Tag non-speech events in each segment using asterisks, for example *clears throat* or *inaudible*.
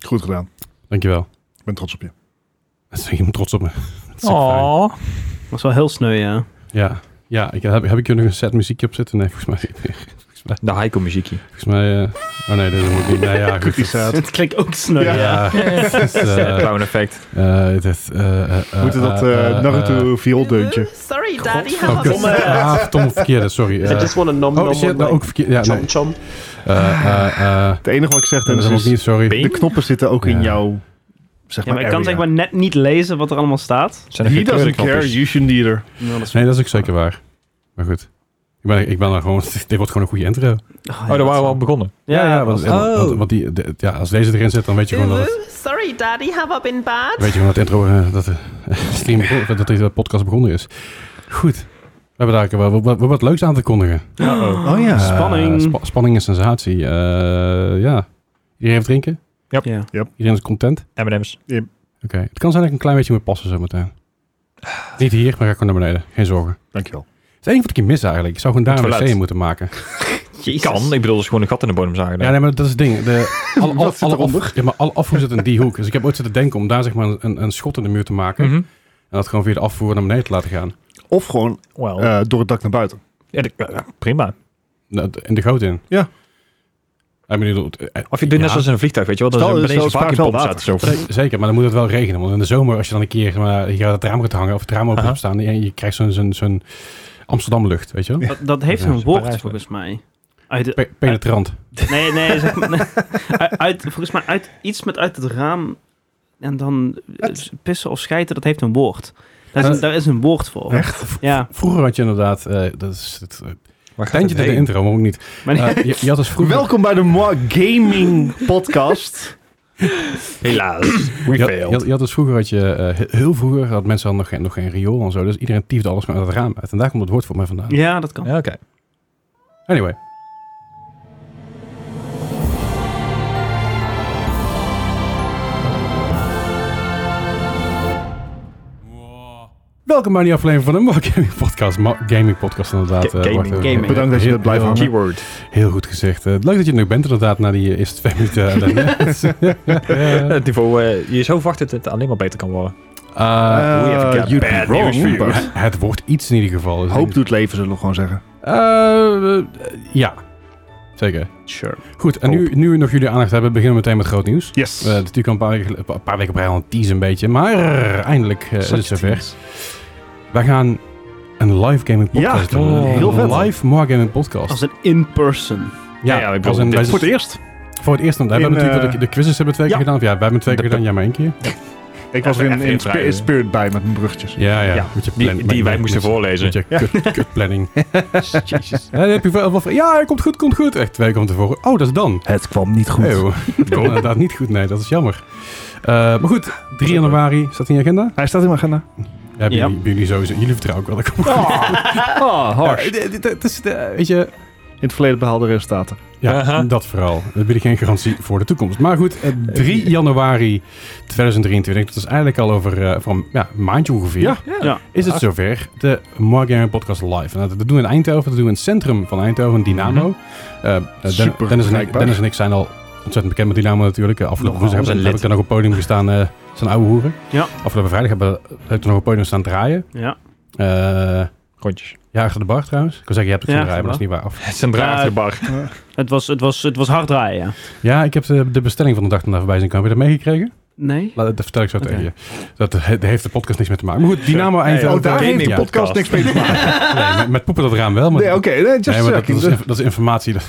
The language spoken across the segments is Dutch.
goed gedaan. Dankjewel. *laughs* Ik ben trots op je. Dat is- Je moet trots op me. *laughs* Dat is echt fijn. Oh, was wel heel sneu, ja. Ja, ja ik, heb, heb ik hier nog een set muziekje op zitten? Nee, volgens mij... *laughs* Volgens mij... De Heiko muziekje. Volgens mij eh, oh nee, *laughs* dat moet ik niet. Nou ja, goed. Cookie dat- staat. Het klinkt ook sneu, Ja. ja. Ja, *laughs* het is, eh, Clown effect. eh, dit, eh, eh, Moeten eh, dat eh, eh eh, eh, Naruto viooldeuntje. Sorry, daddy, Oh, how kut. about Verdomme. Ah, verdomme, verkeerde, sorry. I Eh, just want to nom nom oh, shit, on, nou like, ook verkeerd. Ja, chom nee. chom. Eh, eh, eh, Het enige wat ik zeg dat Dennis, is ook is, niet, sorry. de knoppen zitten ook in Ja. jouw, zeg Ja, maar, maar ik kan area. zeg maar net niet lezen wat er allemaal staat. Zijn er He geen doesn't care, kleurenknopjes? you shouldn't either. Nee, dat is ook zeker waar. Maar goed. Ik ben, ik ben daar gewoon... *laughs* Dit wordt gewoon een goede intro. Oh, daar waren we al begonnen. Ja, ja. want, Oh. want, want- want die, de- ja, als deze erin zit, dan weet je gewoon dat het... Ooh, sorry, daddy, have I been bad? Weet je gewoon dat de intro... eh, *laughs* dat de stream... begon- dat deze podcast begonnen is. Goed. We hebben daar wel wat, wat, wat leuks aan te kondigen. Oh ja. Eh, Spanning. spa- spanning en sensatie. Eh, ja. Iedereen heeft drinken? Ja. Iedereen is content? M&M's. Oké. Het kan zijn dat ik een klein beetje moet passen zometeen. Niet hier, maar ga gewoon naar beneden. Geen zorgen. Dankjewel. Het is één wat ik hier mis eigenlijk. Ik zou gewoon daar Het een wc toilet. in moeten maken. Kan. Ik bedoel, dus gewoon een gat in de bodem zagen. Ja, nee, maar dat is het ding. De, alle, alle, zit alle, eronder? af, ja, maar alle afvoer zit in die hoek. Dus ik heb ooit zitten denken om daar zeg maar een, een schot in de muur te maken. Mhm. En dat gewoon via de afvoer naar beneden te laten gaan. Of gewoon Wel. eh, door het dak naar buiten. Ja, dat- ja, prima. Nou, de- In de goot in. Ja. Ik bedoel, eh, eh, Of je doet net ja, zoals in een vliegtuig, weet je wel. Dat Stel, is stel, beneden het spaart vacuumpomp wel staat. Zo. ze- Zeker, maar dan moet het wel regenen. Want in de zomer, als je dan een keer zeg maar, hier aan het raam gaat hangen of het raam open Aha. hebt staan, en je krijgt zo'n zo'n zo'n Amsterdam lucht, weet je wel? Dat, dat heeft Ja, een is woord Parijs. volgens mij. Uit, de- Pe- penetrant. nee, nee, *laughs* zeg maar, nee. Uit- uit, volgens mij uit, iets met uit het raam en dan eh, pissen of schijten, dat heeft een woord. Daar is, een- Eh, daar is een woord voor. Echt? Ja, Vroeger had je inderdaad, eh, dat is het eh, Waar gaat kleintje het in de heen? intro, maar ook niet. maar Eh, je, je had dus vroeger... Welkom bij de Moi Gaming Podcast. Helaas. Je had, je, had, je had dus vroeger, had je, eh, he- heel vroeger had mensen dan nog geen, nog geen riool en zo. Dus iedereen tiefde alles maar uit het raam uit. En daar komt het woord voor mij vandaan. *laughs* ja, dat kan. Ja, oké. Anyway. Welkom bij die aflevering van de Mark Gaming Podcast. Ma- gaming Podcast inderdaad. Ga- eh, gaming, Bart, eh, gaming. Bedankt dat je heel- dat blijft heel- hangen. Keyword. Heel goed gezegd. Eh, leuk dat je er nog bent inderdaad na die eh, eerste twee minuten. *laughs* Eh, Het niveau, eh, je zou verwachten dat het alleen maar beter kan worden. *laughs* eh, Eh, we have got you'd be bad wrong, news for you. but het wordt iets in ieder geval. Dus *laughs* Hoop doet leven, zullen we gewoon zeggen. Eh, eh, ja, zeker. Sure. Goed, en nu, nu we nog jullie aandacht hebben, beginnen we meteen met groot nieuws. Yes. Eh, natuurlijk al een paar, weken gel- een paar weken op rij al een tease een beetje, maar eindelijk eh, is het zover. Wij gaan een live gaming podcast Ja, doen. oh, heel een vet. live more gaming podcast. Als een in-person. Ja, ja, ik bedoel, als een- dit wij- dus Voor het eerst. voor het eerst. want We hebben In, natuurlijk eh, de, de quizzes hebben we twee keer ja. gedaan. Of ja, wij hebben twee keer De- gedaan, jij maar één keer. Ik was er Even- in, even in spi- invragen. spirit bij met mijn bruggetjes. Ja, ja. Ja, met je die- plan- die met- wij met- moesten met- voorlezen. Met je kut, *laughs* kutplanning. Ja, dan heb je wel, wel- ja, komt goed, komt goed. Echt twee keer van tevoren. Oh, dat is dan. Het kwam niet goed. *laughs* Eeuw. Nou, inderdaad niet goed, nee, dat is jammer. Eh, maar goed, 3 januari staat in je agenda. Hij staat in mijn agenda. Ja, hebben Ja. jullie, hebben jullie sowieso, jullie vertrouwen ook wel. dat ik- Oh, Ja, dit- dit- dit is, eh, weet je, In het verleden behaalde resultaten. ja, Aha. dat vooral. Dat bieden geen garantie voor de toekomst. Maar goed, eh, 3 januari 2023, dat is eigenlijk al over, eh, over een, ja, een maandje ongeveer. Ja. Ja. Is het zover? De More Gaming Podcast Live. En dat, dat doen we in Eindhoven, dat doen we in het centrum van Eindhoven, Dynamo. Eh, eh, Den- Super Dennis, en ik, bereikbaar. Dennis en ik zijn al ontzettend bekend met Dynamo natuurlijk. Eh, Afgelopen Nogal, woensdag heb, zijn heb ik lid. daar nog op het podium gestaan, eh zijn oude hoeren. Ja. Afgelopen vrijdag hebben we heb ik daar nog op het podium staan draaien. Ja. Eh, Rondjes. ja, achter de bar trouwens. Ik wil zeggen, je hebt het Ja, gaan draaien, maar dat is achter niet waar. Of- Het is een draad Ja, in de bar. Het, was, het, was, het was hard draaien, ja. Ja, ik heb de, de bestelling van de dag daarna voorbij zien komen. Heb je dat meegekregen? Nee? Laat- Dat vertel ik zo Oké. tegen je. Dat he- daar heeft de podcast niks mee te maken. Maar goed, Dynamo Nee, Eindhoven. Oh, daar Gaming heeft de ja. podcast podcast. niks mee te maken. Nee, met, met poepen dat raam wel. Maar, Nee, oké. nee, just nee, maar dat, checking. dus. dat is, inf- dat is informatie. *laughs* dat-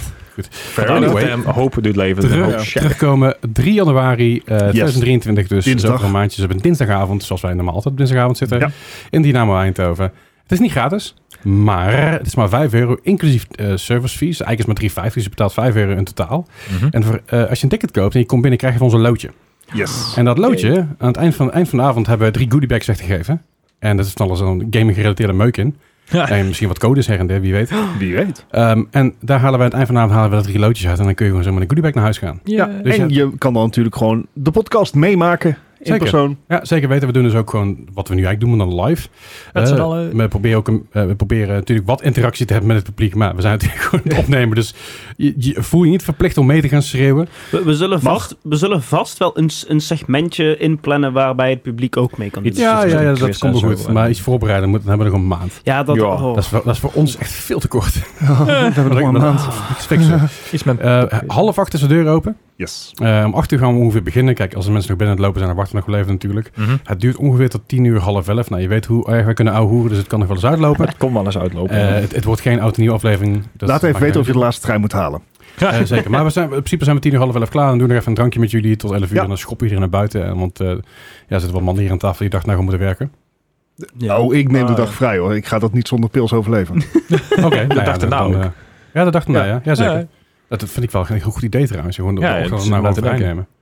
Fair enough. enough. Damn, hoop doet leven. terug, Oh, shit. terugkomen 3 januari eh 2023. Dus Dinsdag. over een maandje. Dus op een dinsdagavond, zoals wij normaal altijd op dinsdagavond zitten. Ja. In Dynamo Eindhoven. Het is niet gratis, maar het is maar 5 euro inclusief eh, service fees. Eigenlijk is het maar 3,50, dus je betaalt 5 euro in totaal. Mhm. En voor, eh, als je een ticket koopt en je komt binnen, krijg je van ons een loodje. Yes. En dat loodje, aan het eind van, eind van de avond hebben we drie goodiebags weggegeven. En dat is van alles een gaming gerelateerde meuk in. Ja. En misschien wat codes her en der, wie weet. Wie weet. Ehm, en daar halen wij aan het eind van de avond halen we dat drie loodjes uit. En dan kun je gewoon zo met een goodiebag naar huis gaan. Ja. Dus en ja. je kan dan natuurlijk gewoon de podcast meemaken In persoon. Ja, zeker weten. We doen dus ook gewoon wat we nu eigenlijk doen, maar dan live. Met Eh, z'n allen. we proberen, ook een, eh, we proberen natuurlijk wat interactie te hebben met het publiek, maar we zijn natuurlijk *laughs* gewoon aan het opnemen. Dus je, je voel je niet verplicht om mee te gaan schreeuwen. We, we zullen, Mag. vast, we zullen vast wel een, s- een segmentje inplannen waarbij het publiek ook mee kan doen. Iets- Ja, Ja, dus ja, een ja quiz dat komt en wel zo. goed. Maar iets voorbereiden moeten, dan hebben we nog een maand. dat, Ja, oh. Dat, is, voor- dat is voor ons echt veel te kort. Oh, we hebben nog maar een maand. *laughs* Niks fixen. Iets met... Eh, half acht is de deur open. Yes. Eh, om acht uur gaan we ongeveer beginnen. Kijk, als de mensen nog binnen aan het lopen zijn, dan wachten we nog wel even natuurlijk. Mhm. Het duurt ongeveer tot tien uur, half elf. Nou, je weet hoe erg wij kunnen ouwhoeren, dus het kan nog wel eens uitlopen. Het kon wel eens uitlopen. Eh, het, het wordt geen oud en nieuw aflevering. Dat Laat even maakt weten of je geen- de laatste trein moet halen. Eh, zeker. Maar we zijn, in principe zijn we tien uur half elf klaar. Dan doen we nog even een drankje met jullie tot elf uur. Ja. En dan schop iedereen naar buiten. En Want eh, ja, er zitten wel mannen hier aan tafel die dacht nou we moeten *laughs* werken. Ja. Oh, ik neem de Ah, dag ja. vrij hoor. Ik ga dat niet zonder pils overleven. *laughs* Oké, nou ja, dag dan- erna dan, ook. eh, Ja, dat dacht erna, Ja. ja. ja zeker. Ja. Dat, dat vind ik wel een heel goed idee trouwens. Gewoon de Ja, ochtend het is daarna nou gewoon vrij inderdaad te nemen.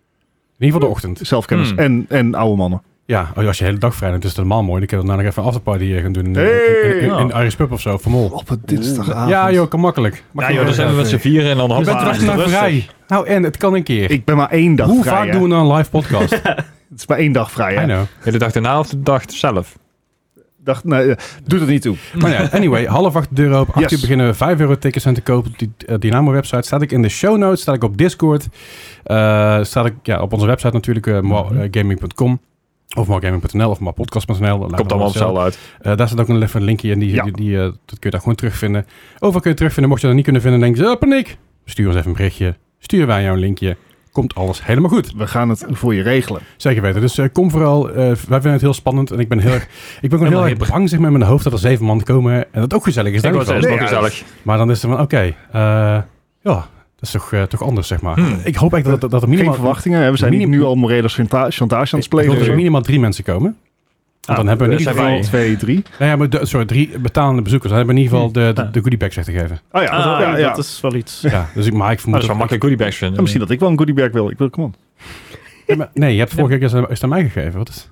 In ieder geval de ochtend. Zelfkennis. Hmm. En, en oude mannen. Ja, als je de hele dag vrij neemt, is het helemaal mooi. Dan kunnen we daarna nog even een afterparty eh, gaan doen. In, Hey! Oh, in, in, in, Ja. de Irish Pub of zo, van Mol. Op het dinsdagavond. Ja joh, kan makkelijk. Mag ja, je joh, wel dan zijn we even. met z'n vieren en dan Je half bent acht. er echt is het naar rustig. vrij. Nou en, het kan een keer. Ik ben maar één dag Hoe vrij. vaak hè. doen we nou een live podcast? I Het is maar één dag vrij. Hè? know. Ja, De dag daarna of de dag zelf? Dag, nee, eh, doet het niet toe. Maar ja, anyway, half acht de deur open. Acht Yes. uur beginnen we. Vijf euro tickets zijn te koop op die eh, Dynamo-website. Staat ik in de show notes, staat ik op Discord. Eh staat ik ja, op onze website natuurlijk, eh, mo- Mhm. eh, gaming.com. Of moregaming.nl of moorepodcast.nl. Dat lijkt Komt me allemaal wel op zelf. hetzelfde uit. Eh, daar staat ook een, even een linkje in. Die, Ja. die, die, eh, dat kun je daar gewoon terugvinden. Overal kun je het terugvinden. Mocht je dat niet kunnen vinden, denk je, eh, paniek. Stuur ons even een berichtje. Sturen wij jou een linkje. Komt alles helemaal goed. We gaan het voor je regelen. Zeker weten. Dus eh, kom vooral. eh, wij vinden het heel spannend. En ik ben heel *laughs* erg, ik ben gewoon heel Helemaal erg bang zeg maar, in mijn hoofd dat er zeven man komen. En dat ook gezellig is. Ik denk was wel. eerst wel Nee, ja, gezellig. Maar dan is het van, oké. eh, ja, dat is toch, eh, toch anders, zeg maar. Hmm. Ik hoop echt dat, dat, dat er Geen minimaal... verwachtingen. Hè? We zijn niet minim- nu al morele chanta- chantage aan het Ik hoop dat er plegen. minimaal drie mensen komen. Want dan hebben we in er ieder Ah, dus zijn geval... wij. Twee, drie. Nou ja, maar de- sorry, drie betalende bezoekers. Dan hebben we in ieder geval de, de, Ja. de goodiebags echt te geven. Oh ja, Ah, dat- ja, ja. dat is wel iets. Ja, dus ik, maar ik Ah. Dat vermoed... is wel makkelijk goodiebags Ja, misschien dat ik wel een goodiebag wil. Ik wil, come on. Ja, maar- nee, je hebt vorige keer is het aan- is het aan mij gegeven. Wat is,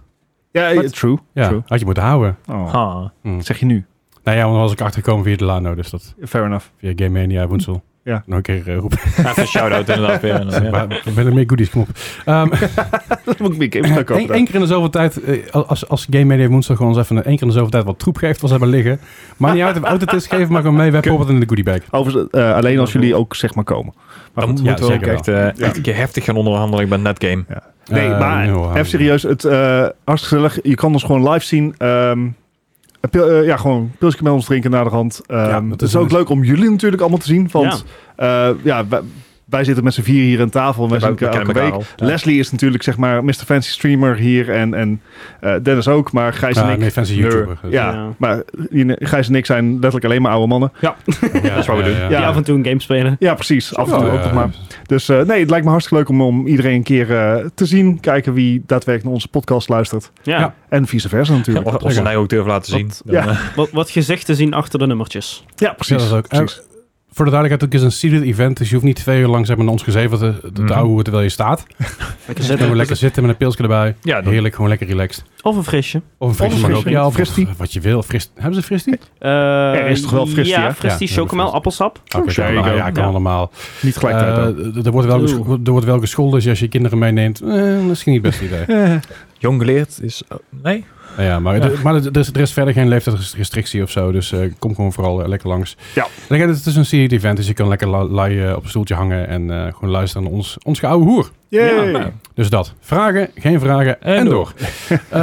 Ja, eh, Wat? true. ja, True. had je moeten houden. Oh. Ah. Wat zeg je nu? Nou ja, want dan was ik achtergekomen via de Lano. Dus dat Fair enough. *laughs* via Game Mania, Woensel. Ja. Nog een keer eh, roepen. Even een shout-out inderdaad weer. En dan, ja. Maar We willen meer goodies, kom op. Ehm, Dat moet ik meer *laughs* games gaan kopen. Eén dan. één keer in de zoveel tijd, eh, als, als Game Media Woensdag gewoon eens even één keer in de zoveel tijd wat troep geeft, was hebben liggen. Maar niet uit of auto is geven, maar gewoon mee. We hebben het in de goodie bag. Overigens, eh, alleen als jullie ook zeg maar komen. Maar Dan goed. moeten ja, we ook zeker wel. echt, eh, echt een keer heftig gaan onderhandelen bij Netgame. Nee, Eh, maar nou, even serieus. Het eh hartstikke gezellig. Je kan ons gewoon live zien. Ehm, een pil- eh, ja, gewoon een pilsje met ons drinken naar de hand. Ehm, Ja, dat het is is ook een- leuk om jullie natuurlijk allemaal te zien. Want ja, ja wij, wij zitten met z'n vier hier aan tafel. en Wij zien We elkaar elke kennen week. elkaar al. Leslie is natuurlijk zeg maar Mr. Fancy Streamer hier. En, en eh, Dennis ook. Maar Gijs Ah, en ik... nee, fancy YouTuber. dus. Neur. Ja, Ja. maar eh, Gijs en ik zijn letterlijk alleen maar oude mannen. dat is wat we doen. Dus, eh, Ja, Die af en toe een game spelen. Ja, precies. Af en toe Oh, Ja, ook nog maar. Dus eh, nee, het lijkt me hartstikke leuk om, om iedereen een keer eh, te zien. Kijken wie daadwerkelijk naar onze podcast luistert. Ja. Ja. En vice versa natuurlijk. Of, of ze mij ook durven laten zien. Wat- Dan, ja. eh, Wat, wat gezicht te zien achter de nummertjes. Ja, precies. Ja, dat is ook- precies. Voor de duidelijkheid, het is een seated event, dus je hoeft niet twee uur lang zeg maar, naar ons gezeven te, te Mhm. ouwehoeren terwijl je staat. Lekker Dan zitten. gaan we lekker zitten met een pilsje erbij. ja, dan- Heerlijk, gewoon lekker relaxed. Of een frisje. Of een een frisje mag ook. frisje. Ja, of Fristie. of wat je wil. Fris, hebben ze fristie? Eh, Er is toch wel fristie, Ja, hè? fristie, Ja, chocomel, fristie. appelsap. Ah, Oké, Oh, kan, there you allemaal. go. ja, kan Ja. allemaal. Niet gelijktijd. ook. Eh, er, wordt wel Oeh. gescho- er wordt wel gescholden, dus als je je kinderen meeneemt, eh, misschien niet het beste idee. jong geleerd is... oh, nee? Nou ja, maar, er- maar er, is, er is verder geen leeftijdsrestrictie of zo. Dus eh, kom gewoon vooral eh, lekker langs. Ja. Lekker, het is een seed event, dus je kan lekker la- lui eh, op een stoeltje hangen en eh, gewoon luisteren naar ons, ons geoude hoer. Yay. Ja. Dus dat. Vragen, geen vragen en, En door. *laughs* door. Eh,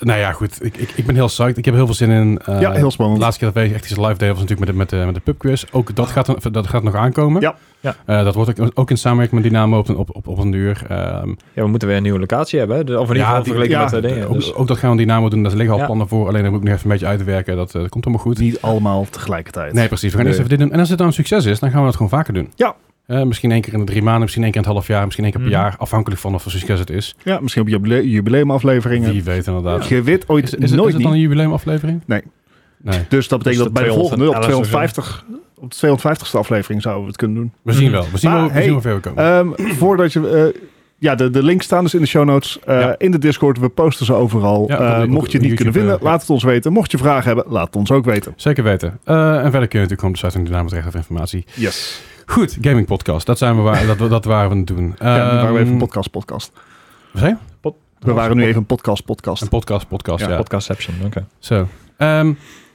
nou ja, goed. Ik, ik, ik ben heel psyched. Ik heb heel veel zin in. eh, ja, heel de spannend. laatste keer dat wij echt iets live deden was natuurlijk met de, met de, met de pubquiz. Ook dat gaat, een- dat gaat nog aankomen. Ja. Ja. Eh, dat wordt ook, ook in samenwerking met Dynamo op een, op, op, op een uur. Ehm, Ja, we moeten weer een nieuwe locatie hebben. hè. Dus- Of in ieder Ja, geval die- vergeleken ja, met de dingen. Eh, ook, Dus, ook dat gaan we Dynamo doen. Daar liggen al Ja. plannen voor. Alleen dat moet ik nog even een beetje uitwerken. Dat, eh, dat komt allemaal goed. Niet allemaal tegelijkertijd. Nee, precies. We gaan Nee. eerst even dit doen. En als het dan een succes is, dan gaan we dat gewoon vaker doen. Ja. Eh, misschien één keer in de drie maanden, misschien één keer in het half jaar, misschien één keer per Mhm. jaar. Afhankelijk van of voor succes het is. Ja, misschien op jubile- jubileumafleveringen. Wie weet inderdaad. Je weet ooit Is, is, nooit is het dan niet. een jubileumaflevering? Nee. Nee. Dus dat betekent dat Is bij de het volgende, op 211 250... Op de 250ste aflevering zouden we het kunnen doen. We zien Mhm. wel. We zien, Maar, wel, we hey, zien wel ver we komen. Ehm, *clears throat* voordat je... eh, ja, de, de links staan dus in de show notes. eh, Ja. In de Discord. We posten ze overal. Ja, op- Eh, op- mocht je het niet kunnen op YouTube, vinden, eh, laat het ons weten. Mocht je vragen hebben, laat het ons ook weten. Zeker weten. Eh, en verder kun je natuurlijk gewoon op de site van Dynamo terecht voor informatie. Yes. Goed, Gaming Podcast. Dat zijn we waar, dat, we- dat waren we aan het doen. ja, nu waren we even Ehm, een podcast podcast. wat zei je? Pod- We waren nu even een podcast-podcast. Een podcast, podcast, ja. Podcastception, oké. Zo. Ehm,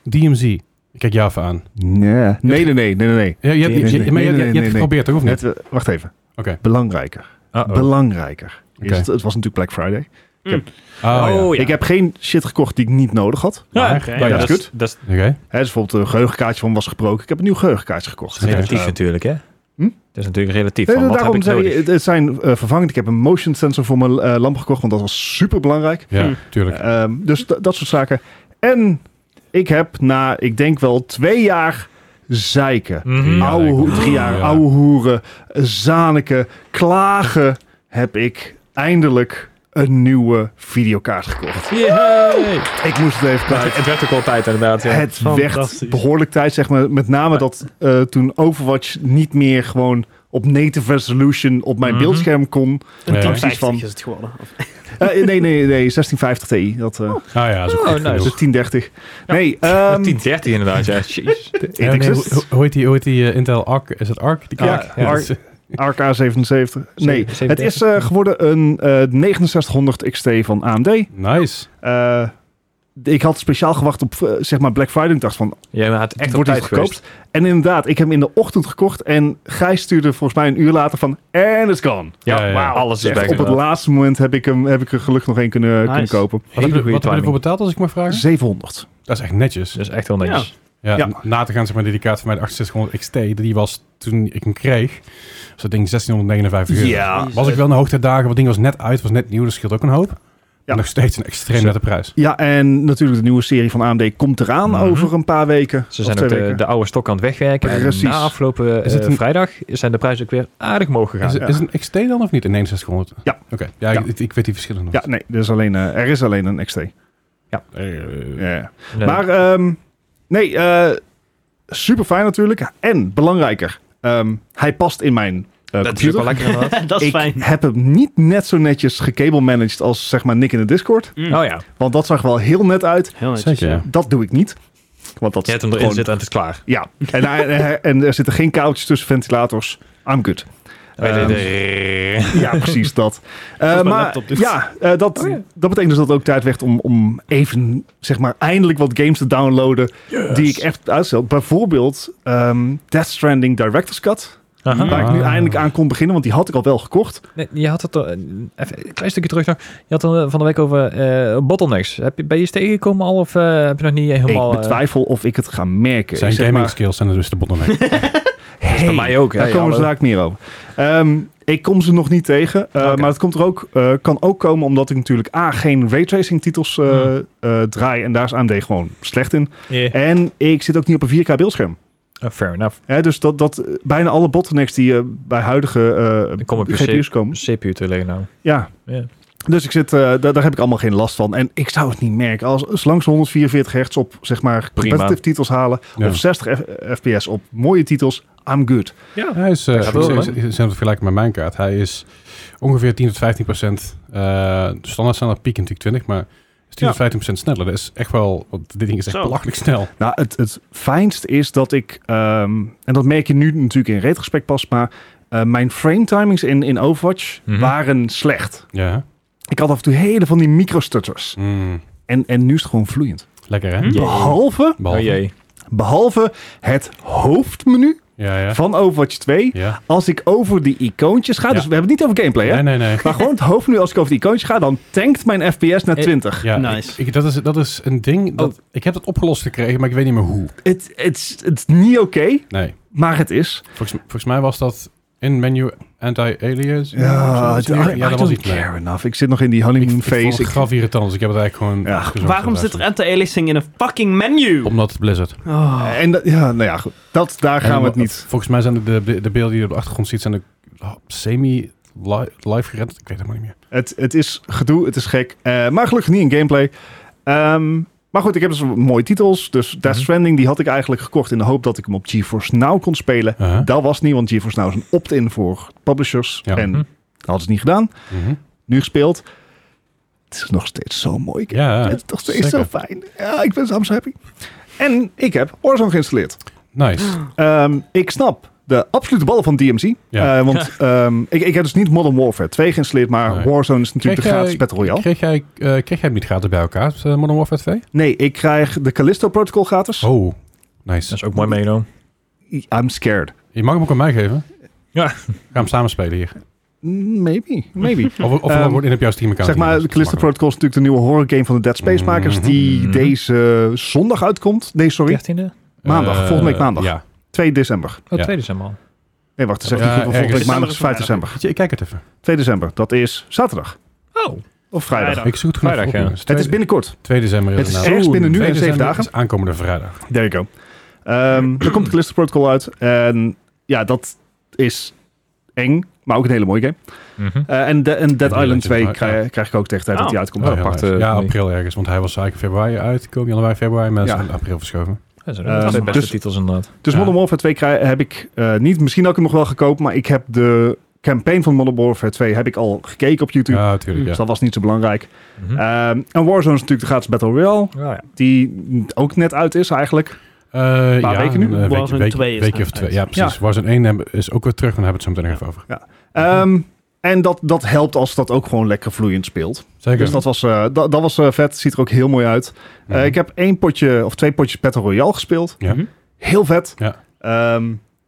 DMZ. Ik kijk jou even aan. Nee, nee, nee, nee, nee. nee. Je, je, je, je, maar je- Nee, nee, je- je- nee, je hebt nee, Ah, het nee. geprobeerd, toch? Of niet? Net, eh, wacht even. Oké. Belangrijker. Uh-oh. Belangrijker. Is Oké. het, het was natuurlijk Black Friday. oh. Ah, ja. Ik heb geen shit gekocht die ik niet nodig had. Oh, Ja, Maar- oké. Ja, dat is Dat is Oké. Hè, dus bijvoorbeeld een geheugenkaartje van was gebroken. Ik heb een nieuw geheugenkaartje gekocht. Zeker. relatief Eh, natuurlijk, hè? Hm? Dat is natuurlijk relatief. Nee, van, wat heb daarom ik zei nodig? je, het- het zijn eh, vervangend. Ik heb een motion sensor voor mijn eh, lamp gekocht, want dat was super belangrijk. Ja, Hm. tuurlijk. dus da- dat soort zaken. En ik heb na, ik denk wel twee jaar zeiken, Mhm. Ja, oude, ho- ik- drie jaar ja. ouwe hoeren, zaniken, klagen, heb ik eindelijk een nieuwe videokaart gekocht. Yay! Ik moest het even kwijt. Het werd ook al tijd inderdaad. Ja. Het werd fantastisch. behoorlijk tijd, zeg maar. Met name dat eh, toen Overwatch niet meer gewoon op native resolution op mijn Mhm. beeldscherm kon. Ja. Een precies van- 1050 is het geworden. Of- Eh, nee, nee, nee, 1650 Ti. Dat, eh Ah ja, zo Oh, goed nice. dat genoeg. is 1030. Nee, ehm 1030 inderdaad, ja. Jeez. Ja, nee, x hoe, hoe- hoe heet die, hoe heet die eh, Intel Arc? Is het Arc? Die Arc, kaart? ja. dat is- ARK 77. Nee, Zeven- het is eh, geworden een eh 6900 XT van AMD. Nice. Eh, ik had speciaal gewacht op eh, zeg maar Black Friday. Ik dacht van, Ja, maar het is echt op wordt tijd iets geweest. gekoopt? En inderdaad, ik heb hem in de ochtend gekocht. En Gijs stuurde volgens mij een uur later van, and it's gone. Ja, Ja, ja, ja. wauw. Alles is Echt, op bij het laatste moment heb ik, hem, heb ik er gelukkig nog één kunnen, Nice. kunnen kopen. Wat heb, je, goede wat heb je ervoor timing. betaald, als ik mag vragen? 700. Dat is echt netjes. Dat is echt heel niks. Ja, Ja. Na te gaan, zeg maar, die kaart van mij, de 6800 XT, die was toen ik hem kreeg, was dat ding 1659 euro. Ja. Ah, Was ik wel in de hoogtijdagen, want het ding was net uit, was net nieuw, dat scheelt ook een hoop. Maar nog steeds een extreem Zo. nette prijs. Ja, en natuurlijk de nieuwe serie van AMD komt eraan Mhm. over een paar weken. Ze Of zijn twee ook de, weken. de oude stok aan het wegwerken. En Precies. na afgelopen Is het eh, een- vrijdag zijn de prijzen ook weer aardig omhoog Is, gegaan. ja. is het een XT dan of niet? Een 6100? Ja. Oké, ja, Ja. Ik, ik weet die verschillen nog. Ja, nee, er is alleen, eh, er is alleen een XT. Eh, Ja. Nee. Maar ehm, nee, eh, super fijn natuurlijk. En belangrijker, ehm, hij past in mijn eh, dat is ook computer. wel lekker inderdaad. *laughs* dat is ik fijn. heb hem niet net zo netjes gecable managed als zeg maar Nick in de Discord. Mm. Oh ja, Want dat zag wel heel net uit. Heel netjes. Zeker, ja. Dat doe ik niet. Want dat je hebt hem erin gewoon- zitten en het is klaar. Ja, en, hij- hij- *laughs* en er zitten geen koudjes tussen ventilators. I'm good. Ehm, *laughs* ja, precies dat. Eh, mijn maar laptop dus. ja, eh, dat, Oh ja. dat betekent dus dat het ook tijd werd om, om even, zeg maar, eindelijk wat games te downloaden die ik echt uitstel. Bijvoorbeeld ehm, Death Stranding Director's Cut, Aha. waar ik nu Ah. eindelijk aan kon beginnen, want die had ik al wel gekocht. Nee, je had het er, even een klein stukje terug nog. Je had er eh, van de week over eh, bottlenecks. Heb je, ben je eens tegengekomen al of eh, heb je nog niet helemaal... ik betwijfel of ik het ga merken. Zijn Ik zeg gaming maar, skills zijn er dus de bottleneck. eh, bij hey, mij ook. Daar hè, komen we hallo. straks meer over. Ehm, ik kom ze nog niet tegen, eh, Oké. maar het komt er ook, eh, kan ook komen omdat ik natuurlijk A, geen raytracing titels eh, Hmm. eh, draai en daar is AMD gewoon slecht in. Yeah. En ik zit ook niet op een 4K beeldscherm. Oh, fair enough. Hè, dus dat, dat eh, bijna alle bottlenecks die eh, bij huidige eh Dan kom ik weer GPU's komen. CPU te liggen nou. Ja. Ja. Dus ik zit, eh, da- daar heb ik allemaal geen last van. En ik zou het niet merken. Als, zolang ze 144 hertz op zeg maar competitive titels halen. Ja. Of 60 F- fps op mooie titels. I'm good. Hij is, eh Dat is, gaat wel, is, hè? is- is aan het vergelijken met mijn kaart. Hij is ongeveer 10 tot 15 procent. eh, standaard standaard piek natuurlijk 20, maar is 10 Ja. tot 15 procent sneller. Dat is echt wel, want dit ding is echt Zo. belachelijk snel. Nou, het, het fijnst is dat ik, ehm, en dat merk je nu natuurlijk in retrospect pas, maar eh, mijn frame timings in, in Overwatch Mhm. waren slecht. Ja. Ik had af en toe hele van die microstutters. Mm, En, en nu is het gewoon vloeiend. lekker hè? Hm? Jee. Behalve, Behalve- Oh jee. behalve het hoofdmenu Ja, ja. van Overwatch 2. ja. Als ik over die icoontjes ga, Ja. dus we hebben het niet over gameplay hè. Nee, nee, nee. Maar gewoon het hoofdmenu, als ik over die icoontjes ga, dan tankt mijn FPS naar Eh, 20. Ja, Nice. ik, ik- dat, is, dat is een ding. Dat, Ik heb het opgelost gekregen, maar ik weet niet meer hoe. Het het is het is niet oké, Nee. maar het is. Volgens, volgens mij was dat in menu anti-alias. Ja, Zoiets. I, ja I dat was don't iets. nee. care enough. Ik zit nog in die Ik, ik honeymoon vond phase. het graf irritant, dus ik heb het eigenlijk gewoon... Ja. gezocht Waarom voor zit er luisteren. anti-aliasing in een fucking menu? Omdat het Blizzard. Oh. En dat- ja, nou ja, goed. Dat, daar gaan En we het wa- niet. Volgens mij zijn de, de, de beelden die je op de achtergrond ziet, zijn ook oh, semi li- live gerend. Ik weet het helemaal niet meer. Het, het is gedoe, het is gek. Eh, maar gelukkig niet in gameplay. Ehm, maar goed, ik heb dus mooie titels. Dus Death Mhm. Stranding, die had ik eigenlijk gekocht in de hoop dat ik hem op GeForce Now kon spelen. Uh-huh. Dat was niet, want GeForce Now is een opt-in voor publishers. Ja. En Mhm. dat hadden ze niet gedaan. Mhm. Nu gespeeld. Het is nog steeds zo mooi. Ja, het is nog steeds zeker. zo fijn. Ja, ik ben zo happy. En ik heb Warzone geïnstalleerd. nice. Ehm, ik snap de absolute ballen van DMC. Ja. Eh, want ehm, ik, ik heb dus niet Modern Warfare 2 geïnstalleerd, maar Nee. Warzone is natuurlijk Kreeg de gratis jij- Battle Royale. Kreeg jij, eh, kreeg jij hem niet gratis bij elkaar, eh, Modern Warfare 2? Nee, ik krijg de Callisto Protocol gratis. Oh, Dat nice. is ook mooi meegenomen. I'm scared. Je mag hem ook aan mij geven. Ja. Ga hem samen spelen hier. Mm, Maybe, *laughs* maybe. Of, of Ehm, we worden in op jouw Steam account. zeg maar, de Callisto Protocol is natuurlijk de nieuwe horror game van de Dead Space makers die Mhm. deze zondag uitkomt. Nee, sorry. 13e? maandag, volgende week maandag. Eh, Ja. 2 december. Oh, Ja. 2 december al. Nee, wacht, dat zeg ik Ja, niet goed, want volgende ergens- week maandag is 5 december. Weet je, Ik kijk het even. 2 december, dat is zaterdag. Oh, Of vrijdag. Vrijdag. Ik zoek het gewoon Vrijdag, even op, ja. jongens. Het is Tweede- binnenkort. 2 december Het is inderdaad. ergens binnen nu en 2 zeven december dagen. is aankomende vrijdag. There you go. Ehm *clears throat* dan komt de Callisto Protocol uit. En ja, dat is eng, maar ook een hele mooie game. Mhm. Eh, en, de, en Dead Ja, Island dat is 2 waar, krijg, krijg ik ook tegen de tijd dat die Oh. uitkomt. Oh, Apart. heel aparte- nice. Ja, nee. april ergens. Want hij was eigenlijk februari uitgekomen. Januari, februari. Maar Ja. is in april verschoven. dat zijn Ehm, de beste dus- titels inderdaad. Dus Ja. Modern Warfare 2 krijg- heb ik eh, niet. Misschien had ik hem nog wel gekoopt, maar ik heb de campaign van Modern Warfare 2 heb ik al gekeken op YouTube. Ja, natuurlijk. Dus Ja. dat was niet zo belangrijk. Mhm. Ah, Ehm, en Warzone is natuurlijk de gratis Battle Royale, Ja, ja. die ook net uit is eigenlijk. Eh, paar ja, weken nu. een, eh, week- Warzone week- 2 is weekje of uit. twee. Ja, precies. Warzone 1 hebben- is ook weer terug. Want daar hebben we het zo meteen nog even over. Ehm, En dat, dat helpt als dat ook gewoon lekker vloeiend speelt. Zeker. Dus dat was, eh, da- dat was eh, vet. Ziet er ook heel mooi uit. Eh, Mhm. Ik heb één potje of twee potjes Battle Royale gespeeld. Ja. Mhm. Heel vet. Ja. Ehm,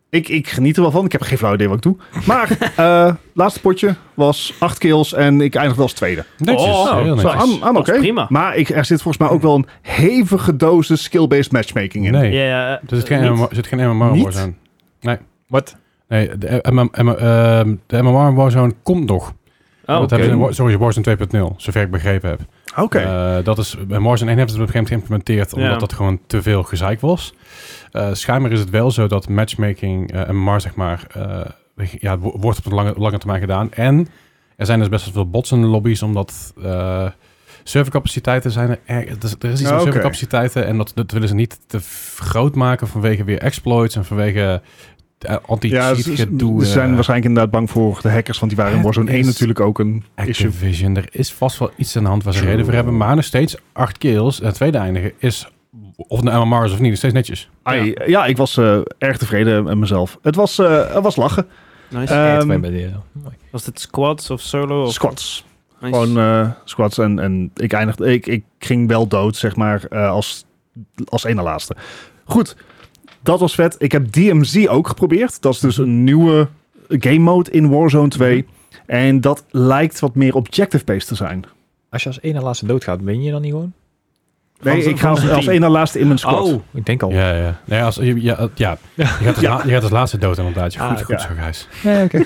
ik, ik geniet er wel van. Ik heb geen flauw idee wat ik doe. *laughs* Maar eh laatste potje was acht kills en ik eindigde als tweede. Netjes. Oh, heel Zo, netjes. I'm, I'm Dat is oké. prima. Maar ik, er zit volgens mij ook wel een hevige dosis skill-based matchmaking in. Nee. Ja, ja, Er zit eh, Dus geen, niet. MMO, er zit geen MMO Niet? Warzone. Wat? Nee, de, MM, ehm, de MMO Warzone komt nog. Oh, dat oké. hebben ze in War- sorry, Warzone 2.0, zover ik begrepen heb. Oké. Eh, dat is, bij Warzone 1 hebben ze het op een gegeven moment geïmplementeerd, omdat Ja. dat gewoon te veel gezeik was. Eh schijnbaar is het wel zo dat matchmaking en MMR, zeg maar, eh, ja, het wo- wordt op de lange, lange termijn gedaan. En er zijn dus best wel veel bots in de lobby's, omdat eh servercapaciteiten zijn er. Er, dus er is iets met Oké. servercapaciteiten en dat, dat willen ze niet te f- groot maken vanwege weer exploits en vanwege eh, Ja, anti-cheat ze, gedoe. ze zijn eh. waarschijnlijk inderdaad bang voor de hackers, want die waren in Het Warzone 1 is natuurlijk ook een issue. Activision, er is vast wel iets aan de hand waar ze True. reden voor hebben. Maar nog steeds acht kills en tweede eindigen is, of het een MMR is of niet, nog steeds netjes. Ai, Ah, ja. ik was eh, erg tevreden met mezelf. Het was, eh, het was lachen. Nice. Ehm, Twee bij die, ja. Mooi. Was dit squads of solo? Of squats. Nice. Gewoon eh, squats. En, en ik, eindigde, ik, ik ging wel dood, zeg maar, eh, als, als ene laatste. Goed, dat was vet. Ik heb DMZ ook geprobeerd. Dat is dus een nieuwe game mode in Warzone 2. Mhm. En dat lijkt wat meer objective-based te zijn. Als je als ene laatste doodgaat, ben je dan niet gewoon? Nee, Van- ik ga van als, zijn als team. ene laatste in mijn squad. Oh, Ik denk al. Ja, ja. Nee, als, ja, ja, ja. Je, gaat als la- je gaat als laatste dood inderdaad. Ja, Ah, Goed, goed ja. zo, guys. Nee, oké.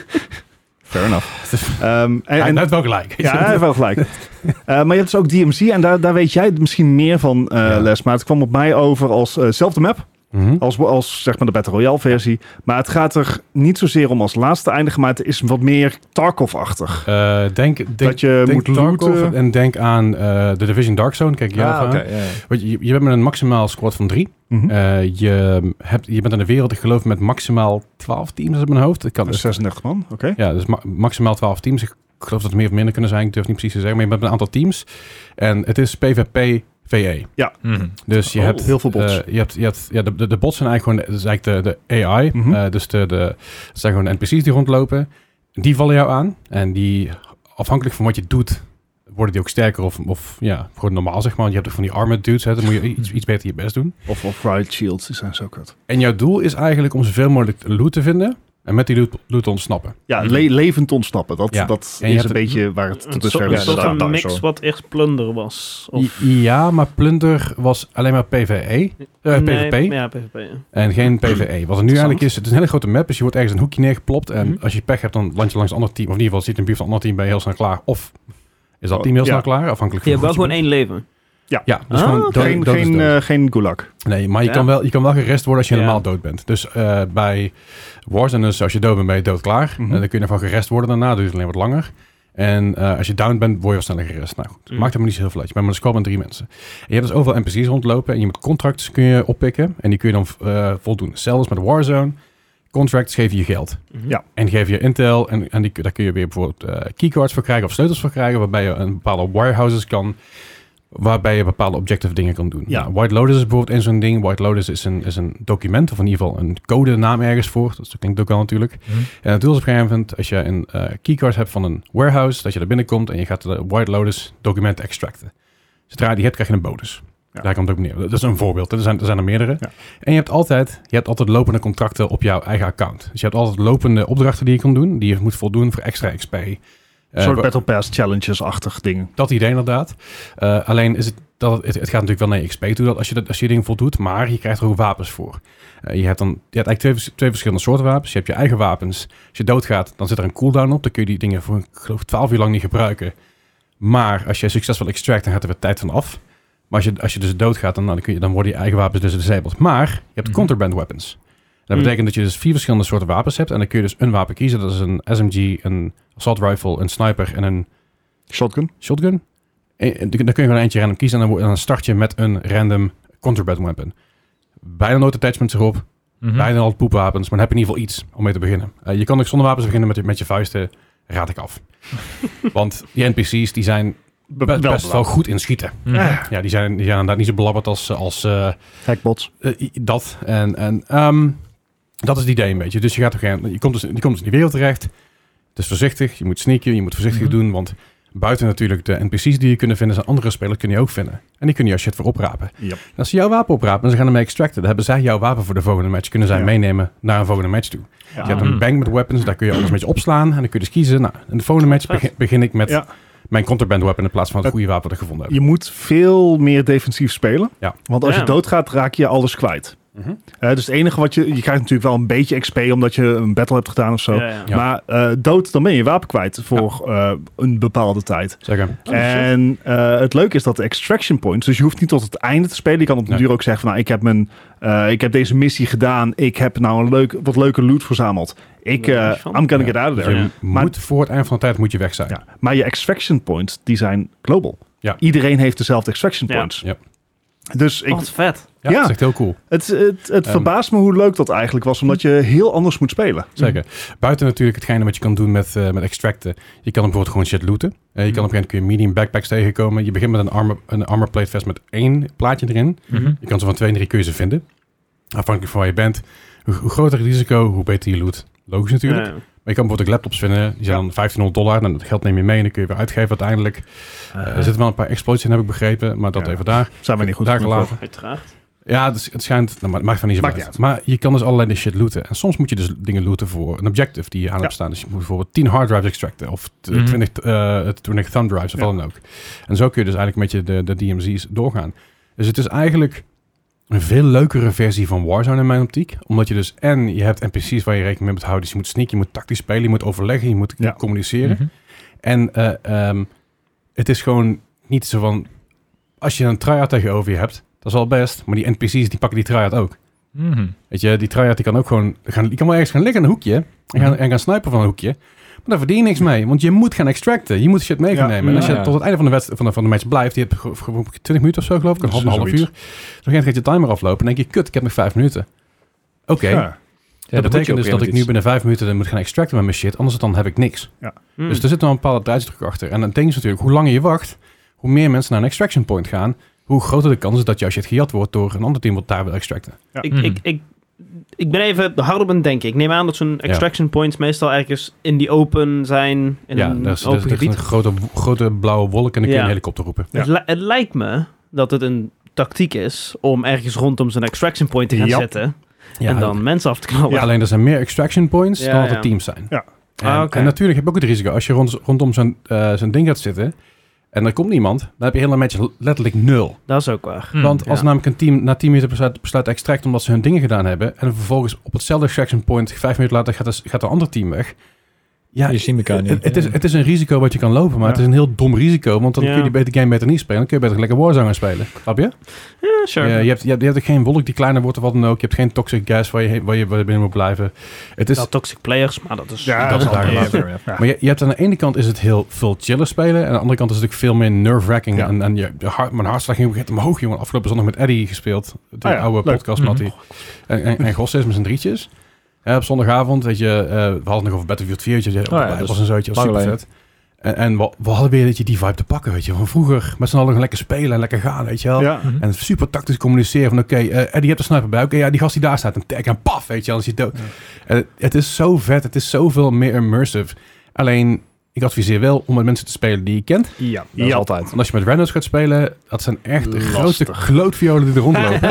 fair enough. *laughs* Ehm, en, Hij en- nou, heeft wel gelijk. Ja, hij heeft wel gelijk. Eh, maar je hebt dus ook DMC en daar, daar weet jij misschien meer van, eh Ja. Les. Maar het kwam op mij over als eh, zelfde map, *laughs* Mhm. als, als zeg maar de Battle Royale versie. Maar het gaat er niet zozeer om als laatste eindigen, maar het is wat meer Tarkov-achtig. Eh, denk, denk, Dat je denk moet Tarkov looten. Ah, en denk aan eh The Division Dark Zone. Kijk, jij Ja, ervan. Ah, oké. ja, ja. Want je, je bent met een maximaal squad van drie. Mhm. Eh, je, hebt, je bent in de wereld, ik geloof, met maximaal 12 teams op mijn hoofd. Ik kan, Dat is eh, 36 man, oké. Ja, dus ma- maximaal 12 teams. Ik geloof dat er meer of minder kunnen zijn. Ik durf niet precies te zeggen. Maar je hebt een aantal teams. En het is PvP VE. Mhm. E. Dus je Oh, hebt heel veel bots. eh, je hebt, je hebt, ja, de, de, de bots zijn eigenlijk gewoon dat is eigenlijk de, de AI. Mhm. Eh, dus de, de, dat zijn gewoon NPC's die rondlopen. Die vallen jou aan. En die, afhankelijk van wat je doet, worden die ook sterker. Of, of ja, gewoon normaal zeg maar. Want je hebt ook van die armored dudes. Hè, dan *laughs* moet je iets, iets beter je best doen. Of, of Riot Shields, die zijn zo kut. En jouw doel is eigenlijk om zoveel mogelijk loot te vinden. En met die loot, loot te ontsnappen. Ja, le- levend ontsnappen. Dat, Ja. dat En je is hebt een het- beetje waar het tot Mhm. een soort dusver ja, een soort dat- van dat- mix sorry. wat eerst plunder was. Of Ja, maar plunder was alleen maar PvE. eh, Nee, PvP. Ja, PvP. ja. En geen PvE. Wat er nu eigenlijk is, het is een hele grote map. Dus je wordt ergens in een hoekje neergeplopt. En Mhm. als je pech hebt, dan land je langs een ander team. Of in ieder geval zit in de buurt van een ander team, ben je heel snel klaar. Of is dat Oh, team heel ja. snel klaar, afhankelijk Je van hebt wel hoe goed gewoon je één leven. bent. Ja, dus Ah, gewoon dood- geen, dood is geen, dood. eh, geen gulag. Nee, maar je, Ja. kan wel, je kan wel gerest worden als je Ja. normaal dood bent. Dus eh, bij Warzone, dus als je dood bent, ben je dood klaar. Mhm. En dan kun je nog wel gerest worden daarna, duurt het alleen wat langer. En eh, als je down bent, word je wel sneller gerest. Nou goed, Mm. maakt hem niet zo heel veel uit. Je bent met een squad met drie mensen. En je hebt dus overal NPC's rondlopen en je moet contracts kun je oppikken. En die kun je dan eh, voldoen. Zelfs met Warzone, contracts geven je geld. Ja. En die geven je intel en, en die, daar kun je weer bijvoorbeeld eh, keycards voor krijgen of sleutels voor krijgen. Waarbij je een bepaalde warehouses kan waarbij je bepaalde objective dingen kan doen. Ja. Nou, White Lotus is bijvoorbeeld één zo'n ding. White Lotus is een, is een document, of in ieder geval een codenaam ergens voor. Dat klinkt ook wel natuurlijk. En Eh, het doel is op een gegeven moment, als je een eh, keycard hebt van een warehouse, dat je er binnenkomt en je gaat de White Lotus document extracten. Zodra je die hebt, krijg je een bonus. Ja. Daar komt het ook neer. Dat is een voorbeeld. Er zijn er, zijn er meerdere. Ja. En je hebt, altijd, je hebt altijd lopende contracten op jouw eigen account. Dus je hebt altijd lopende opdrachten die je kan doen, die je moet voldoen voor extra XP. Eh, Een soort wa- Battle Pass challenges-achtig dingen. dat idee inderdaad. Eh, alleen is het, dat, het, het gaat natuurlijk wel naar je XP toe dat als, je dat, als je dingen voldoet, maar je krijgt er ook wapens voor. Eh, je hebt dan je hebt eigenlijk twee, vers- twee verschillende soorten wapens. Je hebt je eigen wapens. Als je doodgaat, dan zit er een cooldown op. Dan kun je die dingen voor ik geloof 12 uur lang niet gebruiken. Maar als je succesvol extract, dan gaat er weer tijd van af. Maar als je, als je dus doodgaat, dan, nou, dan, kun je, dan worden je eigen wapens dus disabled. Maar je hebt Mhm. contraband weapons. Dat Mm. betekent dat je dus vier verschillende soorten wapens hebt. En dan kun je dus een wapen kiezen. Dat is een SMG, een assault rifle, een sniper en een Shotgun. shotgun. En- en Dan kun je gewoon eentje random kiezen en dan, wo- en dan start je met een random contraband weapon. Bijna nooit attachments erop, Mhm. bijna altijd poepwapens, maar dan heb je in ieder geval iets om mee te beginnen. Eh, je kan ook zonder wapens beginnen met je, met je vuisten, raad ik af. Want die NPC's die zijn Be- Eh, best wel, belangrijk. goed in schieten. Mhm. Ja, die zijn, die zijn inderdaad niet zo belabberd als, eh, als eh, Hackbots. eh, i- dat. En, en ehm, dat is het idee een beetje. Dus je, gaat op een gegeven moment- je, komt dus, je komt dus in die wereld terecht. Het is voorzichtig. Je moet sneaken. Je moet voorzichtig Mhm. doen. Want buiten natuurlijk de NPC's die je kunnen vinden... zijn andere spelers kunnen je ook vinden. En die kunnen jouw shit voor oprapen. Yep. En als ze jouw wapen oprapen en ze gaan ermee extracten... dan hebben zij jouw wapen voor de volgende match. Kunnen zij Ja. meenemen naar een volgende match toe. Ja. Je hebt een Mhm. bank met weapons. Daar kun je alles een beetje opslaan. En dan kun je dus kiezen. Nou, in de volgende match Vet. begin, begin ik met... Ja. Mijn contraband weapon in plaats van het Dat- goede wapen dat ik gevonden heb. Je moet veel meer defensief spelen. Ja. Want als Ja. je doodgaat, raak je alles kwijt. Mhm. Eh, dus het enige wat je... Je krijgt natuurlijk wel een beetje XP omdat je een battle hebt gedaan of zo. Ja, Oh, ja. Ja. Maar eh, dood, dan ben je je wapen kwijt voor eh, een bepaalde tijd. Zeker. en eh, het leuke is dat de extraction points, dus je hoeft niet tot het einde te spelen. Je kan op de Nee. duur ook zeggen van, nou, ik heb, mijn, eh, ik heb deze missie gedaan. Ik heb nou een leuk, wat leuke loot verzameld. Ik, eh Ja, I'm gonna get out of Dus there. je Ja. Maar- moet voor het eind van de tijd moet je weg zijn. Ja. Maar je extraction points, die zijn global. Ja. Iedereen heeft dezelfde extraction Ja. points. Ja. Dus ik, Wat vet. Ja, Ja. dat is echt heel cool. het, het, het Ehm. verbaast me hoe leuk dat eigenlijk was, omdat je heel anders moet spelen. Zeker. Buiten natuurlijk hetgene wat je kan doen met, eh, met extracten. Je kan bijvoorbeeld gewoon shit looten. Eh, Mm. je kan op een gegeven moment kun je medium backpacks tegenkomen. Je begint met een armor, een armor plate vest met één plaatje erin. Mhm. Je kan ze van twee en drie kun je ze vinden. Afhankelijk van waar je bent. Hoe, hoe groter het risico, hoe beter je loot. Logisch natuurlijk. Ja, ja. Maar je kan bijvoorbeeld ook laptops vinden. Die zijn dan 1500 dollar. En dat geld neem je mee en dan kun je weer uitgeven uiteindelijk. Eh, er zitten wel een paar exploits in, heb ik begrepen. Maar dat Ja. even daar. Zijn we niet goed daar genoeg gelaten. Uiteraard. Ja, het, is- het schijnt. Nou, maar het maakt van niet zoveel Maakt uit. Maar je kan dus allerlei shit looten. En soms moet je dus dingen looten voor een objective die je aan hebt Ja. staan. Dus je moet bijvoorbeeld 10 hard drives extracten. Of t- Mhm. 20, eh, 20 thumb drives of Ja. wat dan ook. En zo kun je dus eigenlijk met je de, de DMZ's doorgaan. Dus het is eigenlijk een veel leukere versie van Warzone in mijn optiek. Omdat je dus en je hebt NPC's waar je rekening mee moet houden. Dus je moet sneaken, je moet tactisch spelen, je moet overleggen, je moet Ja. communiceren. Mhm. En eh, ehm, het is gewoon niet zo van... Als je een try-out tegenover je hebt, dat is wel best. Maar die NPC's die pakken die try-out ook. Mhm. Weet je, die try-out die kan ook gewoon... Gaan, die kan wel ergens gaan liggen in een hoekje. En Mhm. gaan, en gaan snipen van een hoekje. Maar daar verdien je niks mee. Want je moet gaan extracten. Je moet shit mee gaan Ja. nemen. En als je Ja, ja. tot het einde van de, wedst- van de, van de match blijft... Die heb je ge- ge- 20 minuten of zo geloof ik. Een half, Zo- half uur. zoiets. Dan gegeven gaat je timer aflopen. En denk je, kut, ik heb nog 5 minuten. Oké, Ja. Ja, dat dan moet je betekent dus ook weer dat met ik nu iets. binnen 5 minuten moet gaan extracten met mijn shit. Anders dan heb ik niks. Hm. Dus er zit wel een bepaalde tijdsdruk achter. En het ding is natuurlijk, hoe langer je wacht, hoe meer mensen naar een extraction point gaan, hoe groter de kans is dat jouw shit gejat wordt door een ander team wat daar wil extracten. ik, Mhm. ik, ik, ik ben even hard op aan het denken. Ik neem aan dat zo'n extraction points meestal ergens in die open zijn. In ja, een dat is, dat is- open dat is gebied. een grote, grote blauwe wolk en dan kun je Ja. een helikopter roepen. Ja. Het, li- het lijkt me dat het een tactiek is om ergens rondom zo'n extraction point te gaan Ja. zetten. Ja, en dan mensen af te knallen. ja, alleen er zijn meer extraction points Ja, dan dat ja. er teams zijn. Ja. En, Ah, oké. en natuurlijk heb je ook het risico, als je rond, rondom zo'n eh, zo'n ding gaat zitten en er komt niemand, dan heb je hele match letterlijk nul. Dat is ook waar. Mhm. Want als Hmm, ja. namelijk een team na 10 minuten besluit, besluit te extracten omdat ze hun dingen gedaan hebben. En vervolgens op hetzelfde extraction point, vijf minuten later gaat, de, gaat een ander team weg. Ja, Je ziet elkaar het, niet. het is, Ja. het is een risico wat je kan lopen, maar Ja. het is een heel dom risico. Want dan Ja. kun je die beter game beter niet spelen. Dan kun je beter lekker Warzone gaan spelen. Snap je? Ja, sure. Eh, je, hebt, je, hebt, je hebt ook geen wolk die kleiner wordt of wat dan ook. Je hebt geen toxic gas waar je, heen- waar je, waar je binnen moet blijven. Het is, Wel toxic players, maar dat is... Ja, dat is dat daar is- gelaten. Ja. Maar je, je hebt aan de ene kant is het heel veel chiller spelen. En aan de andere kant is het natuurlijk veel meer nerve-wracking. Ja. En, en je, je hart, mijn hartslag ging begint omhoog, jongen. Afgelopen zondag met Eddie gespeeld. De Ah ja, oude leuk. podcast, Matty. En, en, en Gosse is met zijn drietjes. En op zondagavond, weet je, eh, we hadden het nog over Battlefield 4. weet Je, ja, Oh ja, was dat is dus een zootje, was lang super geleden. vet. En, en we, we hadden weer dat je die vibe te pakken, weet je. Van vroeger met z'n allen lekker spelen en lekker gaan, weet je wel. Ja. Mhm. En super tactisch communiceren van oké, eh Eddie, je hebt een sniper bij. Oké, ja, die gast die daar staat, een tag en paf, weet je, anders is hij dood. Ja. En het- het is zo vet, het is zoveel meer immersive. Alleen, ik adviseer wel om met mensen te spelen die je kent. Ja, Dat is ja. altijd. Want als je met randoms gaat spelen, dat zijn echt de Lastig. grootste klootviolen die er *laughs* rondlopen.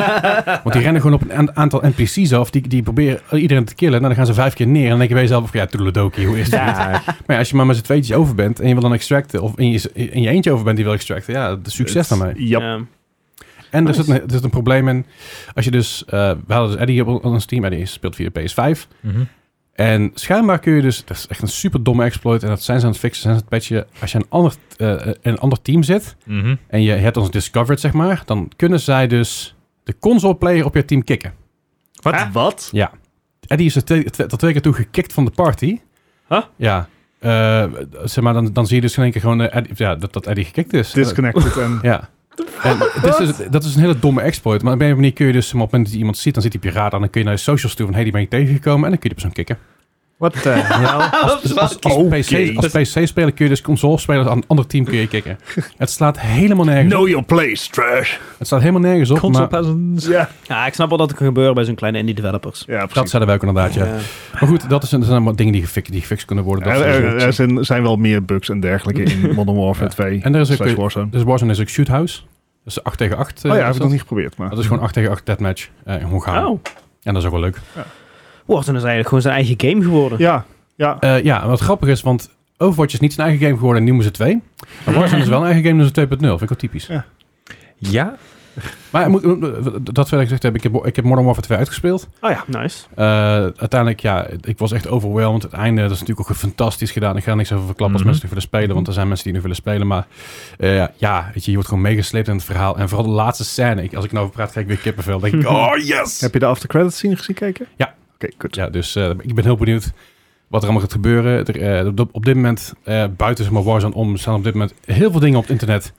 Want die rennen gewoon op een a- aantal NPC's af, die, die proberen iedereen te killen. Nou, dan gaan ze vijf keer neer en dan denk je bij jezelf, ja, toedeledokie, hoe is het? Ja, Maar ja, als je maar met z'n tweetjes over bent en je wil dan extracten, of in je, in je eentje over bent die wil extracten, ja, succes daarmee. Ja, Ja. En er Nice. zit, een, er zit een probleem in. Als je dus... eh, we hadden dus Eddie op ons team. Eddie speelt via PS5. Mhm. En schijnbaar kun je dus... Dat is echt een super domme exploit. En dat zijn ze aan het fixen, zijn ze aan het patchen. Als je een ander, eh, in een ander team zit... Mhm. En je hebt ons discovered, zeg maar. Dan kunnen zij dus de console player op je team kicken. Wat? Wat? Ja. Eddie is er twee, twee- tot twee keer toe gekikt van de party. Huh? Ja. Eh, zeg maar, dan, dan zie je dus in één keer gewoon... eh, Eddie- ja, dat, dat Eddie gekikt is. Disconnected en... Ja. En dit is dus- dat is een hele domme exploit. Maar op een manier kun je dus op het moment dat je iemand ziet, dan zit hij op je radar. En dan kun je naar je socials toe van, hey, die ben ik tegengekomen. En dan kun je die persoon kicken. Wat the *laughs* hell? Als, dus als, als, Oké. PC, als PC-speler kun je dus console-speler aan een ander team kun je kicken. *laughs* Het slaat helemaal nergens op. Know your place, trash. Het slaat helemaal nergens op, Console maar peasants. Ja, ja, ik snap wel dat het kan gebeuren bij zo'n kleine indie developers. ja dat precies. zeiden wij ook inderdaad, ja. Maar goed, dat, is, dat zijn allemaal dingen die gefixt, die gefixt kunnen worden. Dat dus Er, soort er- dingen. er zijn, zijn wel meer bugs en dergelijke *laughs* in Modern Warfare 2. En er is ook- slash Warzone. dus Warzone is ook shoothouse. Dus 8 tegen 8. Oh eh, ja, is heb ik dat. nog niet geprobeerd. Maar. dat is gewoon 8 tegen 8 deathmatch eh, in Hongarije. Oh, En dat is ook wel leuk. Warzone is eigenlijk gewoon zijn eigen game geworden. Ja, ja. Eh, ja, wat grappig is, want Overwatch is niet zijn eigen game geworden en nu moeten ze 2. Maar Warzone is wel een eigen game, dus een 2.0. Vind ik wel typisch. Ja? Maar ik moet, dat verder gezegd heb, ik heb, ik heb Modern Warfare 2 uitgespeeld. Oh ja, nice. Eh, uiteindelijk, ja, ik was echt overwhelmed. Het einde, dat is natuurlijk ook fantastisch gedaan. Ik ga er niks over verklappen Mhm. als mensen nog willen spelen, want er zijn mensen die nog willen spelen. Maar eh, ja, weet je, je wordt gewoon meegesleept in het verhaal. En vooral de laatste scène. Ik, als ik nou over praat, krijg ik weer kippenvel. Dan denk ik, oh yes! Heb je de after credits scene gezien kijken? Ja. Oké, goed. Ja, dus eh, ik ben heel benieuwd wat er allemaal gaat gebeuren. Er, eh, op, op dit moment, eh, buiten zeg maar Warzone om, staan op dit moment heel veel dingen op het internet.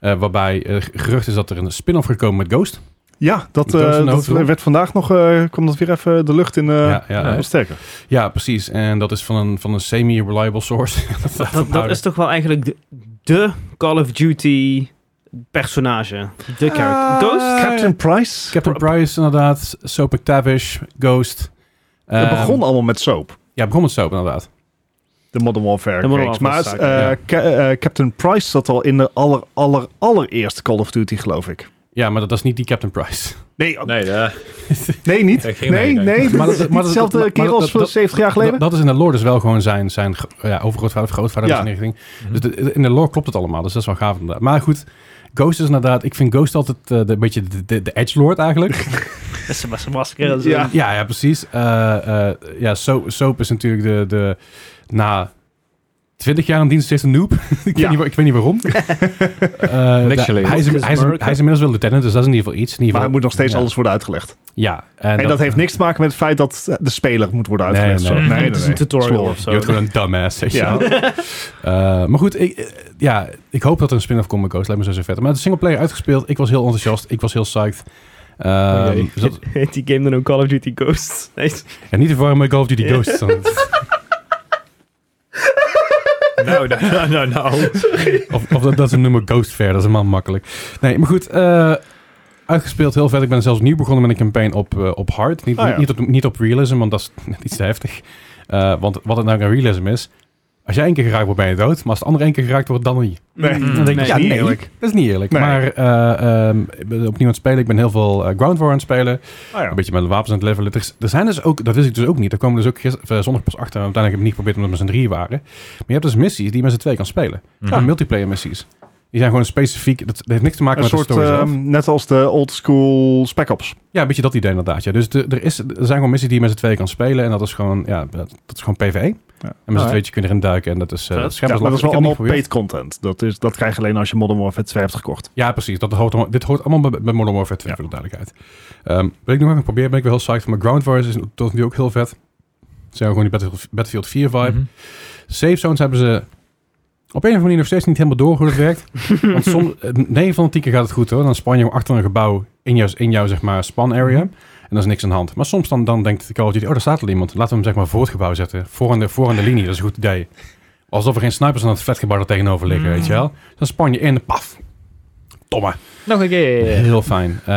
eh, waarbij eh, gerucht is dat er een spin-off gaat komen met Ghost. Ja, dat, Doos eh, en dat hoofdrol. werd vandaag nog, eh kwam dat weer even de lucht in eh ja, ja, wat sterker. ja, precies. En dat is van een, van een semi-reliable source. *laughs* dat, laten we Dat, dat houden. is toch wel eigenlijk de, de Call of Duty personage. De Ah. character. Ghost? Eh, Captain Price. Captain Price, inderdaad. Soap McTavish, Ghost. Het Ehm, begon allemaal met soap. Ja, begon met Soap, inderdaad. De Modern Warfare. De Modern reeks. Warfare maar zaak, eh, Ca- eh, Captain Price zat al in de aller, aller, allereerste Call of Duty, geloof ik. Ja, maar dat, dat is niet die Captain Price. Nee, oh, Nee, daar. nee niet. Dat Nee, ging nee. niet, nee. dit *laughs* Maar dat- is niet maar dat- hetzelfde maar- maar keer dat- als dat- 70 jaar Dat, geleden. dat is in de lore dus wel gewoon zijn, zijn gro- ja, overgrootvader, grootvader Ja. dus in die richting. Mhm. Dus de- in de lore klopt het allemaal, dus dat is wel gaaf inderdaad. Maar goed, Ghost is inderdaad, ik vind Ghost altijd eh, de, een beetje de, de, de edgelord *laughs* eigenlijk. *laughs* Dat is een masker. en zo. Ja. ja, ja, precies. Eh, eh, ja, Soap, Soap is natuurlijk de, de na 20 jaar in dienst steeds een noob. *laughs* ik, weet Ja. niet, waar- ik weet niet *laughs* waarom. Eh, da- geleerd. hij, is, hij, is, hij is inmiddels wel lieutenant, dus dat is in ieder geval iets. In ieder Maar hij geval, moet nog steeds ja. alles worden uitgelegd. Ja. En, En dat heeft niks te maken met het feit dat de speler moet worden Nee, uitgelegd. nee. Zo, Het is een tutorial of Je zo. wordt gewoon een dumbass, weet je Ja. *laughs* wel. Eh, maar goed, ik, eh, ja, ik hoop dat er een spin-off komt met Ghost. Lijkt me zo vet. Maar het is singleplayer uitgespeeld. Ik was heel enthousiast. Ik was heel psyched. Ehm, Oh Oké. dus dat- Heet die game dan ook Call of Duty Ghosts? *laughs* Nee. en niet te verwarren met Call of Duty Ghosts. *laughs* Nou, nou, nou, nou. of of dat, dat ze hem noemen Ghost Fair. Dat is helemaal makkelijk. Nee, maar goed. eh, uitgespeeld heel vet. Ik ben zelfs opnieuw begonnen met een campaign op, eh, op hard. Niet, Ah, ja. niet, op, niet op realism, want dat is *laughs* net iets te heftig. Eh, want wat het nou aan realism is... Als jij één keer geraakt wordt, ben je dood. Maar als de ander één keer geraakt wordt, dan niet. Nee, Mm, Dan denk nee, ik, Hmm. ja, niet nee, Oh eerlijk. dat is niet eerlijk. Nee. Maar eh, ehm, ik ben opnieuw aan het spelen. Ik ben heel veel eh, Ground War aan het spelen. Ah, ja. Een beetje met de wapens aan het levelen. Er, is- er zijn dus ook, dat wist ik dus ook niet. Daar komen dus ook gister, of, eh, zondag pas achter. Uiteindelijk heb ik het niet geprobeerd omdat we met z'n drie waren. Maar je hebt dus missies die je met z'n twee kan spelen. Mhm. Ja, multiplayer missies. Die zijn gewoon specifiek. Dat, dat heeft niks te maken Een met soort, de story zelf. ehm, net als de old school Spec Ops. Ja, een beetje dat idee inderdaad. Ja. Dus de- er, is, er zijn gewoon missies die je met z'n twee kan spelen. En dat is gewoon, ja, dat, dat is gewoon PvE. En met z'n ja. tweetje kun je erin duiken. En dat is, eh Ja, dat is Ah, Ja, maar dat is wel Ik heb het niet allemaal paid geprobeerd. content. Dat, is, dat krijg je alleen als je Modern Warfare 2 hebt gekocht. Ja, precies. Dat hoort, allemaal- dit hoort allemaal bij, bij Modern Warfare 2, Ja. voor de duidelijkheid. Ehm wil ik nog even proberen, ben ik wel heel psyched. Maar Ground Wars is tot nu ook heel vet. Zijn gewoon die Battlefield, Battlefield 4 vibe. Mhm. Safe zones hebben ze op een of andere manier nog steeds niet helemaal door hoe dat werkt. Want soms, 9 van de 10 keer gaat het goed hoor. Dan span je achter een gebouw in jouw, in jouw zeg maar, span area. En dat is niks aan de hand. Maar soms dan, dan denkt de Call of Duty, oh daar staat al iemand. Laten we hem zeg maar voor het gebouw zetten. Voor aan de, voor aan de linie, dat is een goed idee. Alsof er geen snipers aan het flatgebouw er tegenover liggen, Mm. weet je wel. Dan span je in, paf. Tomme. Nog een keer. Heel fijn. Eh,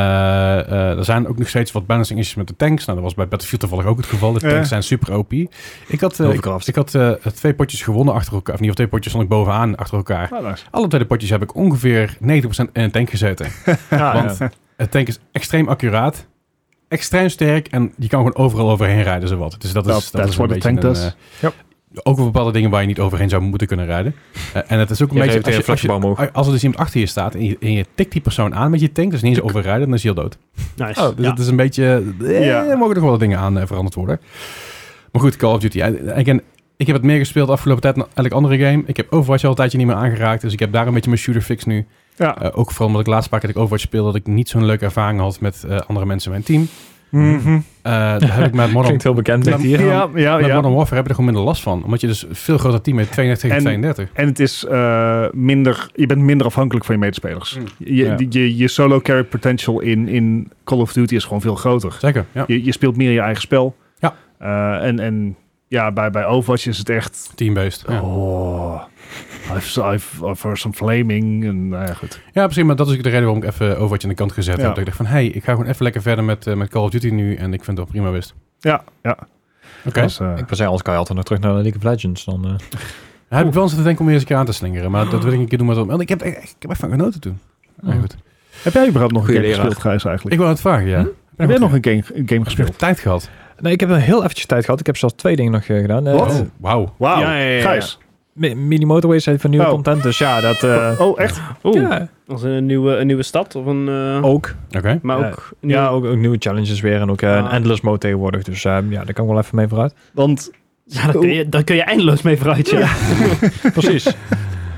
eh, er zijn ook nog steeds wat balancing issues met de tanks. Nou, dat was bij Battlefield toevallig ook het geval. De Ja. tanks zijn super OP. Ik had, eh, ik, Overcraft. ik had eh, twee potjes gewonnen achter elkaar. Of niet, of twee potjes stond ik bovenaan achter elkaar. Nou, nice. Alle twee de potjes heb ik ongeveer 90% in een tank gezeten. Ja, Want het tank is extreem accuraat, extreem sterk en je kan gewoon overal overheen rijden, zowat. Dus dat is, Dat- dat Nou, that's is what a een beetje tank een, does. eh, Ook wel bepaalde dingen waar je niet overheen zou moeten kunnen rijden. Eh, en het is ook een Je beetje... geeft Als, de je, als, je- flexibel omhoog. als er dus iemand achter je staat en je, en je tikt die persoon aan met je tank, dus niet eens overrijden, dan is hij al dood. Nice. Oh, dus Ja. het is een beetje... eh, Ja. Er mogen nog wel wat dingen aan eh, veranderd worden. Maar goed, Call of Duty. eh, again, ik heb het meer gespeeld de afgelopen tijd dan elk andere game. Ik heb Overwatch al een tijdje niet meer aangeraakt. Dus ik heb daar een beetje mijn shooter fix nu. Ja. Eh, ook vooral omdat ik laatst paar keer dat ik Overwatch speelde... dat ik niet zo'n leuke ervaring had met eh, andere mensen in mijn team. Mhm. Eh, daar heb *laughs* ik met Modern, Klinkt heel bekend. Met- dit hier. Ja, ja, met ja. Modern Warfare heb ik er gewoon minder last van. Omdat je dus een veel groter team met 32 tegen En- 32. En het is eh, minder, je bent minder afhankelijk van je medespelers. Mm. Je, Ja. die- je, je solo carry potential in, in Call of Duty is gewoon veel groter. Zeker, ja. Je, je speelt meer je eigen spel. Ja. Eh, en en ja, bij, bij Overwatch is het echt... Team-based. Ja. Oh, I've, I've, I've heard some flaming. En, nou ja, goed. Ja, precies. Maar dat is ook de reden waarom ik even Overwatch aan de kant gezet Ja. heb. Dat ik dacht van, hé, hey, ik ga gewoon even lekker verder met, eh, met Call of Duty nu. En ik vind het wel prima best. Ja, ja. Oké. Dus, eh, Ik was zei, als kan je altijd nog terug naar League of Legends. Dan, eh. Dan heb ik wel eens te denken om weer eens een keer aan te slingeren. Maar dat wil ik een keer doen met... Want ik heb, echt- ik heb echt van genoten toen. Maar goed. heb jij überhaupt nog een Goeie game leraar. gespeeld, Gijs, eigenlijk? Ik wil het vragen, ja. Hm? Heb jij heb jij nog- nog een game, een game heb je gespeeld? tijd gehad? Nee, ik heb een heel eventjes tijd gehad. Ik heb zelfs twee dingen nog eh, gedaan. Eh, Wat? eh, Oh, wauw. Wauw, Ja, ja, ja, ja. Gijs. Mi- Mini Motorways heeft van nieuwe Oh. content. Dus ja, dat... eh, Oh, echt? Oeh, ja, als een nieuwe, een nieuwe stad of een... eh, ook. Oké. maar ja. ook... een Ja, nieuwe- ook, ook nieuwe challenges weer. En ook eh, een Ah. endless mode tegenwoordig. Dus eh, ja, daar kan ik wel even mee vooruit. Want ja daar, kun je, daar kun je eindeloos mee vooruit, *laughs* ja. Precies.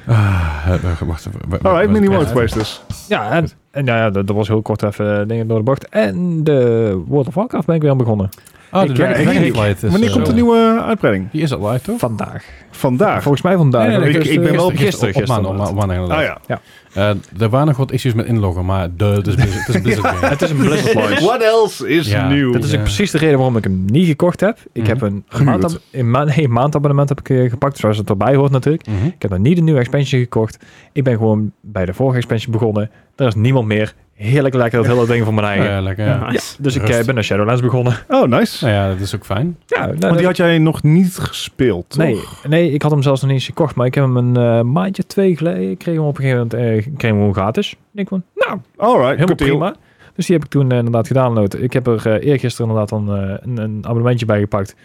Ah, eh, wacht, wacht even. Wa- wa- Oh, Alright, wa- Mini wa- Motorways dus. ja, en, en nou ja, dat, dat was heel kort even eh, dingen door de bocht. En de World of Warcraft ben ik weer aan begonnen. Oh, de Ik, Dragon- eh, ik- Dragonflight is... Wanneer eh, komt de zo. nieuwe uitbreiding? Die is al live, toch? Vandaag. Vandaag. Volgens mij vandaag. nee, ik- ik ben eh, wel gisteren, gisteren, Op maandag, op inderdaad. maandag inderdaad. Ah *laughs* ja. Eh, er waren nog wat issues met inloggen, maar de, het is Blizzard, het is Blizzard game. Het is een *laughs* Blizzard launch. What else is Ja. nieuw? Dat is Ja. ook precies de reden waarom ik hem niet gekocht heb. Ik Mhm. heb een, een, Gehuurd. maandab- een, ma- nee, een maandabonnement heb ik eh, gepakt, zoals het erbij hoort natuurlijk. Mhm. Ik heb nog niet de nieuwe expansion gekocht. Ik ben gewoon bij de vorige expansion begonnen. Er is niemand meer. Heerlijk lekker dat hele ding van mijn eigen. Ja, Eh, lekker, ja. Nice. dus ik rust. eh, ben naar Shadowlands begonnen. Oh, nice. Nou ja, dat is ook fijn. Ja, nou, Want die dat- had jij nog niet gespeeld, toch? nee, nee, ik had hem zelfs nog niet eens gekocht. Maar ik heb hem een eh, maandje, twee geleden. Ik kreeg hem op een gegeven moment eh, ik kreeg hem gewoon gratis. Ik denk van, nou, Alright, helemaal good deal. prima. Dus die heb ik toen eh, inderdaad gedownload. Ik heb er eh eergisteren inderdaad dan, eh, een, een abonnementje bij gepakt.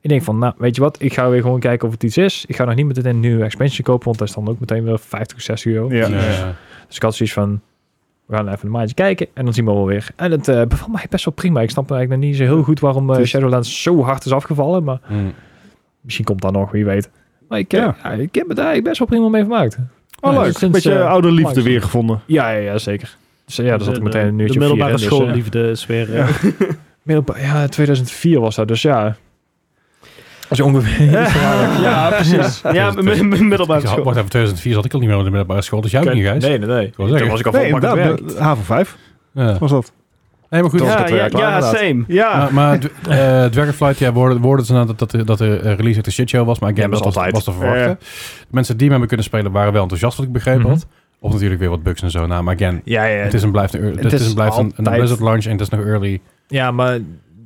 Ik denk van, nou, weet je wat? Ik ga weer gewoon kijken of het iets is. Ik ga nog niet meteen een nieuwe expansion kopen, want dat is dan ook meteen weer 50 of 60 euro. Ja. Dus, eh, Dus ik had zoiets van, we gaan even een maandje kijken en dan zien we wel weer. En het eh bevalt mij best wel prima. Ik snap eigenlijk nog niet zo heel goed waarom eh, Het is- Shadowlands zo hard is afgevallen, maar mm. misschien komt dat nog, wie weet. Maar ik, eh, Ja. ja, ik heb me daar eigenlijk best wel prima mee vermaakt. Oh, Ja, leuk. dus sinds, Beetje eh, oude liefde langs. weer gevonden. Ja, ja, ja zeker. Dus eh, ja, daar zat ik De- meteen een uurtje De op vier middelbare in, dus, eh, schoolliefde is weer... eh, Middelba- ja, 2004 was dat, dus ja. Als je ongeveer. *laughs* *laughs* Ja, precies. Ja, Dus, m- m- middelbare Ik had- school. Wacht even, 2004 zat ik al niet meer op de middelbare school, dus jij ook niet, nee, Gijs. nee, nee. wil zeggen. Toen was ik al Nee, vol bak aan het inderdaad. werk. de- Haven 5 Ja. was dat. Nee, maar goed. Dat was ja, Ja, het, eh, ja, klaar ja, inderdaad. same. Ja. Maar, maar d- eh, Dragonflight, ja, woorden, woorden ze nou dat, dat, de- dat de eh, release echt een shitshow was, maar ik Ja, denk dat dat is was, altijd. was te verwachten. Ja, ja. De mensen die me hebben kunnen spelen waren wel enthousiast, wat ik begrepen Mhm. had. Of natuurlijk weer wat bugs en zo, nou, maar again, Ja, ja, het is een blijft een, ear- het is is een, blijft een, een altijd- Blizzard launch en het is nog early. ja, maar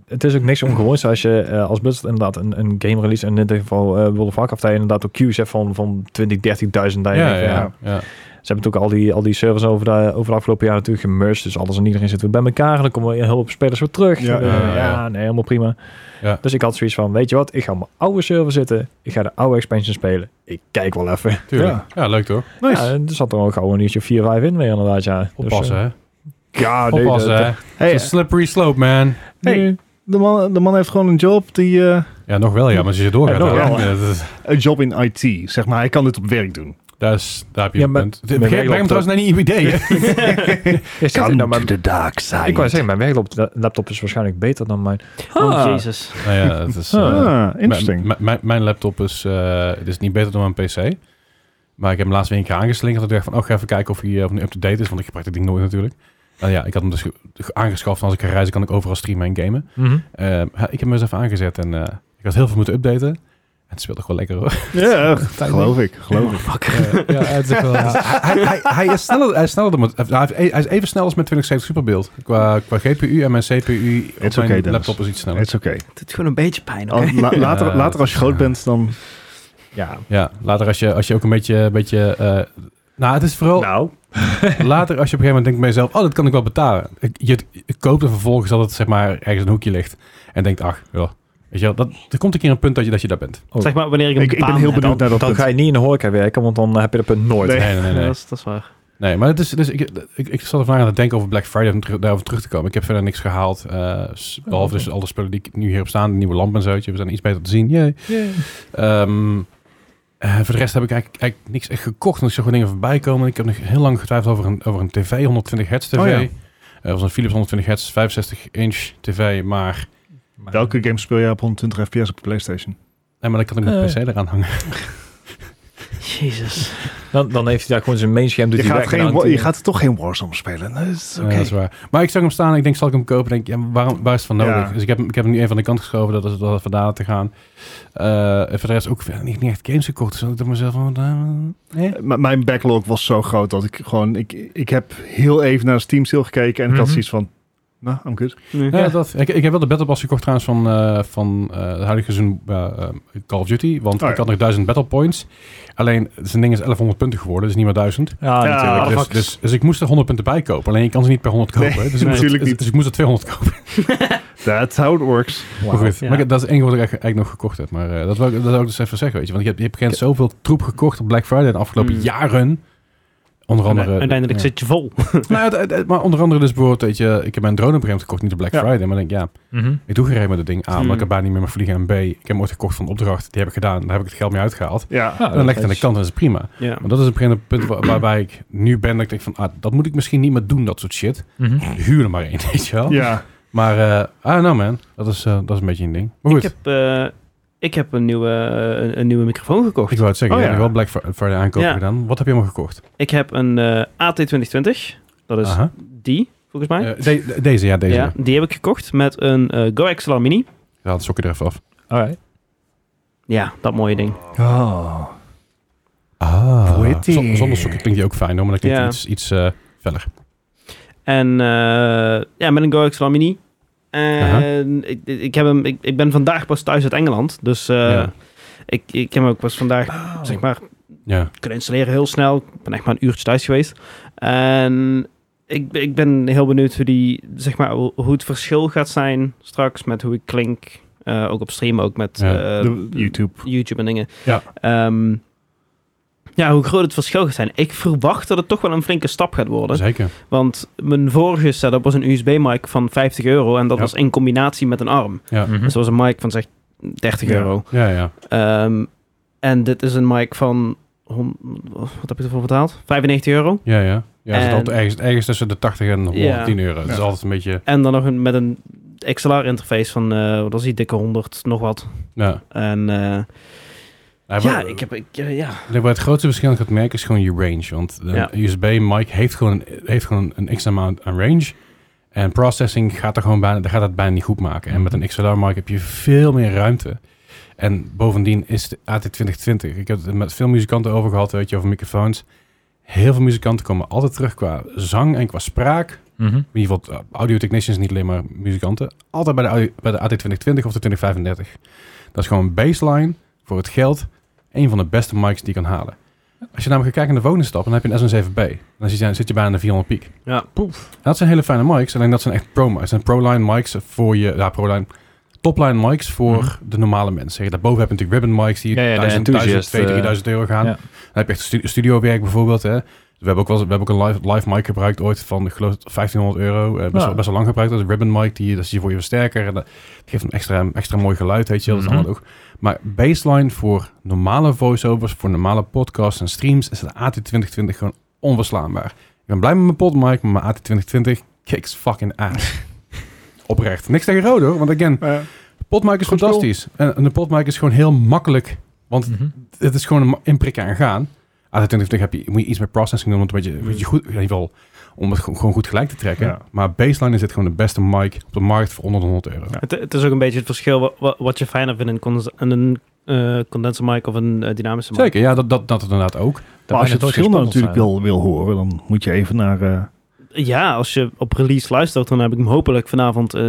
het is ook niks ongewoons als je eh, als Blizzard inderdaad een, een game release, en in dit geval eh World of Warcraft, daar je inderdaad ook queues hebt van, van 20, 30.000. daar je Ja, denkt ja, van, ja. ja. Ze hebben natuurlijk al die, al die servers over de, over de afgelopen jaren natuurlijk gemerged. Dus alles en iedereen zit weer bij elkaar. En dan komen een heleboel spelers weer terug. Ja, En, eh, ja, ja. ja, nee, helemaal prima. Ja. Dus ik had zoiets van, weet je wat? Ik ga op mijn oude server zitten. Ik ga de oude expansion spelen. Ik kijk wel even. Tuurlijk. Ja. Dus, Ja. leuk toch? Nice. Ja, en er zat er ook gewoon een uurtje 4-5 in weer inderdaad, ja. Oppassen, hè. Dus, eh, ja, nee, Oppassen, dat- hè. Hey, It's a slippery slope, man. Hey. nee. de, man, de man heeft gewoon een job die... eh, Ja, nog wel, ja, maar als je doorgaat, Ja, nog dan- wel, hè. ja, dat is- een job in IT, zeg maar. Hij kan dit op werk doen. dat is- daar heb je Ja, een maar- punt. maar Breng wij hem lopen- trouwens naar E niet idee, hè. Ja, zit er nou maar- de dark side. ik wou zeggen, mijn werklaptop laptop is waarschijnlijk beter dan mijn... Oh, Ah. jezus. Nou ja, het is... eh, Ah, interesting. Mijn- Mijn, mijn laptop is, eh, het is niet beter dan mijn PC. Maar ik heb hem laatst weer een keer aangeslingerd. Dat ik dacht van, oh, ga even kijken of hij, eh, of hij up-to-date is. Want ik gebruik dat ding nooit natuurlijk. Nou ja, ik had hem dus ge- ge- aangeschaft. En als ik ga reizen, kan ik overal streamen en gamen. Mhm. Eh, ik heb hem eens even aangezet. En eh, ik had heel veel moeten updaten. Het speelt toch wel lekker hoor. Ja, geloof ik. Geloof ik. Eh, ja, het is echt *laughs* wel... Dus hij, hij, hij- hij is sneller, hij is sneller dan mijn- hij heeft- e-, hij is even snel als mijn 2070 superbeeld. Qua, qua GPU en mijn CPU op It's okay, mijn Dennis. laptop is iets sneller. Het is *laughs* oké. Het doet gewoon een beetje pijn, Ah, oké? Al- Oh, la- later, Ja, later als je groot ja. bent, dan... Ja. Ja, later als je, als je ook een beetje... Een beetje eh, nou, het is vooral Nou. later als je op een gegeven moment denkt bij jezelf... Oh, dat kan ik wel betalen. Ik- Je, je koopt en vervolgens dat het zeg maar ergens in een hoekje ligt. En denkt, ach, ja. Weet je wel, dat, er komt een keer een punt dat je, dat je daar bent. Zeg maar wanneer ik een Ik, ik ben baan heel heb, benieuwd naar dat Dan ga punt. je niet in de horeca werken, want dan heb je dat punt nooit. Nee. Nee, nee, nee. dan- nee. *laughs* Ja, dat, is, dat is waar. Nee, maar het is, dus ik, ik, ik zat er vandaag aan het denken over Black Friday om terug- daarover terug te komen. Ik heb verder niks gehaald. eh, s- behalve dus al de spullen die ik nu hierop staan. De nieuwe lamp en zo. We zijn iets beter te zien. Yay. Ehm, eh, voor de rest heb ik eigenlijk, eigenlijk niks echt gekocht. Want ik zag gewoon dingen voorbij komen. Ik heb nog heel lang getwijfeld over een, over een tv, 120 hertz tv. Oh ja. Eh, was een Philips 120 hertz, 65 inch tv. Maar, Maar- Welke game speel jij op 120 fps op de Playstation? nee, maar dan kan ik mijn Eh. pc eraan hangen. Jezus. Dan, dan heeft hij daar gewoon zijn mainscherm. Je doet hij gaat, weg geen, en wa- dan- je gaat toch geen Warzone spelen. Dat *laughs* is Ja, oké. Eh, dat is waar. Maar ik zag hem staan en ik denk, zal ik hem kopen? Denk, ik, ja, waarom, waar is het van nodig? Ja. Dus ik heb, hem- ik heb hem nu even aan de kant geschoven, dat is dat is vandaan te gaan. Eh, en voor de rest ook verder niet, niet echt games gekocht. Dus ik dacht mezelf, van, eh, nee. M- mijn backlog was zo groot dat ik gewoon... Ik, ik heb heel even naar Steam Sale gekeken en ik had Mhm. zoiets van... Nou, I'm good. Nee. Ja, dat, ik, ik heb wel de Battle Pass gekocht trouwens van, eh van eh, het huidige seizoen eh, eh, Call of Duty. Want Oh ja. ik had nog 1000 Battle Points. Alleen, zijn ding is 1100 punten geworden, dus niet meer 1000. Ja, Ja, natuurlijk. dat dus, Ah, fuck. dus, dus ik moest er 100 punten bij kopen. Alleen je kan ze niet per 100 Nee, *laughs* kopen. dus, ik moest er- natuurlijk niet. dus ik moest er 200 kopen. That's how it works. Wauw. Maar goed, Ja. maar ik- dat is één ding wat ik eigenlijk, eigenlijk nog gekocht heb. Maar eh, dat, wil, ik- dat wil ik dus even zeggen, weet je. Want je hebt, je hebt geen zoveel troep gekocht op Black Friday de afgelopen Hmm. Mm. jaren. Onder andere... Uiteindelijk ja. zit je vol. Nou, het- het- het- maar onder andere dus bijvoorbeeld, weet je... Ik heb mijn drone op een gegeven moment gekocht, niet op Black Ja. Friday. Maar dan denk ik, ja, Mhm. ik doe geen reden met dat ding. A, omdat Mm. ik er bijna niet meer mag vliegen. En B, ik heb hem ooit gekocht van een opdracht. Die heb ik gedaan. Daar heb ik het geld mee uitgehaald. Ja. Ja, En dan dat leg ik het aan is- de kant en dat is prima. Ja. Maar dat is op een gegeven moment het punt waar- waarbij ik nu ben. Dat ik denk van, ah, dat moet ik misschien niet meer doen, dat soort shit. Mhm. Huur er maar één, *laughs* weet je wel. Ja. Maar, eh I don't know, man. Dat is, eh, dat is een beetje een ding. Maar goed. Ik heb, eh, ik heb een, nieuwe, eh, een, een nieuwe microfoon gekocht. Ik wou het zeggen, Oh, je ja. hebt wel Black Fri- Friday aankopen Ja. gedaan. Wat heb je allemaal gekocht? Ik heb een eh, AT2020. Dat is Aha. die, volgens mij. Eh, de- de- deze, ja, deze. ja, Ja. die heb ik gekocht met een eh Go XLR Mini. Ik haal het sokje er even af. Alright. Ja, dat mooie ding. Oh. Ah. Pretty. Zonder, zonder sokje klinkt die ook fijn, hoor, maar dat klinkt Ja. iets, iets eh, feller. En eh, ja, met een Go XLR Mini. En ik, ik, heb hem, ik, ik ben vandaag pas thuis uit Engeland. Dus eh, Ja. ik, ik heb hem ook pas vandaag zeg maar, Ja. kunnen installeren heel snel. Ik ben echt maar een uurtje thuis geweest. En ik, ik ben heel benieuwd hoe, die, zeg maar, hoe hoe het verschil gaat zijn straks met hoe ik klink. Eh, ook op stream, ook met Ja, eh, de- YouTube. YouTube en dingen. Ja. Ehm, ja, hoe groot het verschil gaat zijn. Ik verwacht dat het toch wel een flinke stap gaat worden. Zeker. Want mijn vorige setup was een USB-mic van 50 euro. En dat Ja. was in combinatie met een arm. Ja. Mhm. Dus dat was een mic van zeg 30 Ja. euro. Ja, ja. Ehm, en dit is een mic van... hon- Wat heb je ervoor betaald? 95 euro. Ja, ja. Ja, het En- zit altijd ergens, ergens tussen de 80 en 110 euro. Het is Ja. altijd een beetje... En dan nog een, met een XLR-interface van... eh, wat was die? Dikke 100, nog wat. Ja. En eh, Nou, ja, maar- ik heb... Ik, eh, ja. Ik denk waar het grootste verschil aan gaat merken is gewoon je range. Want eh, een Ja. USB-mic heeft gewoon, heeft gewoon een x-amount aan range. En processing gaat, er gewoon bijna, gaat dat bijna niet goed maken. En met Mhm. een XLR-mic heb je veel meer ruimte. En bovendien is de AT2020. Ik heb het met veel muzikanten over gehad, weet je, over microfoons. Heel veel muzikanten komen altijd terug qua zang en qua spraak. Mhm. In ieder geval eh, audio-technicians, niet alleen maar muzikanten. Altijd bij de, audio- bij de AT2020 of de 2035. Dat is gewoon een baseline voor het geld. Een van de beste mics die je kan halen. Als je namelijk gaat kijken naar de volgende stap, dan heb je een S7B. Dan zit je, zit je bijna de 400 piek. Ja. poef. Dat zijn hele fijne mics, alleen dat zijn echt pro mics. Dat zijn pro-line mics voor je... Ja, pro-line... Topline mics voor de normale mensen. Daarboven heb je natuurlijk ribbon mics die Mhm. Ja, ja, de 1000, enthousiast, 1000, 2000, 3000 euro gaan. ja. Dan heb je echt stu- studio werk bijvoorbeeld. Hè. We hebben ook, wel, eens- we hebben ook een live, live mic gebruikt ooit van, ik geloof, 1500 euro. Eh, best, Ja. wel, best wel lang gebruikt. Dat is een ribbon mic, die, dat is hier voor je versterker. En dat geeft een extra, extra mooi geluid, weet je wel. Dat is Mhm. allemaal ook. Maar baseline voor normale voiceovers, voor normale podcasts en streams... is de AT2020 gewoon onverslaanbaar. Ik ben blij met mijn podmic, maar mijn AT2020 kicks fucking *laughs* ass. Oprecht. Niks tegen rood hoor, want again, Eh, potmic is Goed spul. fantastisch. En, en de potmic is gewoon heel makkelijk Mhm. het is gewoon een ma- inprikken en gaan. Aan de 20 heb je, moet je iets met processing doen, want een beetje, een beetje goed, in ieder geval om het gewoon gewoon goed gelijk te trekken. Mm. Ja. Maar baseline is dit gewoon de beste mic op de markt voor onder de 100 euro. Het, het is ook een beetje het verschil wa- wa- wat, je fijner vindt in, cons- in een eh condenser mic of een eh, dynamische mic. Zeker, ja, dat, dat, dat inderdaad ook. Maar als je het verschil nou dan natuurlijk wil, wil horen, dan moet je even naar... eh, Ja, als je op release luistert, dan heb ik hem hopelijk vanavond eh,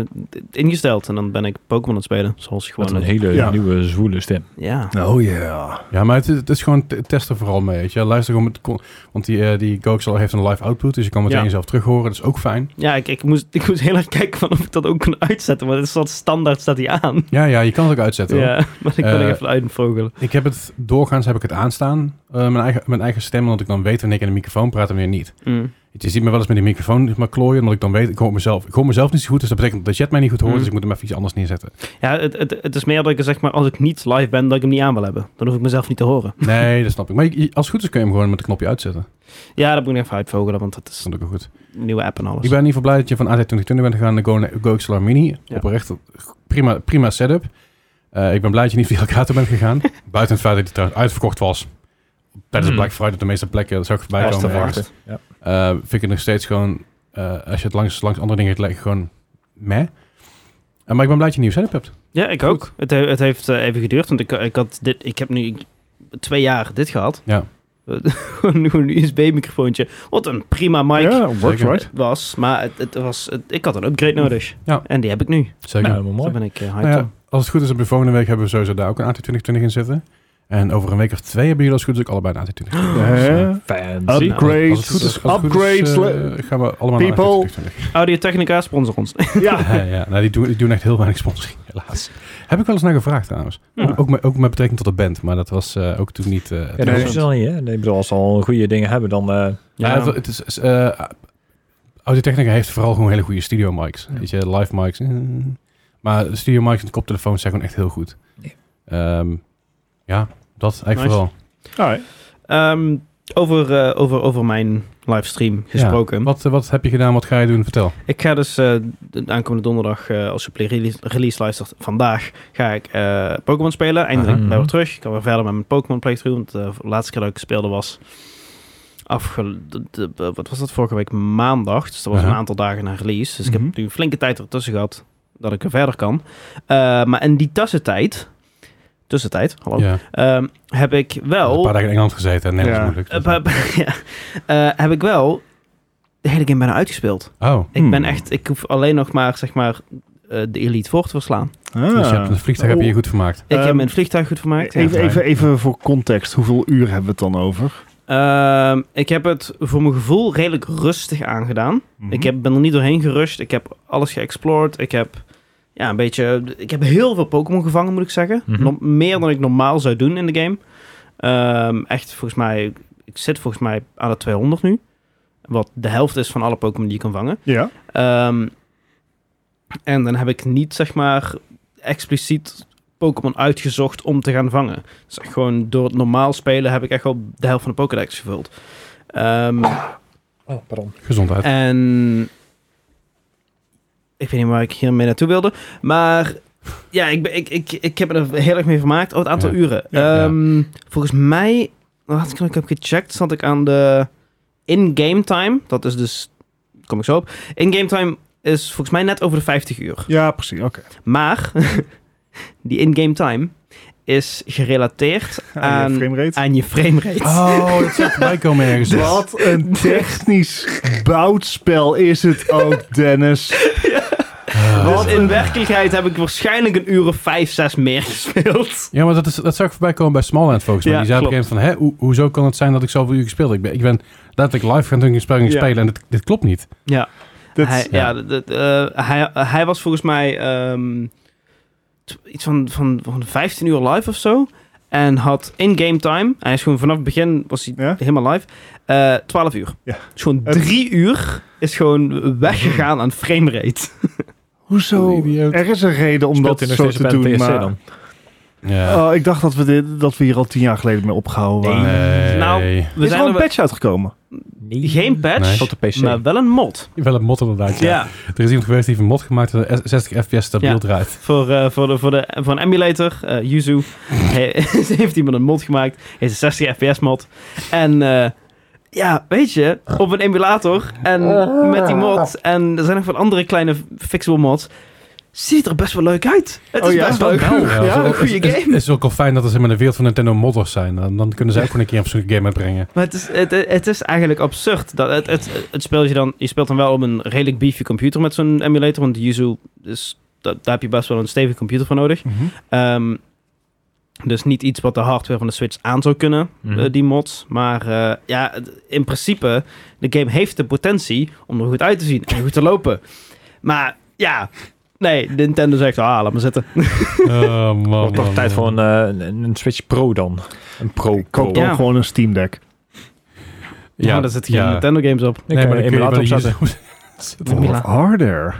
ingesteld. En dan ben ik Pokémon aan het spelen, zoals je Wat gewoon... een hele Ja. nieuwe zwoele stem. Ja. oh ja. Ja, maar het, het is gewoon te- testen vooral mee. Weet je. Luister gewoon met, con- want die, eh, die Goxel heeft een live output, dus je kan meteen Ja. zelf terug horen. Dat is ook fijn. Ja, ik, ik, moest, ik moest heel erg kijken van of ik dat ook kon uitzetten. Want het staat standaard staat hij aan. Ja, ja, je kan het ook uitzetten. hoor. Ja, maar ik wil Eh, er even uitvogelen. Ik heb het, doorgaans heb ik het aanstaan, eh, mijn, eigen, mijn eigen stem, omdat ik dan weet wanneer ik in de microfoon praat en wanneer niet. Je ziet me wel eens met die microfoon maar klooien, omdat ik dan weet, ik hoor mezelf, ik hoor mezelf niet zo goed, dus dat betekent dat jij het mij niet goed hoort, Mm. dus ik moet hem even iets anders neerzetten. Ja, het, het, het is meer dat ik er zeg maar, als ik niet live ben, dat ik hem niet aan wil hebben. Dan hoef ik mezelf niet te horen. Nee, dat snap ik. Maar je- je- als het goed is kun je hem gewoon met een knopje uitzetten. Ja, dat moet ik even uitvogelen, want dat is Dat is ook wel goed. een nieuwe app en alles. Ik ben in ieder geval blij dat je van AT2020 bent gegaan naar Go- naar GoXLR Mini. Ja. Oprecht, prima, prima setup. Eh, ik ben blij dat je niet via Elgato bent *laughs* gegaan. Buiten het feit dat hij trouwens uitverkocht was. Tijdens Mm. Hmm. Black Friday op de meeste plekken, dat zou ik voorbij Was te komen. ergens. verwachten. Eh, Ja. vind ik het nog steeds gewoon, eh, als je het langs, langs andere dingen legt, gewoon meh. Eh, maar ik ben blij dat je een nieuwe setup hebt. Ja, ik ook. Het, he- het heeft eh, even geduurd, want ik, ik, had dit, ik heb nu twee jaar dit gehad. Ja. Gewoon *laughs* een USB-microfoontje. Wat een prima mic ja, works zeker. right. was, maar het, het was, het- ik had een upgrade nodig. Ja. En die heb ik nu. Zeker. Nou, helemaal Daar mooi. ben ik eh, hyped Nou ja, om. als het goed is, hebben we volgende week hebben we sowieso daar ook een AT2020 in zitten. En over een week of twee hebben jullie als het goed is ook allebei een AT2020. Eh, Upgrade. Fancy. Upgrades, Dus, eh, Als het goed is- als het goed upgrades, is, eh, le- gaan we allemaal naar people. *laughs* 2020. Audio-Technica, sponsor ons. Ja. *laughs* Ja, ja. Nou, die, doen, die doen echt heel weinig sponsoring, helaas. Heb ik wel eens naar gevraagd trouwens. Ja. Ook, ook, met, ook met betrekking tot de band, maar dat was eh, ook toen niet... eh, het Ja, dat was- hoeven ze dan niet, hè? Nee, ik bedoel, als ze al goede dingen hebben, dan... eh, ja, het- het is... is, eh, Audio-Technica heeft vooral gewoon hele goede studio mics. Weet je, live mics. eh. Maar studio mics en koptelefoons zijn gewoon echt heel goed. Nee. Ehm, ja, dat eigenlijk Nice. vooral. Alright. *laughs* Ehm, over, eh, over, over mijn livestream gesproken. Wat, eh, wat heb je gedaan? Wat ga je doen? Vertel. Ik ga dus eh, de aankomende donderdag, eh, als je play release, release luistert, vandaag ga ik eh, Pokémon spelen. Eindelijk Aha. ben ik weer terug. Ik kan weer verder met mijn Pokémon playthrough. Want eh, de laatste keer dat ik speelde was afge... de- de- de- wat was dat vorige week? Maandag. Dus dat was Aha. een aantal dagen na release. Dus ik Mhm. heb nu een flinke tijd ertussen gehad dat ik er verder kan. Eh, maar in die tussentijd, tussentijd, hallo, Ja. ehm, heb ik wel... Een paar dagen in Engeland gezeten en Nederlands Ja. moeilijk. oh. Eh, *laughs* pa- pa- ja. Eh, heb ik wel de hele game bijna uitgespeeld. oh, Ik Hmm. ben echt, ik hoef alleen nog maar, zeg maar, eh, de Elite voor te verslaan. dus je hebt een vliegtuig heb je je Oh. goed vermaakt. Ik heb Ehm, mijn vliegtuig goed vermaakt. ja. Even, fijn. even, even voor context, hoeveel uur hebben we het dan over? Ehm, ik heb het voor mijn gevoel redelijk rustig aangedaan. Mhm. Mhm. Ik heb, ben er niet doorheen gerust. Ik heb alles geëxplored. Ik heb, ja, een beetje, ik heb heel veel Pokémon gevangen, moet ik zeggen. Mhm. Nog meer dan ik normaal zou doen in de game. Ehm, echt, volgens mij, ik zit volgens mij aan de 200 nu. Wat de helft is van alle Pokémon die je kan vangen. Ja. Ehm, en dan heb ik niet, zeg maar, expliciet Pokémon uitgezocht om te gaan vangen. Dus echt gewoon door het normaal spelen heb ik echt wel de helft van de Pokédex gevuld. Ehm, Oh, pardon. Gezondheid. en ik weet niet waar ik hiermee naartoe wilde. Maar ja, ik, ben- ik, ik, ik heb er heel erg mee vermaakt. Oh, het aantal Ja. uren. Ja. Ehm, Volgens mij, laatst keer dat ik heb gecheckt, zat ik aan de in-game time. Dat is dus, kom ik zo op. In-game time is volgens mij net over de 50 uur. Ja, precies. Oké. Maar *laughs* die in-game time is *laughs* gerelateerd Aan je aan, framerate. aan je framerate. Oh, dat zou voorbij *laughs* komen ergens. *laughs* Wat een technisch boutspel is het *laughs* ook, Dennis. Ah. Wat? Dus in werkelijkheid heb ik waarschijnlijk een uur of vijf, zes meer *laughs* gespeeld. Ja, maar dat, is, dat zou ik voorbij komen bij Smallland volgens mij. Ja, Die zei op een gegeven moment van, hè, hoe- hoezo kan het zijn dat ik zoveel uur gespeeld heb? Ik ben, ik ben letterlijk live gaan doen, spel gaan Ja. spelen en dit, dit klopt niet. Ja, Dat- hij, ja. ja. dat- dat, eh, hij, hij was volgens mij ehm, t- iets van, van, van 15 uur live of zo. En had in-game time, hij is gewoon vanaf het begin was hij Ja? helemaal live, eh 12 uur. Ja. Dus gewoon Het- drie uur is gewoon weggegaan aan framerate. Hoezo? Idioot. Er is een reden om dat Speelt hij nog zo steeds te bij de doen, TSC maar... dan? Ja. Oh, ik dacht dat we, dit, dat we hier al tien jaar geleden mee opgehouden waren. Nee. Nou, Er We is zijn wel een er wel- patch uitgekomen. Nee. geen patch, Nee. Op de PC. maar wel een mod. Wel een mod inderdaad. Ja. Ja, Er is iemand geweest die heeft een mod gemaakt dat 60 fps stabiel Ja. draait. voor, eh, voor, de, voor, de, voor een emulator, eh Yuzu, Hij- *laughs* heeft iemand een mod gemaakt. Heeft een 60 fps mod. En eh, ja, weet je, op een Ah. emulator en met die mod en er zijn nog wat andere kleine fixable mods. ziet er best wel leuk uit. Het Oh is ja? best wel Oh, goed. nou. Ja, Ja, een is- goede is- game. Het is ook al fijn dat er zeg maar, de wereld van Nintendo modders zijn. Dan, dan kunnen ze ook gewoon een keer een persoonlijke game uitbrengen. Maar het is, het, het is eigenlijk absurd. Dat het, het, het speeltje dan, je speelt dan wel op een redelijk beefy computer met zo'n emulator. Want Yuzu, is, da- daar heb je best wel een stevige computer voor nodig. Mhm. Ehm, dus niet iets wat de hardware van de Switch aan zou kunnen, Mhm. eh, die mods. Maar eh, ja, het- in principe, de game heeft de potentie om er goed uit te zien en goed te lopen. Maar ja, nee, Nintendo zegt, ah, laat maar zitten. Oh, man, Wordt toch man, tijd voor man. een, eh, een, een Switch Pro dan. Een Pro. Pro. Koop dan Ja. gewoon een Steam Deck. Ja, daar zitten geen ja. Nintendo games op. Ik nee, maar dan een kun je emulator bij de eh, opzetten. user- Of Mila. Oh, harder.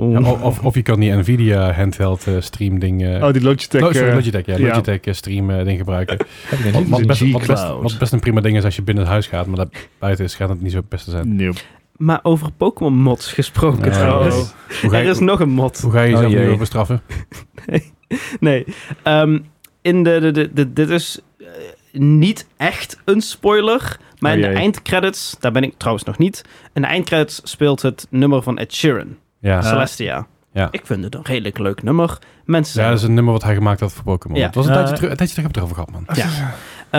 Ja, of- of, of je kan die Nvidia handheld eh, stream ding... eh, Oh, die Logitech. Oh, sorry, eh, Logitech, ja. ja. Logitech eh, stream eh, ding gebruiken. Heb ik Wat, niet. wat, best, wat, best, G-Cloud. wat best een prima ding is als je binnen het huis gaat, maar daar buiten is, gaat het niet zo het beste zijn. nope. Maar over Pokémon mods gesproken Oh. trouwens. Oh. Hoe ga Er je, is nog een mod. hoe ga je Oh, jezelf nu jee. weer bestraffen? Nee. ehm, in de, de, de, de- dit is eh, niet echt een spoiler. Maar Oh, in de jee. eindcredits, daar ben ik trouwens nog niet. In de eindcredits speelt het nummer van Ed Sheeran, Ja. Ah. Celestia. Ja. Ik vind het een redelijk leuk nummer. ja, Mensen zijn dat is een nummer wat hij gemaakt had voor Pokémon. Ja. Het was een Eh, tijdje terug, een tijdje terug heb ik het erover gehad, man.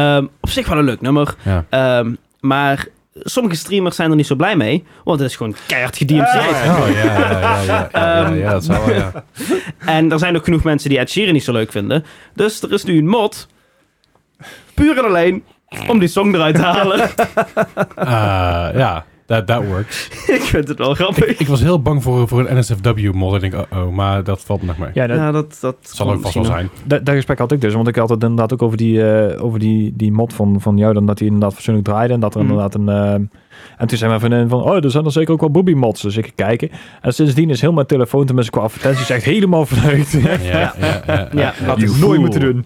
Ehm, op zich wel een leuk nummer. Ja. Ehm, maar sommige streamers zijn er niet zo blij mee. Want het is gewoon keihard gedmc'd. Oh, ja, ja, ja, ja, ja, ja, Ehm. ja, dat zou wel, *laughs* ja. En er zijn ook genoeg mensen die Ed Sheeran niet zo leuk vinden. Dus er is nu een mod. Puur en alleen om die song eruit te *laughs* halen. Ah, ja, that, that works. ik vind het wel grappig. Ik was heel bang voor, voor een NSFW-mod. Ik denk, oh, oh, maar dat valt me nog mee. Ja, dat, Ja, dat, dat Zal ook vast wel zijn. dat, dat gesprek had ik dus. Want ik had het inderdaad ook over die, eh, over die, die mod van, van jou. Dan dat hij inderdaad fatsoenlijk draaide. En dat er Mhm. inderdaad een... eh, en toen zei mijn vriendin van... Oh, er zijn er zeker ook wel booby mods. Dus ik ging kijken. En sindsdien is heel mijn telefoon, tenminste qua advertenties, echt helemaal verneukt. Ja, ja, ja, ja, Ja, Had ik nooit moeten doen.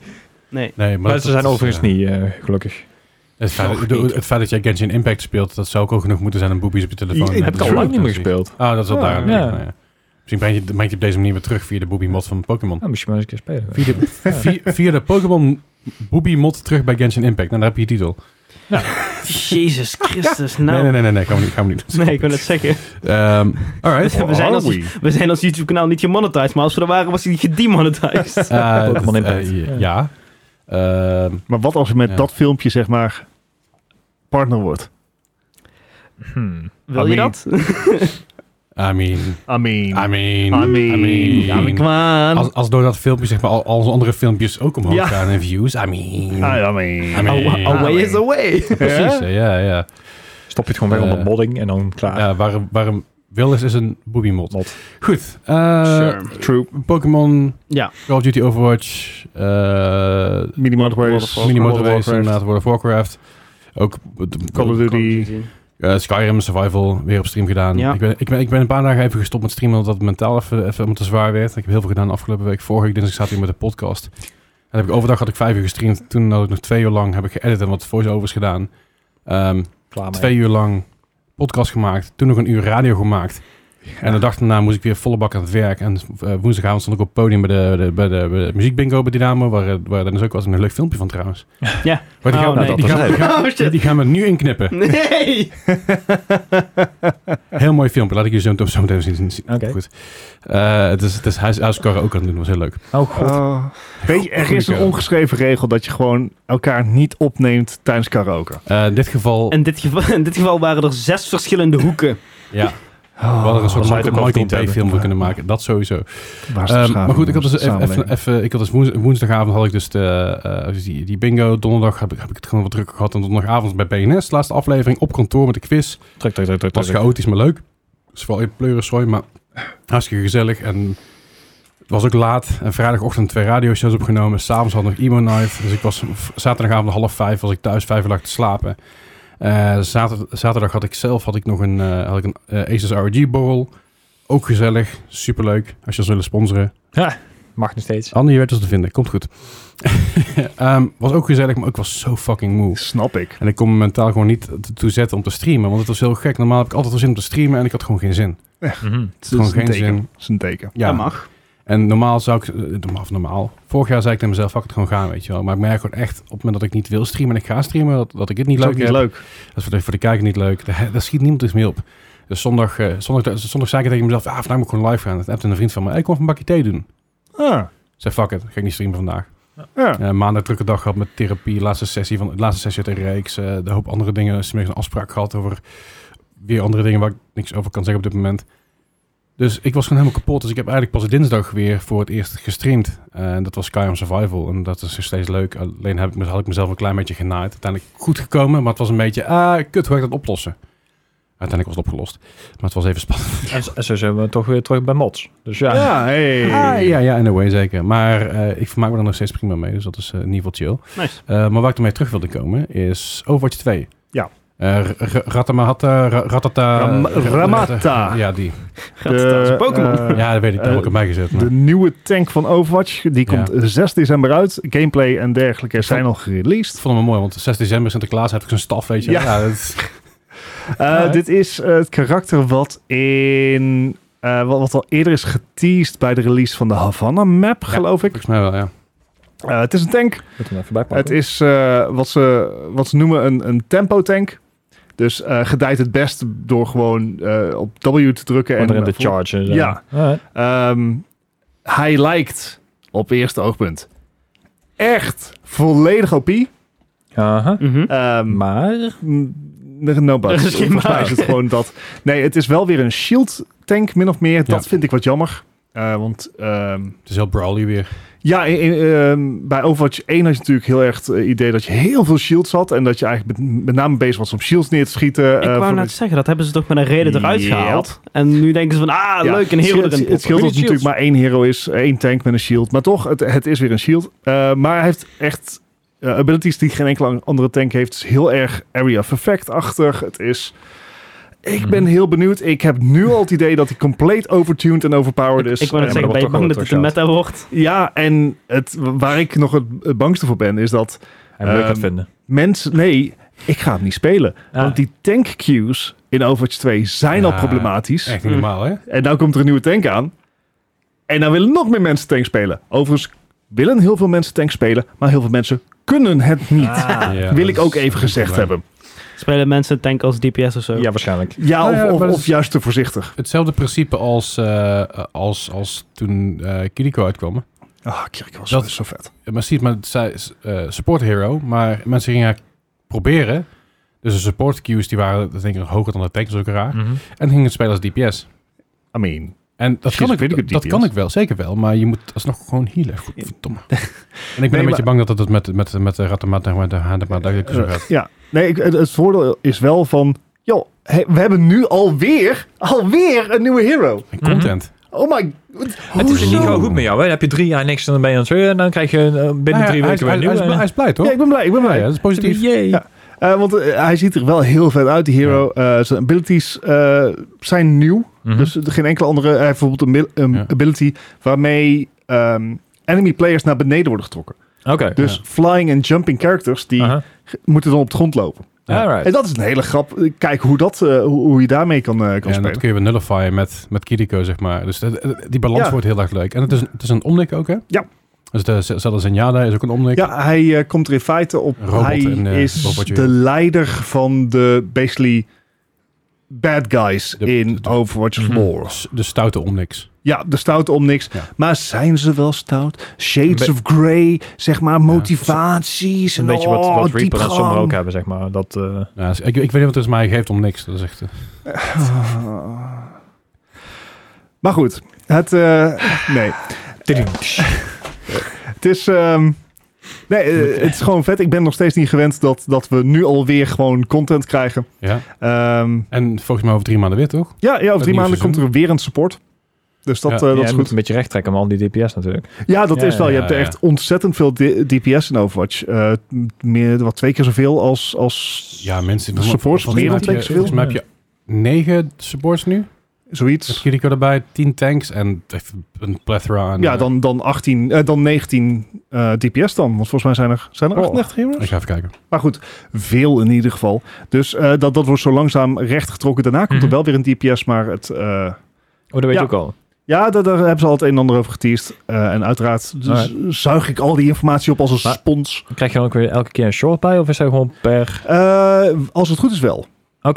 Nee. Nee, maar *laughs* Maar dat- ze zijn dat- overigens ja. niet, eh, gelukkig. Het feit, Nog ik bedoel, niet. het feit dat jij Genshin Impact speelt, dat zou ook al genoeg moeten zijn om boobies op je Ik- telefoon. eh, heb Heb ik te al lang zoeken. niet meer gespeeld. Ah, dat is al Ja, daar. ja. Nou ja. Misschien breng je, breng je op deze manier weer terug via de booby mod van Pokémon. Nou, misschien maar eens een keer spelen. Via de, vi- via de Pokémon booby mod terug bij Genshin Impact. Nou, daar heb je je titel. Jezus *laughs* Christus, nou. Nee, nee, nee, nee, nee, gaan we niet. Gaan we niet. Nee, ik wil het zeggen. Ehm, *laughs* alright. We zijn, Are als, we? we zijn als YouTube-kanaal niet gemonetized, maar als we er waren, was hij gedemonetized. Eh, Pokémon eh, ja. Impact. ja. Ehm, Maar wat als je met Ja. dat filmpje, zeg maar, partner wordt? Hmm. *laughs* Wil je dat? I mean, I mean... I mean, I mean, I mean, Kom aan. Als, als door dat filmpje, zeg maar, al, al onze andere filmpjes ook omhoog Ja. Ah, gaan in views. I mean. I mean... I mean. Awa- Away is away. Precies, eh, ja, ja. Stop je het gewoon weg Eh, onder modding en dan klaar. Ja, waarom, waarom wil is, is een booby mod. Mod. Goed. eh, Sure. True. Pokémon, Ja. Call of Duty Overwatch, eh Minimod Race. Mini Minimod Motor Race, inderdaad, World of Warcraft. Ook eh, Call of Duty. eh, Skyrim Survival weer op stream gedaan. Ja. Ik, ben, ik, ben, ik ben een paar dagen even gestopt met streamen omdat het mentaal even, even om te zwaar werd. Ik heb heel veel gedaan de afgelopen week. Vorige week dinsdag zat hier met de podcast. En heb ik overdag had ik vijf uur gestreamd. Toen had ik nog twee uur lang heb ik geëdit en wat voice-overs gedaan. Ehm, klaar mee. twee uur lang podcast gemaakt. Toen nog een uur radio gemaakt. En de dag daarna moest ik weer volle bak aan het werk. En eh, woensdagavond stond ik op het podium bij de, de, bij de, bij de muziekbingo bij Dynamo. Waar, eh, waar Dennis ook was. Een leuk filmpje van trouwens. *laughs* Ja. Maar die Oh, gaan, nee. die, nou, gaan, Dat was die, *laughs* gaan, Oh, shit. die gaan we nu inknippen. Nee! Heel mooi filmpje. Laat ik je zo meteen- zo meteen zien. zien. Oké. Goed. Eh, het is, het is huis, huiskarren ook aan het doen. was heel leuk. Oh god. Weet je, er is een ongeschreven regel dat je gewoon elkaar niet opneemt tijdens karaoke. Eh, in dit geval... *laughs* In dit, geval, in dit geval waren er zes *laughs* verschillende hoeken. ja, we hadden een soort Oh, zou Michael, je het ook Michael overdiend Bay hebben. film voor kunnen maken. Dat sowieso. Waar is de Ehm, beschaving maar goed, ik had dus, in onze even, even, samenleving? even- ik had dus woens- woensdagavond had ik dus de, eh, dus die, die bingo. Donderdag heb ik, heb ik het gewoon wat drukker gehad. En donderdagavond bij BNS. Laatste aflevering op kantoor met de quiz. Druk, druk, druk, druk. was druk. chaotisch, maar leuk. Dus wel in pleurensooi, maar hartstikke gezellig. En het was ook laat. En vrijdagochtend twee radioshows opgenomen. S'avonds had ik nog Emo Night. Dus ik was v- zaterdagavond half vijf, was ik thuis vijf uur lag te slapen. Eh, zater- zaterdag had ik zelf had ik nog een, eh, had ik een eh, Aces RG borrel. Ook gezellig, superleuk. Als je ons willen sponsoren. Mag nog steeds. Anne, je weet ons te vinden. Komt goed. *laughs* Ehm, was ook gezellig, maar ik was zo fucking moe. Snap ik. En ik kon me mentaal gewoon niet t- toe zetten om te streamen. Want het was heel gek. Normaal heb ik altijd wel zin om te streamen en ik had gewoon geen zin. Mhm. Het gewoon is een geen teken. zin. Het is een teken. Ja. Dat mag. En normaal zou ik... eh, Normaal, of normaal. Vorig jaar zei ik tegen mezelf, fuck het gewoon gaan, weet je wel. Maar ik merk gewoon echt, op het moment dat ik niet wil streamen en ik ga streamen, dat, dat ik het niet Is ook leuk niet heb. leuk. Dat is voor de, voor de kijker niet leuk. Daar, daar schiet niemand iets mee op. Dus zondag, eh, zondag, zondag zei ik tegen mezelf, ah, vandaag moet ik gewoon live gaan. En toen heb een vriend van me, hey, ik kom even een bakje thee doen. Ah, Ik zei, fuck it, ga ik niet streamen vandaag. ja. Eh, maandag drukke dag gehad met therapie, laatste sessie van de laatste sessie uit een reeks, eh, een hoop andere dingen, smiddags een afspraak gehad over weer andere dingen waar ik niks over kan zeggen op dit moment. Dus ik was gewoon helemaal kapot. Dus ik heb eigenlijk pas dinsdag weer voor het eerst gestreamd. Eh, En dat was Skyrim Survival. En dat is nog steeds leuk. Alleen heb ik, mez- had ik mezelf een klein beetje genaaid. Uiteindelijk goed gekomen, maar het was een beetje... Ah, kut, hoe ga ik dat oplossen? Uiteindelijk was het opgelost. Maar het was even spannend. En, zo- en zo zijn we toch weer terug bij mods. Dus ja, Ja, hey. Ah, ja, ja, anyway, zeker. Maar eh, ik vermaak me er nog steeds prima mee, dus dat is eh, in ieder geval chill. Nice. Eh, maar waar ik ermee terug wilde komen is Overwatch 2. Ja. Eh, r- r- Ratamahata, ra- ratata... Ram- eh, ra- Ramata. Ja, die. Ratata is Pokémon. *laughs* eh, Ja, dat weet ik, daar heb ik eh, hem bij gezet. maar- De nieuwe tank van Overwatch, die Ja. komt 6 december uit. Gameplay en dergelijke zijn al gereleased. Ik vond hem wel mooi, want 6 december Sinterklaas heb ik zijn staf, weet je. Ja. dat is- Eh, Alright. Dit is eh, het karakter wat in. eh, wat, wat al eerder is geteased bij de release van de Havana map, Ja. geloof ik. volgens mij wel, ja. Eh, het is een tank. moeten we even bijpakken. Het is eh, wat, ze, wat ze noemen een, een tempo tank. Dus eh gedijt het best door gewoon eh, op W te drukken. en en de eh, charge. en zo. Ja. Alright. Ehm, hij lijkt op eerste oogpunt echt volledig OP. Aha. Mhm. Ehm, Maar... Mm, No *laughs* but. Er is geen Volgens mij maar. is het gewoon dat. Nee, het is wel weer een shield tank, min of meer. Dat Ja. vind ik wat jammer. Eh, want ehm, Het is heel Brawly weer. ja, in- in, ehm, bij Overwatch 1 had je natuurlijk heel erg het eh, idee dat je heel veel shields had. En dat je eigenlijk met, met name bezig was om shields neer te schieten. eh, Ik wou voor- net zeggen, dat hebben ze toch met een reden eruit Ja. gehaald. En nu denken ze van, ah, Ja, leuk, een hero Het, erin het proppen. scheelt dat het Shields. natuurlijk maar één hero is, eh, één tank met een shield. Maar toch, het, het is weer een shield. Eh, maar hij heeft echt eh, abilities die geen enkele andere tank heeft. Het is heel erg area of effect-achtig. Het is... Ik ben Mhm. heel benieuwd. Ik heb nu al het idee dat hij compleet overtuned en overpowered is. Ik wou net Eh, zeggen, ben je dat wordt bang ook dat het een wel meta wordt? Ja, en het, waar ik nog het, het bangste voor ben, is dat Hij moet ik Ehm, het vinden. mensen... Nee, ik ga hem niet spelen. Ah. Want die tank queues in Overwatch 2 zijn al Ah, Ja, problematisch. Echt niet Mm. normaal, hè? En nou komt er een nieuwe tank aan. En nou willen nog meer mensen tank spelen. Overigens willen heel veel mensen tank spelen, maar heel veel mensen kunnen het niet. Ah. Ja, Wil dat ik is ook even een gezegd probleem. hebben. Spelen mensen tank als DPS of zo? Ja, waarschijnlijk. *laughs* Ja, Nou ja, of, of, maar dat of is- juist te voorzichtig. Hetzelfde principe als, eh, als, als toen eh Kiriko uitkwam. Ah, Kirk was Dat- dus zo vet. Ja, maar ziet, maar zij is eh, support hero, maar mensen gingen haar proberen. Dus de support queues die waren dat denk ik nog hoger dan de tanks ook raar. Hm. Mhm. En gingen het spelen als DPS. I mean, En dat She's kan, pretty ik, good dat, dat DPS. kan ik wel, zeker wel. Maar je moet alsnog gewoon healen. Godverdomme. *laughs* En ik ben een beetje maar- Eh, bang dat dat het met, met, met de ratamata en de handema duidelijk zo gaat. ja. Nee, ik- het, het voordeel is wel van... joh, hé, we hebben nu alweer, alweer een nieuwe hero. En content. Oh my... wat- Het is hoezo? niet gewoon goed met jou. Hè? Dan heb je drie jaar niks en dan ben je aan het zeuren. En dan krijg je eh, binnen Nou ja, drie hij is- weken weer hij, een hij, nieuwe. is, hij is blij, toch? Ja, ik ben blij, ik ben Ja, blij. ja, dat is positief. Jee. Ja. Eh, want eh, hij ziet er wel heel vet uit, die hero. Eh, zijn abilities eh, zijn nieuw. Mhm. Dus er- geen enkele andere. Hij heeft bijvoorbeeld een, mil- een Ja. ability waarmee ehm, enemy players naar beneden worden getrokken. Oké. Dus Ja. flying en jumping characters die Aha. g- moeten dan op de grond lopen. Ja. Alright. En dat is een hele grap. Kijk hoe, dat, eh, hoe, hoe je daarmee kan, eh, kan Ja, en dat spelen. kun je weer nullifyen met, met Kiriko, zeg maar. Dus dat- die balans Ja. wordt heel erg leuk. En het is, het is een omnik ook, hè? Ja. Dus de, zelfs een Jada is ook een omnik. Ja, hij eh, komt er in feite op. Een robot hij en, eh, is robotje. de leider van de basically bad guys De- in de- Overwatch Mhm. lore. S- De stoute omniks. Ja, de stoute om niks. Ja. Maar zijn ze wel stout? Shades Be- of Grey, zeg maar, motivaties. een en beetje wat, oh, wat Reaper en diepgang. sommigen ook hebben, zeg maar. Dat, eh, Ja, dus ik, ik weet niet wat het is, maar hij geeft om niks. Dat is echt... eh, Ah. Maar goed, het, eh, nee, het is... ehm, nee, eh, het is gewoon vet. Ik ben nog steeds niet gewend dat, dat we nu alweer gewoon content krijgen. ja. Ehm, En volgens mij over drie maanden weer, toch? ja, ja, over drie nieuwe maanden komt er seizoen. weer een support. Dus dat, Ja. eh, ja, dat je is moet goed. een beetje recht trekken, man. Die DPS natuurlijk. Ja, dat Ja, is wel. Je ja, hebt er ja. echt ontzettend veel D- DPS in Overwatch. Eh, m- meer, wat twee keer zoveel als, als Ja, mensen... De supports, volgens mij meer dan heb je- tanks veel. Volgens mij heb je negen supports nu. Met zoiets. Kiriko erbij, tien tanks en echt een plethora aan... Ja, eh, dan, dan, 18, eh, dan 19 eh, DPS dan. Want volgens mij zijn er, zijn er Oh. 38 Ik heroes. ga even kijken. Maar goed, veel in ieder geval. Dus eh, dat, dat wordt zo langzaam rechtgetrokken. Daarna komt Mhm. er wel weer een DPS, maar het... eh, Oh, dat weet Ja. je ook al. ja, daar, daar hebben ze al het een en ander over geteased. Eh, en uiteraard z- Alright. zuig ik al die informatie op als een Maar- spons. Krijg je dan ook weer elke keer een short bij? Of is hij gewoon per... Eh, als het goed is wel.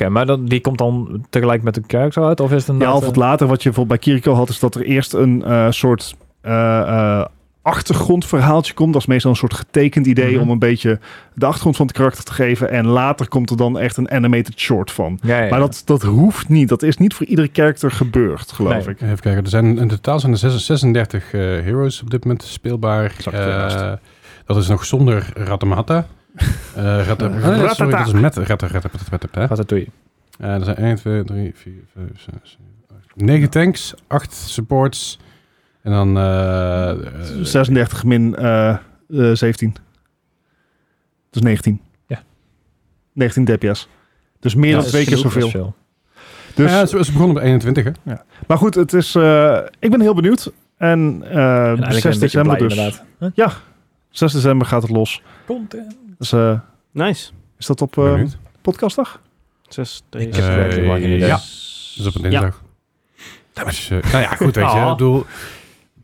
maar dan, die komt dan tegelijk met de character uit? Of is het een... Ja, half wat later, wat je bijvoorbeeld bij Kiriko had, is dat er eerst een eh, soort eh, eh, achtergrondverhaaltje komt. Dat is meestal een soort getekend idee Mhm. om een beetje de achtergrond van het karakter te geven. En later komt er dan echt een animated short van. Ja, ja, ja. Maar dat, dat hoeft niet. Dat is niet voor iedere karakter gebeurd, geloof Nee. ik. Even kijken, er zijn, in totaal zijn er 36 36 eh, heroes op dit moment speelbaar. Exact, Eh, daarnaast. dat is nog zonder *laughs* Ratamata. Eh Rata- Eh, oh, nee, sorry, Ratata. dat is met Ratta, Ratta, Ratta, Ratta, Ratta, hè. Ratatouille. Eh, Er zijn 1, 2, 3, 4, 5, 6, 7, 8. 9 tanks, 8 supports. En dan... eh, eh, 36 min eh eh 17. Dus 19. Ja. 19 DPS. Dus meer Ja, dan dat twee is keer genoeg, zoveel. dat is veel. Dus, ja, ze, ze begonnen op 21, hè? Maar goed, het is, eh, ik ben heel benieuwd. En, eh En eigenlijk 6 een beetje december blij, dus. inderdaad. 6 december gaat het los. Dus, eh, Nice. is dat op eh, Benieuwd. podcastdag? Zes, Ik heb heb het het werkelijk lang lang geen in idee. de Ja. Dus op een dinsdag. Dus, eh, nou ja, goed, weet je. Oh. Ik bedoel,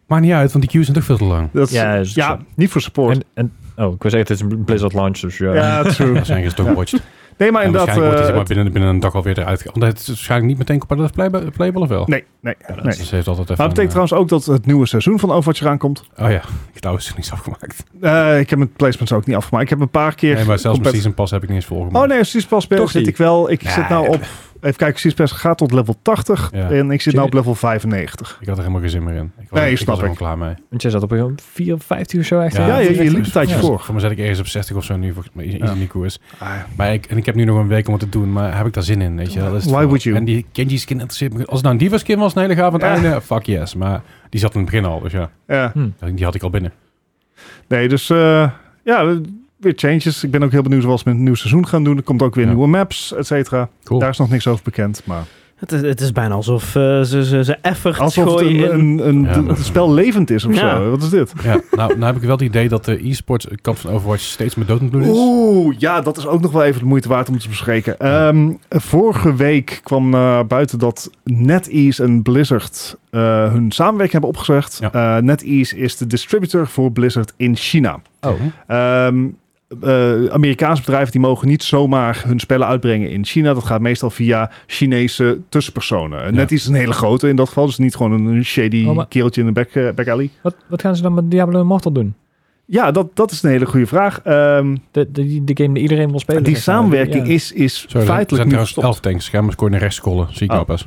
maakt niet uit, want die queues zijn toch veel te lang. Dat, Ja, is het ja zo. niet voor support. En, en, oh, ik wil zeggen, het is een Blizzard launch, dus ja. ja, true. *laughs* Dat zijn dus toch *laughs* watched. Nee, maar en inderdaad... waarschijnlijk wordt die zeg eh, maar binnen, binnen een dag alweer eruit. ge- Want het is waarschijnlijk niet meteen competitive playable, playable of wel? nee, nee, nee. Dus ze heeft altijd even Maar dat betekent een, trouwens ook dat het nieuwe seizoen van Overwatch eraan komt. eh, Oh ja, *laughs* ik heb trouwens niks afgemaakt. Eh, ik heb mijn placements ook niet afgemaakt. Ik heb een paar keer... Nee, maar zelfs compet- mijn season pass heb ik niet eens volgemaakt. Oh nee, Season Pass Toch zit niet. ik wel. Ik Nee, zit nou op... Even kijken, Season Pass gaat tot level 80. Ja. En ik zit nou op level 95. Ik had er helemaal geen zin meer in. Ik was, Nee, ik snap was er ik. gewoon klaar mee. Want jij zat op een 54 of zo echt. Ja, ja, je- je liep een tijdje Ja. voor. Voor me zat ik ergens op 60 of zo nu, volgens mij. Iets iets Ja. in die koers. Maar ik, en ik heb nu nog een week om het te doen, maar heb ik daar zin in? Weet je? wel? Dat is het Why wel. would you? En die Kenji skin interesseert me. Als het nou een diva skin was, een hele gaaf aan het Ja. einde, fuck yes. Maar die zat in het begin al, dus ja, Ja. die had ik al binnen. Nee, dus eh, ja, weer changes. Ik ben ook heel benieuwd zoals we met het nieuwe seizoen gaan doen. Er komt ook weer Ja. nieuwe maps, et cetera. Cool. Daar is nog niks over bekend, maar... Het is, het is bijna alsof eh, ze, ze, ze effort Alsof het gooien een, in. een, een, Ja, een- maar- het spel levend is of Ja. zo. Wat is dit? Ja, nou, nou heb ik wel het idee dat de e-sports kant van Overwatch steeds meer dood aan het bloeden is. Oeh, ja, dat is ook nog wel even de moeite waard om te bespreken. Ehm, vorige week kwam eh, buiten dat NetEase en Blizzard eh, hun samenwerking hebben opgezegd. Ja. Eh, NetEase is de distributor voor Blizzard in China. Oh. Ehm, eh, Amerikaanse bedrijven die mogen niet zomaar hun spellen uitbrengen in China. Dat gaat meestal via Chinese tussenpersonen. Eh, NetEase is een hele grote in dat geval. Dus niet gewoon een, een shady Oh, maar- kereltje in de back, eh, back alley. Wat, wat gaan ze dan met Diablo Immortal doen? Ja, dat, dat is een hele goede vraag. Ehm, De, de, die- de game die iedereen wil spelen. die zeg maar. samenwerking Ja. is, is Sorry, er zijn feitelijk nu trouwens gestopt. 11 tanks. Ga maar scoren naar rechts scrollen. Zie ik Oh. nou pas.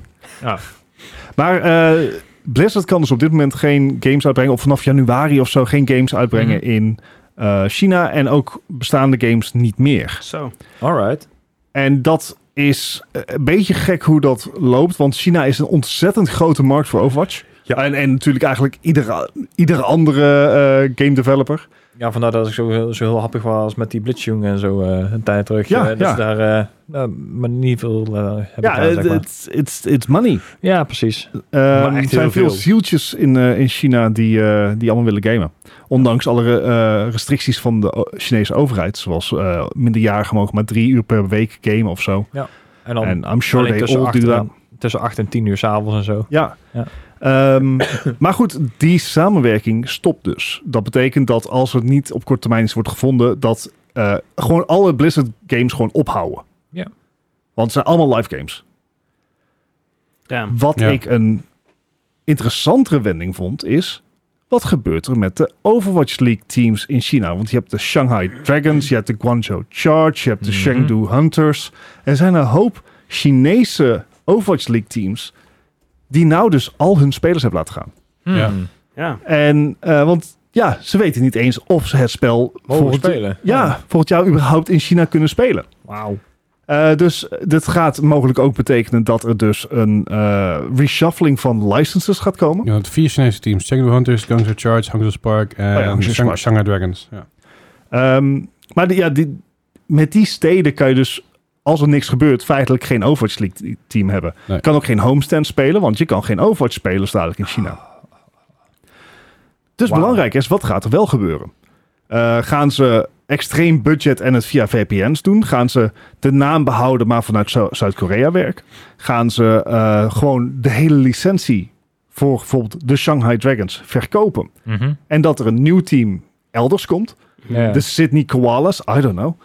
Maar eh, Blizzard kan dus op dit moment geen games uitbrengen. Of vanaf januari of zo geen games uitbrengen Mhm. in eh, China. En ook bestaande games niet meer. Zo. Alright. En dat is eh, een beetje gek hoe dat loopt. Want China is een ontzettend grote markt voor Overwatch. Ja. En, en natuurlijk eigenlijk iedere, iedere andere eh, game developer. Ja, vandaar dat ik zo, zo heel happig was met die Blitzjong en zo eh, een tijd terug. Ja, Eh, dat ja. ze daar eh, nou, maar niet veel eh, hebben Ja, gedaan, zeg het maar. it's, it's, it's money. ja, precies. Eh, Maar er echt zijn heel veel veel. zieltjes in, eh, in China die, eh, die allemaal willen gamen. Ondanks alle eh, restricties van de o- Chinese overheid. Zoals eh minderjarigen mogen maar drie uur per week gamen of zo. En dan En I'm sure alleen they tussen, all do acht that. en, tussen 8 en 10 uur s'avonds en zo. Ja. Ja. Ehm, *coughs* maar goed, die samenwerking stopt dus. Dat betekent dat als het niet op korte termijn is wordt gevonden, dat eh, gewoon alle Blizzard games gewoon ophouden. Ja. Want het zijn allemaal live games. Ja. Wat Ja. ik een interessantere wending vond, is wat gebeurt er met de Overwatch League teams in China? Want je hebt de Shanghai Dragons, je hebt de Guangzhou Charge, je hebt de Mhm. Chengdu Hunters. Er zijn een hoop Chinese Overwatch League teams die nou dus al hun spelers hebben laten gaan. Ja. Hmm. Ja. En, eh, want ja, ze weten niet eens of ze het spel Mogen volgend, spelen. ja, volgend jaar überhaupt in China kunnen spelen. Wauw. Eh, dus dit gaat mogelijk ook betekenen dat er dus een eh, reshuffling van licenses gaat komen. Je had vier Chinese teams. Check the Hunters, Guangzhou Charge, Hangzhou Spark en Oh ja, Hangzhou Shang- Spark. Shanghai Dragons. Ja. Ehm, maar die- ja, die, met die steden kan je dus, als er niks gebeurt, feitelijk geen Overwatch League team hebben. Nee. Je kan ook geen homestand spelen, want je kan geen Overwatch spelen dadelijk in China. Dus Wauw. belangrijk is, wat gaat er wel gebeuren? Eh, gaan ze extreem budget en het via VPN's doen? Gaan ze de naam behouden, maar vanuit Zu- Zuid-Korea werken? Gaan ze eh, gewoon de hele licentie voor bijvoorbeeld de Shanghai Dragons verkopen? En dat er een nieuw team elders komt? Mhm. ja. De Sydney Koalas, I don't know.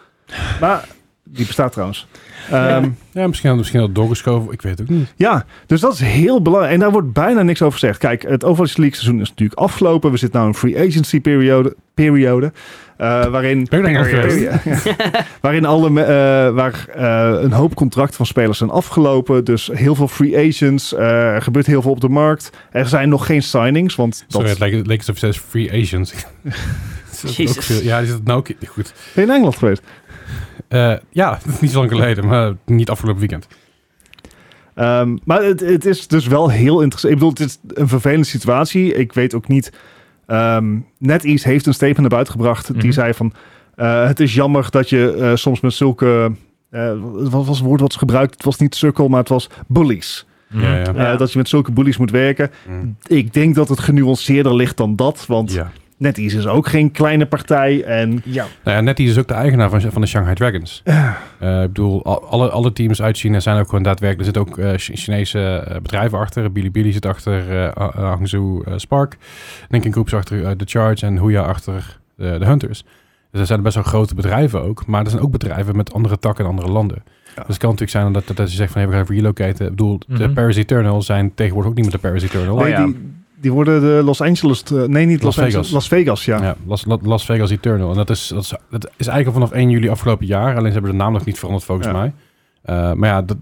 Maar Die bestaat trouwens. Ehm, Ja, misschien had misschien had het doorgeschoven. Ik weet het ook niet. Ja, dus dat is heel belangrijk. En daar wordt bijna niks over gezegd. Kijk, het Overwatch League seizoen is natuurlijk afgelopen. We zitten nu in een free agency periode. periode eh, waarin, Ben ik daar niet geweest? *laughs* Ja. waarin alle, me- eh, waar eh, een hoop contracten van spelers zijn afgelopen. Dus heel veel free agents. eh, er gebeurt heel veel op de markt. Er zijn nog geen signings. Want dat Sorry, het leek, het leek alsof het zei free *laughs* agents. Is *laughs* dat ook Jezus. veel- Ja, is dat nou ook goed? in Engeland geweest. Eh, ja, *laughs* niet zo lang geleden, maar niet afgelopen weekend. Ehm, maar het, het is dus wel heel interessant. Ik bedoel, het is een vervelende situatie. Ik weet ook niet. ehm NetEase heeft een statement naar buiten gebracht. Mhm. Die zei van, eh, het is jammer dat je eh, soms met zulke... eh, wat was het woord wat ze gebruikt? Het was niet sukkel, maar het was bullies. Mhm. Ja, ja. Eh, dat je met zulke bullies moet werken. Mm. Ik denk dat het genuanceerder ligt dan dat. Want Ja. NetEase is ook geen kleine partij. En ja, Nou ja, net die is ook de eigenaar van, van de Shanghai Dragons. Eh, ik bedoel, al- alle, alle teams uit China zijn ook gewoon daadwerkelijk. Er zitten ook eh, Chi- Chinese eh, bedrijven achter. Bilibili zit achter eh, Ha- Hangzhou eh, Spark. Linkin Group zit achter eh, The Charge en Huya achter eh, de Hunters. Dus dat zijn best wel grote bedrijven ook. Maar er zijn ook bedrijven met andere takken in andere landen. Ja. Dus het kan natuurlijk zijn dat, dat, dat ze zegt van hey, we gaan relocaten. Ik bedoel, de Mhm. Paris Eternal zijn tegenwoordig ook niet meer de Paris Eternal. nee, Oh ja. die, die worden de Los Angeles... eh, nee, niet Los, Las Angeles. Vegas. Las Vegas, ja. Ja, Las, La- Las Vegas Eternal. En dat is, dat, is, dat is eigenlijk al vanaf 1 juli afgelopen jaar. Alleen ze hebben de naam nog niet veranderd volgens Ja. mij. Eh, maar ja, dat,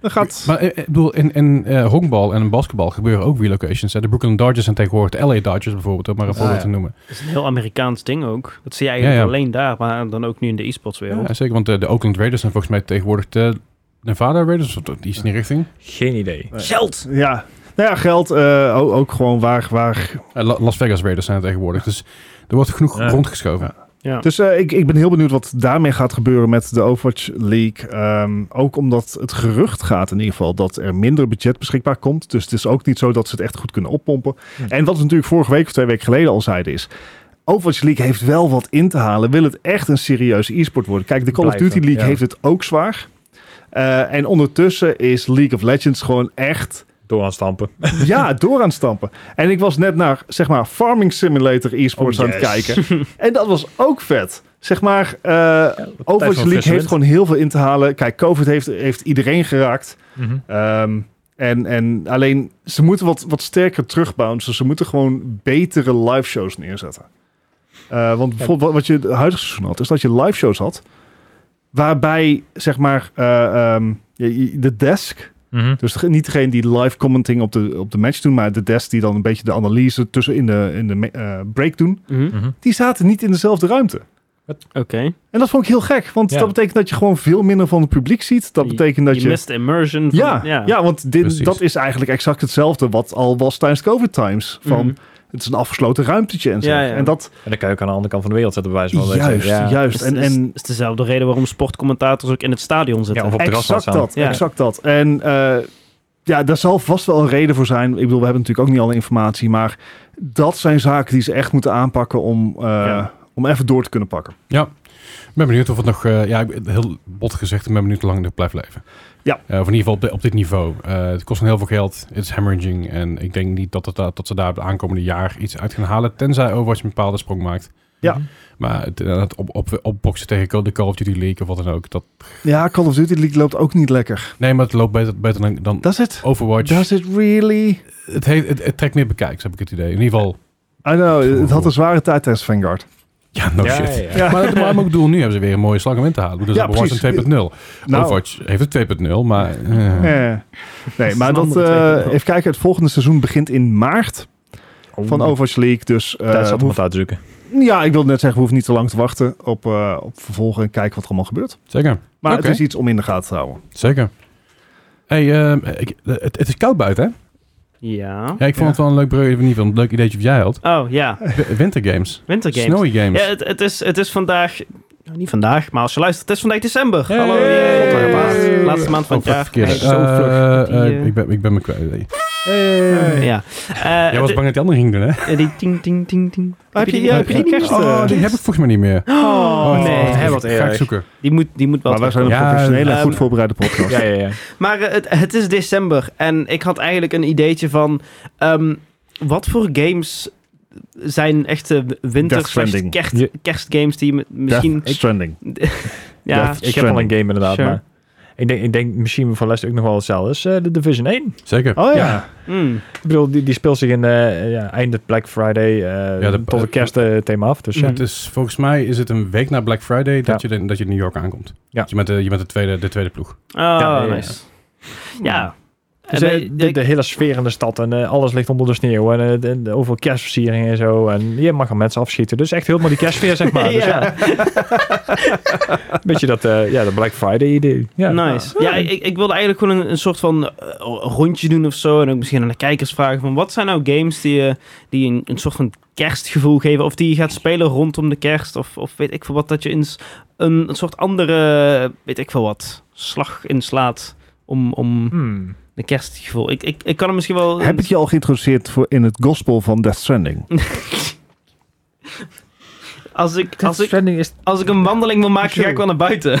Dan gaat... maar, eh, eh, ik bedoel, in, in eh, honkbal en in basketbal gebeuren ook relocations. Hè. De Brooklyn Dodgers zijn tegenwoordig de LA Dodgers bijvoorbeeld, om maar een Ah, voorbeeld ja. te noemen. Dat is een heel Amerikaans ding ook. Dat zie je eigenlijk Ja, ja. alleen daar, maar dan ook nu in de e-sports wereld. Ja, zeker, want eh, de Oakland Raiders zijn volgens mij tegenwoordig de Nevada Raiders, of iets in die richting. Geen idee. Geld! Ja, nou ja, geld eh, ook, ook gewoon waar. waar. Eh, La- Las Vegas Raiders zijn het tegenwoordig. Dus er wordt genoeg Ja. rondgeschoven. Ja. Dus eh, ik, ik ben heel benieuwd wat daarmee gaat gebeuren met de Overwatch League. Ehm, ook omdat het gerucht gaat in ieder geval dat er minder budget beschikbaar komt. Dus het is ook niet zo dat ze het echt goed kunnen oppompen. Hm. En wat we natuurlijk vorige week of twee weken geleden al zeiden is... Overwatch League heeft wel wat in te halen. Wil het echt een serieuze e-sport worden? Kijk, de Call of Blijven, Duty League ja. heeft het ook zwaar. Eh, en ondertussen is League of Legends gewoon echt Door aan het stampen. Ja, door aan het stampen. En ik was net naar, zeg maar, Farming Simulator e-sports Oh, aan yes. het *laughs* kijken. En dat was ook vet. Zeg maar, eh Overwatch van League frisse heeft wind. gewoon heel veel in te halen. Kijk, COVID heeft, heeft iedereen geraakt. Ehm, en, en alleen, ze moeten wat, wat sterker terugbouncen. Ze moeten gewoon betere live shows neerzetten. Eh, want bijvoorbeeld wat, wat je het huidige seizoen had, is dat je live shows had. Waarbij, zeg maar, eh, ehm, je- je- de desk, dus deg- niet degene die live commenting op de, op de match doen, maar de desk die dan een beetje de analyse tussen in de, in de me- eh, break doen. Mhm. Die zaten niet in dezelfde ruimte. Oké. En dat vond ik heel gek, want Ja. dat betekent dat je gewoon veel minder van het publiek ziet. Dat Je- betekent dat je, je... mist immersion. Van, ja, ja. ja. want dit, Precies. dat is eigenlijk exact hetzelfde wat al was tijdens COVID times. Van, Mhm. Het is een afgesloten ruimtetje en zo. Ja, ja. En dat En dan kan je ook aan de andere kant van de wereld zetten, bij wijze van spreken. juist, Ja. juist. Is, En, is, en is dezelfde reden waarom sportcommentators ook in het stadion Ja, zitten. of op terras laat exact staan. dat, Ja. exact dat. En eh, ja, daar zal vast wel een reden voor zijn. Ik bedoel, we hebben natuurlijk ook niet alle informatie, maar dat zijn zaken die ze echt moeten aanpakken om, eh, Ja. om even door te kunnen pakken. Ik ben benieuwd of het nog, eh, ja, ik ben- heel bot gezegd, ik ben benieuwd hoe lang dit blijft leven. Ja. Eh, of in ieder geval op, di- op dit niveau. Eh, het kost nog heel veel geld, het is hemorrhaging en ik denk niet dat, het, da- dat ze daar het aankomende jaar iets uit gaan halen, tenzij Overwatch een bepaalde sprong maakt. Ja. Maar het, eh, het op, op, opboksen tegen Call- de Call of Duty League of wat dan ook, dat, Ja, Call of Duty League loopt ook niet lekker. nee, maar het loopt beter, beter dan, dan Does it? Overwatch. Does it really? Het, heeft, het, het trekt meer bekijks, heb ik het idee. In ieder geval, I know, het had een zware tijd tijdens Vanguard. ja, no Ja, shit. ja, ja. Ja. Maar, maar ik bedoel, nu hebben ze weer een mooie slag om in te halen. Dus Ja, ja, Overwatch precies. een 2.0. Nou, Overwatch heeft het 2.0, maar... eh, eh. Nee, maar een dat, andere eh, teken. even kijken, het volgende seizoen begint in maart van Overwatch League. Dus eh, Tijd zat we om het uit te zoeken. hoeven- ja, ik wilde net zeggen, we hoeven niet te lang te wachten op, eh, op vervolgen en kijken wat er allemaal gebeurt. Zeker. Maar Oké. het is iets om in de gaten te houden. Zeker. Hey, ehm, ik, het, het is koud buiten, hè? Ja. Ja, ik vond Ja. het wel een leuk brugje, in ieder geval een leuk ideetje wat jij *laughs* had. Oh ja, W- Winter games. wintergames. Snowy games. Ja, het, het, is, het is vandaag... nou, niet vandaag, maar als je luistert, het is vandaag december. Hey. Hallo, Hey. God, waar maand. laatste maand van Oh, het jaar. verkeerd. Hij is zo Eh, vlug. Die, eh, eh, ik, ben, ik ben me kwijt. Ja. Eh, Jij was de- bang dat die andere ging doen, hè? eh, die ting, ting, ting, ting. Heb je- ja, heb je die niet? kerst, eh? *laughs* Oh, die heb ik volgens mij niet meer. Oh, nee. hè, wat Ga ik erg. zoeken. Die moet, die moet wel maar wij zijn een Ja, professionele en ehm, goed voorbereide podcast. Ja, *laughs* ja, ja. Maar eh, het, het is december en ik had eigenlijk een ideetje van... ehm, wat voor games zijn echte winter- Death Stranding. slash kerst, Je- kerstgames die je mi- Death misschien... Stranding. Ja, Ja, ik heb al een game inderdaad, Sure. maar ik denk, ik denk misschien voor Lester ook nog wel hetzelfde is eh, de Division 1. Zeker. Oh ja. Mm. Ik bedoel, die, die speelt zich in eh ja, einde Black Friday eh, Ja, de- tot de kerstthema af. Dus ja. Het is, volgens mij is het een week na Black Friday dat, je, de- dat je in New York aankomt. Ja. Dus je bent, de, je bent de, tweede, de tweede ploeg. Oh, ja, ja, ja. nice. Ja. Dus, En eh, wij- de, de hele sfeer in de stad en eh, alles ligt onder de sneeuw en eh, de- de- overal kerstversieringen en zo. En je mag er mensen afschieten. Dus echt helemaal die kerstsfeer, zeg *laughs* maar. Dus, ja. ja, Beetje dat, eh, ja, dat Black Friday idee. Ja. nice. Ja, ik, ik wilde eigenlijk gewoon een, een soort van eh, rondje doen of zo. En ook misschien aan de kijkers vragen van... Wat zijn nou games die, je- die een, een soort van kerstgevoel geven? Of die je gaat spelen rondom de kerst? Of, of weet ik veel wat. Dat je eens een, een soort andere, weet ik veel wat, slag inslaat om, om Hmm. de kerstgevoel. Ik, ik, ik kan er misschien wel... Heb ik je al geïntroduceerd voor in het gospel van Death Stranding? Mm. Als ik, als Death ik, Stranding is... als ik een wandeling wil maken, ga Zo. ik wel naar buiten. *laughs*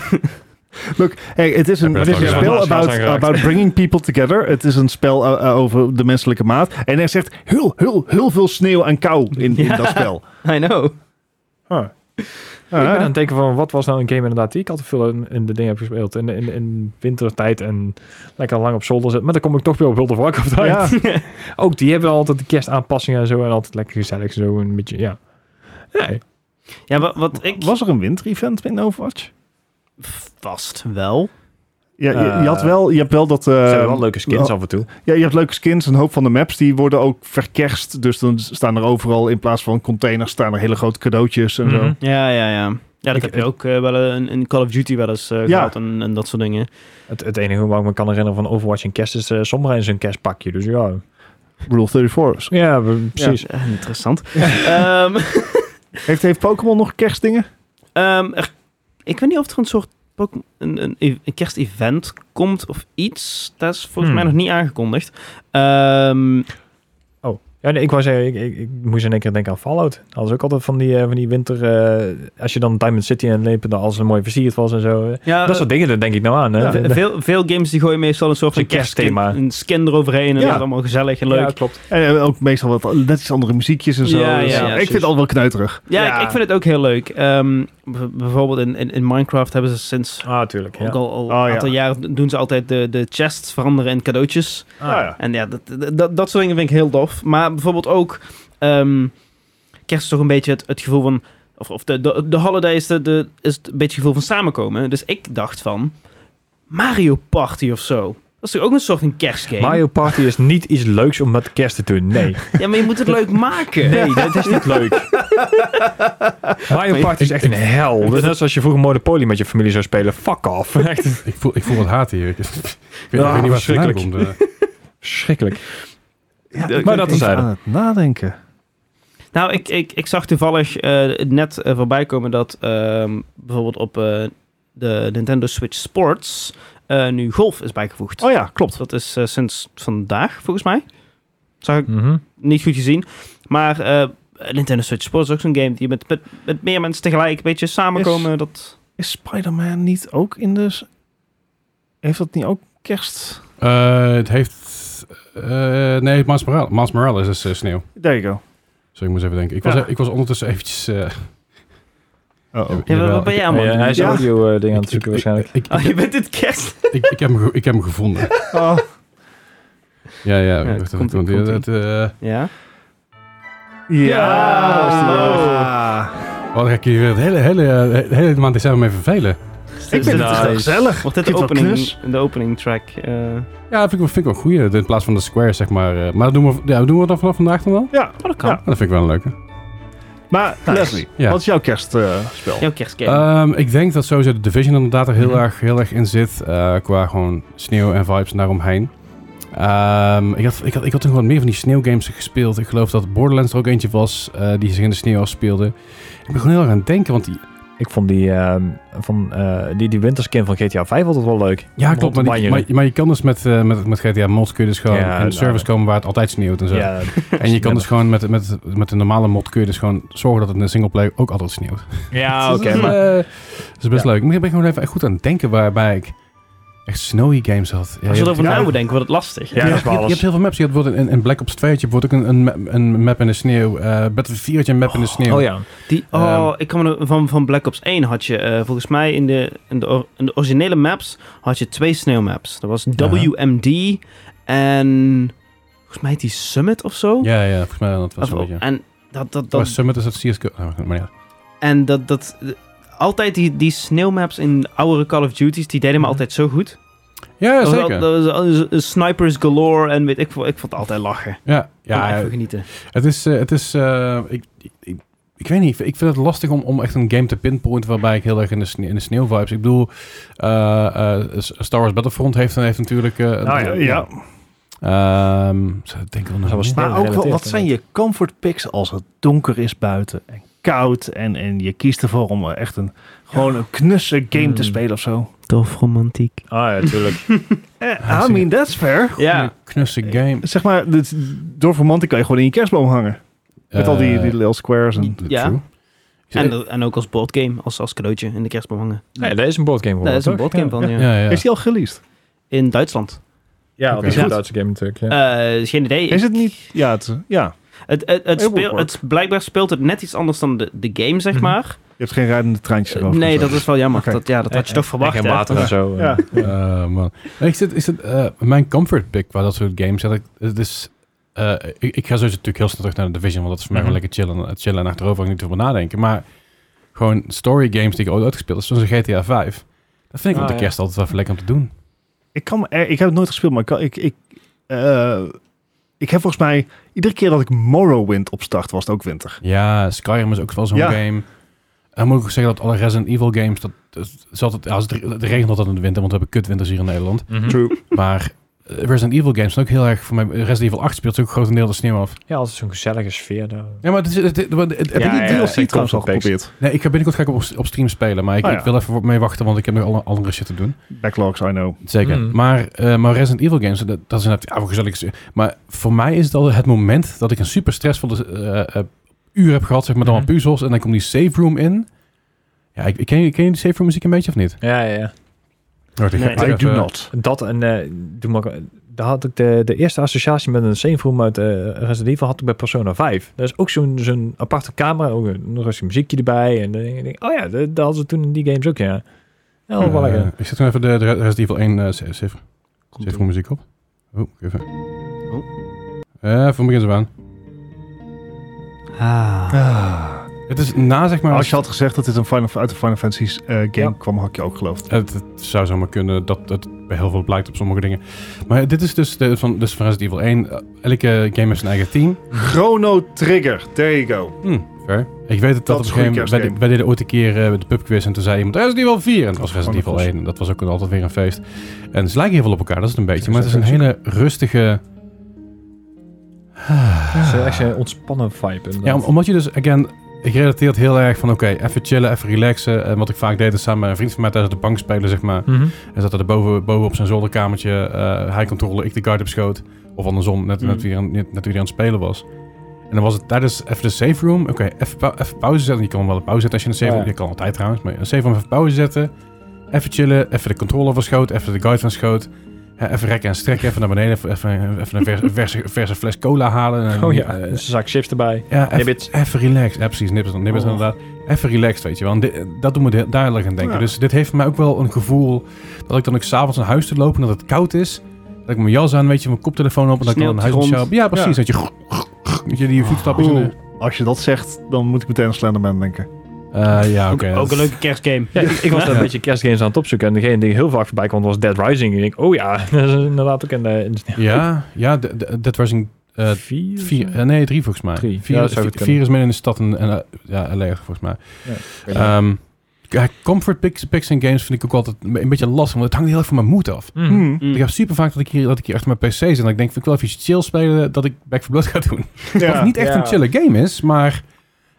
Look, hey, het is een, Heb het je is dat een spel al gedaan? about, Ja, aangeraakt. about bringing people together. Het is een spel eh, eh, over de menselijke maat. En er zegt heel, heel, heel veel sneeuw en kou in, in Ja. dat *laughs* spel. I know. Huh. Ah, Ik ben aan het nou denken van wat was nou een game inderdaad die ik altijd veel in, in de dingen heb gespeeld. In, in, in wintertijd en lekker lang op zolder zit. Maar dan kom ik toch weer op World of Warcraft *laughs* uit. Ook die hebben altijd de kerstaanpassingen en zo. En altijd lekker gezellig zo. Een beetje, ja. Nee. Ja, wat, wat ik... Was er een winter-event in Overwatch? Vast wel. Ja, je, je had Eh, wel, je hebt wel dat... eh, Zijn wel leuke skins wel- af en toe. Ja, je hebt leuke skins. Een hoop van de maps die worden ook verkerst. Dus dan staan er overal in plaats van containers staan er hele grote cadeautjes en Mhm. zo. Ja, ja, ja. Ja, dat Ik- heb je ook eh, wel een, in Call of Duty wel eens eh, Ja. gehad en, en dat soort dingen. Het, het enige waar ik me kan herinneren van Overwatch en kerst is eh sommigen in zijn kerstpakje. Dus ja. Rule 34. Ja, we- precies. Eh, interessant. *laughs* Ehm, Heeft, heeft Pokémon nog kerstdingen? ehm, er- ik weet niet of er een soort Pokémon- een, een, e- een kerstevent komt of iets. Dat is volgens Hmm. mij nog niet aangekondigd. Ehm, Ja, nee, ik was ik, ik, ik moest in één keer denken aan Fallout. Dat was ook altijd van die, eh, van die winter. eh, als je dan Diamond City en lepen, dan alles er mooi versierd was en zo. eh. ja, dat soort dingen, daar denk ik nou aan. Hè? eh, ve- veel, veel games die gooien meestal een soort van Een kerstthema. kerstskin- Een skin eroverheen en Ja. dat is allemaal gezellig en leuk. Ja, klopt. En eh, ook meestal wat net iets andere muziekjes en zo. Ja, ja, Dus ja, ik precies. vind het al wel kneuterig. Ja, Ja. Ik, ik vind het ook heel leuk. Ehm, b- bijvoorbeeld in, in, in Minecraft hebben ze sinds Ah, tuurlijk. Ja. ook al, al Oh, een ja. aantal jaren doen ze altijd de, de chests veranderen in cadeautjes. Ah, ja. En ja, dat, dat, dat soort dingen vind ik heel tof. Maar bijvoorbeeld ook ehm, kerst is toch een beetje het, het gevoel van... Of, of de, de, de holiday is, de, de- is het een beetje het gevoel van samenkomen. Dus ik dacht van Mario Party of zo. Dat is toch ook een soort van kerstgame? Mario Party is niet iets leuks om met kerst te doen. Nee. Ja, maar je moet het *laughs* leuk maken. Nee, dat is niet leuk. Mario Party is echt een hel. Dat is net zoals je vroeger Monopoly met je familie zou spelen. Fuck off. Echt Ik voel, ik voel wat haat hier. *laughs* Ik, weet- ik weet, Ah, niet waar het vandaan verschrikkelijk. komt. eh. verschrikkelijk. Ja, Maar ik ben dat even terzijde. aan het nadenken. Nou, ik, ik, ik zag toevallig eh, net eh, voorbij komen dat ehm, bijvoorbeeld op eh, de Nintendo Switch Sports eh, nu golf is bijgevoegd. Oh ja, klopt. Dat is eh, sinds vandaag, volgens mij. Zag ik Mhm. niet goed gezien. Maar eh, Nintendo Switch Sports is ook zo'n game die je met, met, met meer mensen tegelijk een beetje samenkomen. Dat... Is Spider-Man niet ook in de... s- Heeft dat niet ook kerst? Eh, het heeft... eh, nee, Maas Morales. Miles Morales is eh, sneeuw. There you go. Zo, ik moest even denken. Ik, Ja. was, ik was ondertussen eventjes... eh, Oh, oh. Ja, *laughs* wat- jawel, wat ben ik- jij allemaal? aan Ja, het doen? hij is Ja. audio eh, dingen aan het ik- zoeken waarschijnlijk. Ik, ik, Oh, je bent dit kerst. ik, ik heb, hem ge- ik heb hem gevonden. Oh, Ja, ja. het wacht even, komt- want het komt- het, eh, Ja. ja. is die Ah. ja. oh, dan ga ik hier weer de hele, hele, eh, de hele maand december mee vervelen. Ik vind het Nice. wel gezellig. Wordt dit de Vind je het wel opening, knus? de opening track? eh. Ja, vind ik, vind ik wel een goeie. In plaats van de square, zeg maar. eh, maar doen we, ja, doen we dat vanaf vandaag dan wel? Ja, Oh, dat kan. Ja. Ja, dat vind ik wel een leuke. Maar Leslie, Ja. wat is jouw eh, kerstspel? Jouw kerstgame. Ehm, ik denk dat sowieso de Division inderdaad er heel, Mhm. erg, heel erg in zit. eh, qua gewoon sneeuw en vibes daaromheen. Ehm, ik, had, ik, had, ik had toen wat meer van die sneeuwgames gespeeld. Ik geloof dat Borderlands er ook eentje was eh, die zich in de sneeuw afspeelde. Ik ben gewoon heel erg aan het denken, want die, Ik vond die, ehm, van, eh, die, die winterskin van GTA 5 altijd wel leuk. ja, Om op klopt, te maar, die, banjeren. maar, maar je kan dus met, eh, met, met GTA Mod kun je dus gewoon Ja, in de nou. servers komen waar het altijd sneeuwt en zo. Ja, En je kan dus gewoon met, met, met de normale mod kun je dus gewoon zorgen dat het in de singleplayer ook altijd sneeuwt. ja Ah, *laughs* oké. Dus, maar eh, dat is best Ja. leuk. Maar ik ben gewoon even echt goed aan het denken waarbij ik echt snowy games had. Ja, Als je je hebt- erover ja. na moet denken, wordt het lastig. Ja, dat is je, wel hebt- je alles. hebt heel veel maps. Je hebt bijvoorbeeld in, in Black Ops 2 had je bijvoorbeeld ook een, een, map, een map in de sneeuw. eh Battlefield 4 had je een map in de sneeuw. Oh ja. Die, oh, ik kan me nog- van, van Black Ops 1 had je, eh, volgens mij in de, in, de, or- in de originele maps, had je twee sneeuwmaps. Dat was Ja. WMD en volgens mij heet die Summit of zo. Ja, ja, volgens mij dat was Of- wel een beetje. en dat, dat, Dat dat, was Summit is dat CSGO. Nou, maar ja. en dat, dat altijd die, die sneeuwmaps in de oudere Call of Duty's, die deden me Mhm. altijd zo goed. ja, ja, Dat was al- zeker. dat was al- z- z- snipers galore en weet ik, veel. ik vond het altijd lachen. Ja, Ja, ja even genieten. het is... eh, het is eh, ik, ik, ik, ik weet niet, ik vind het lastig om, om echt een game te pinpointen waarbij ik heel erg in de, sne in de sneeuw vibes. Ik bedoel, eh, eh, Star Wars Battlefront heeft, heeft natuurlijk... eh, Nou Ja, Ja. ja. Ehm, zo, ik denk wel nog Dat was meer. Maar ook wel, wat gerelateerd, zijn je comfort picks als het donker is buiten en koud en, en je kiest ervoor om eh, echt een, gewoon een knusse game te Hmm. spelen of zo? Tof romantiek. Ah ja, tuurlijk. Eh, I mean, that's fair. Ja, knusse game. Zeg maar, dit, door romantic kan je gewoon in je kerstboom hangen. Met al die, Eh, die little squares en... Ja. True. en, dat- en ook als boardgame, als, als cadeautje in de kerstboom hangen. Nee, dat is een boardgame. voor Nee, dat is een toch? boardgame van, ja. ja, ja. Is die al geleased? In Duitsland. Ja, Oké. dat is Ja. een Duitse game natuurlijk. Ja. Eh, geen idee. Is het niet? Ja, het, ja. Het, het, het Heel speel- goed. het- blijkbaar speelt het net iets anders dan de, de game, zeg Mhm. maar. je hebt geen rijdende treintjes. erover nee, gezet. dat is wel jammer. Oké. Dat, ja, dat had je toch verwacht, En hè? water en zo. Ja. Eh, man. Nee, Is dit, is dit, eh, mijn comfort pick qua dat soort games? Dat ik, het is, eh, ik, ik ga sowieso natuurlijk heel snel terug naar de Division, want dat is voor mij Mhm. gewoon lekker chillen, en- chillen en achterover en niet over nadenken. Maar gewoon story games die ik ooit uitgespeeld heb, zoals een GTA 5. Dat vind ik Ah, op de ja. kerst altijd wel even lekker om te doen. Ik, kan, me er- ik heb het nooit gespeeld, maar ik, kan- ik, ik, eh, ik heb volgens mij... Iedere keer dat ik Morrowind opstart, was het ook winter. Ja, Skyrim is ook wel zo'n Ja. game. En moet ik ook zeggen dat alle Resident Evil games, dat, dat is altijd, ja, als het, re- het regent altijd in de winter, want we hebben kutwinters hier in *laughs* Nederland. Mhm. True. Maar eh, Resident Evil games zijn ook heel erg, voor mij, Resident Evil 8 speelt ook grotendeels de sneeuw af. Ja, altijd zo'n gezellige sfeer. daar. Ja, maar het is, het, het- het- het- heb Ja, je die ja, DLC ja. DLC trouwens al comfort picks. geprobeerd. Nee, ik ga binnenkort ga ik op, op stream spelen, maar ik, Oh, ja. ik wil even mee wachten, want ik heb nog alle andere shit te doen. Backlogs, I know. Zeker. Mm. Maar, eh, maar Resident Evil games, dat, dat is inderdaad ja, wel gezellig. Maar voor mij is het al het moment dat ik een super stressvolle eh, eh, uur heb gehad, zeg maar, dan Mhm. puzzels en dan komt die save room in. Ja, ik, ik ken, je- ken je die save room muziek een beetje of niet? Ja, ja, ja. Wacht, ik ga- Nee, ik ga I do even- not. Dat en eh, doe maar, ook- daar had ik de, de eerste associatie met een scenefilm uit eh Resident Evil had ik bij Persona 5. Dat is ook zo'n zo'n aparte camera, ook een nog eens een muziekje erbij. En dan denk ik, oh ja, dat, dat hadden ze toen in die games ook, ja. Ja, Oh, wel Eh, lekker. ik zet gewoon even de, de Resident Evil 1 eh, save, save, save room muziek op. Oh, even. Oh. Eh, van begin ze aan. Ah. Het is na, zeg maar... Als je had gezegd dat dit een Final, uit de Final Fantasy eh, game Ja. kwam, had ik je ook geloofd. Het, het zou zomaar kunnen dat het bij heel veel blijkt op sommige dingen. Maar dit is dus de, van, dus van Resident Evil 1. Eh, Elke game heeft zijn eigen team. Chrono Trigger, there you go. Hm, fair. Ik weet het Dat dat, op is een een goede gegeven moment... Wij, kerstgame. wij deden ooit een keer eh, de pubquiz en toen zei iemand Resident Evil 4. En het was Dat is Resident Evil gewoon 1. En dat was ook altijd weer een feest. En ze lijken heel veel op elkaar, dat is het een beetje. Zeker, Maar het is een zeker, hele rustige... Het is echt een ontspannen vibe. Ja, inderdaad. om- omdat je dus, again, ik relateer het heel erg van... Oké, even chillen, even relaxen. En wat ik vaak deed is samen met een vriend van mij tijdens de bank spelen, zeg maar... Mhm. Hij zat er boven, boven op zijn zolderkamertje. eh, hij controle, ik de guard op schoot. Of andersom, net, net, Mm. weer, aan- net, net weer aan het spelen was. En dan was het tijdens even de safe room. Oké, even, pau- even pauze zetten. Je kan wel een pauze zetten als je een safe Ja. room... Je kan altijd trouwens, maar een safe room even pauze zetten. Even chillen, even de controller van schoot. Even de guard van schoot. Eh, even rekken en strekken, even naar beneden. Even, even, even een vers- verse, *laughs* verse fles cola halen. En, Oh ja, eh, dus een zak chips erbij. ja, even, Nibbits. even relaxed. Ja, precies, nibbits, nibbits Oh. inderdaad. Even relaxed, weet je wel. En dit- dat doet me de- duidelijk aan denken. Ja. Dus dit heeft voor mij ook wel een gevoel dat ik dan ook s'avonds naar huis te lopen en dat het koud is. Dat ik mijn jas aan, weet je, mijn koptelefoon op en dat ik Sneeuw dan op naar de huis moet grond. sjouwen. Ja, precies. Dat je, dat je Oh. die voetstapjes... in de- Als je dat zegt, dan moet ik meteen aan Slenderman denken. Eh, ja, oké. Ook, ook een leuke kerstgame. Ja, ik, ik was *laughs* daar een beetje kerstgames aan het opzoeken. En degene die heel vaak voorbij kwam was Dead Rising. En ik denk, oh ja, *laughs* dat is inderdaad ook een... eh, een Ja, ja, d- d- dat was een... eh, vier? vier, eh, nee, drie volgens mij. Drie. Vier, Ja, dat zou goed vier, kunnen. is midden in de stad en, en eh, ja, leeg volgens mij. Ja. Ehm, ja, comfort picks, picks en games vind ik ook altijd een beetje lastig, want het hangt heel erg van mijn moed af. Mhm. Hmm. Mm. Ik heb super vaak dat ik hier, dat ik hier achter mijn PC zit en dat ik denk, ik wil even iets chill spelen, dat ik Back 4 Blood ga doen. Wat Ja. niet echt Ja. een chille game is, maar het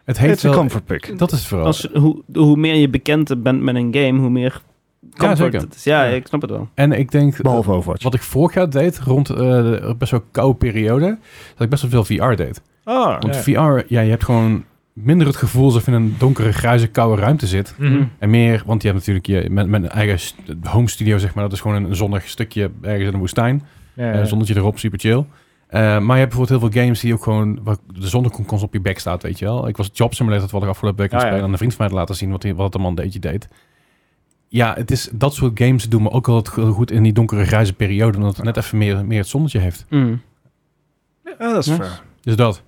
Het is heeft een wel... comfort pick. Dat is het vooral. Als, hoe, hoe meer je bekend bent met een game, hoe meer comfort zeker. het is. Ja, Ja. ik snap het wel. En ik denk, eh, Behalve Overwatch. wat ik vorig jaar deed, rond eh, de best wel koude periode, dat ik best wel veel VR deed. Ah, Oh, Want VR, ja, je hebt gewoon minder het gevoel alsof je in een donkere, grijze, koude ruimte zit. Mm-hmm. En meer, want je hebt natuurlijk je, mijn, mijn eigen st- home studio, zeg maar. Dat is gewoon een, een zonnig stukje ergens in de woestijn. Ja, Eh, zonnetje erop, super chill. Eh, maar je hebt bijvoorbeeld heel veel games die ook gewoon... waar de zon ook gewoon constant op je bek staat, weet je wel. Ik was Job Simulator, wat ik afgelopen week aan het Oh Ja, ja. spelen... aan een vriend van mij te laten zien wat, hij- wat de man deed. deed. Ja, het is, dat soort games doen me ook altijd heel goed in die donkere, grijze periode... omdat het net even meer, meer het zonnetje heeft. Ja, dat is Ja. fair. Dus dat.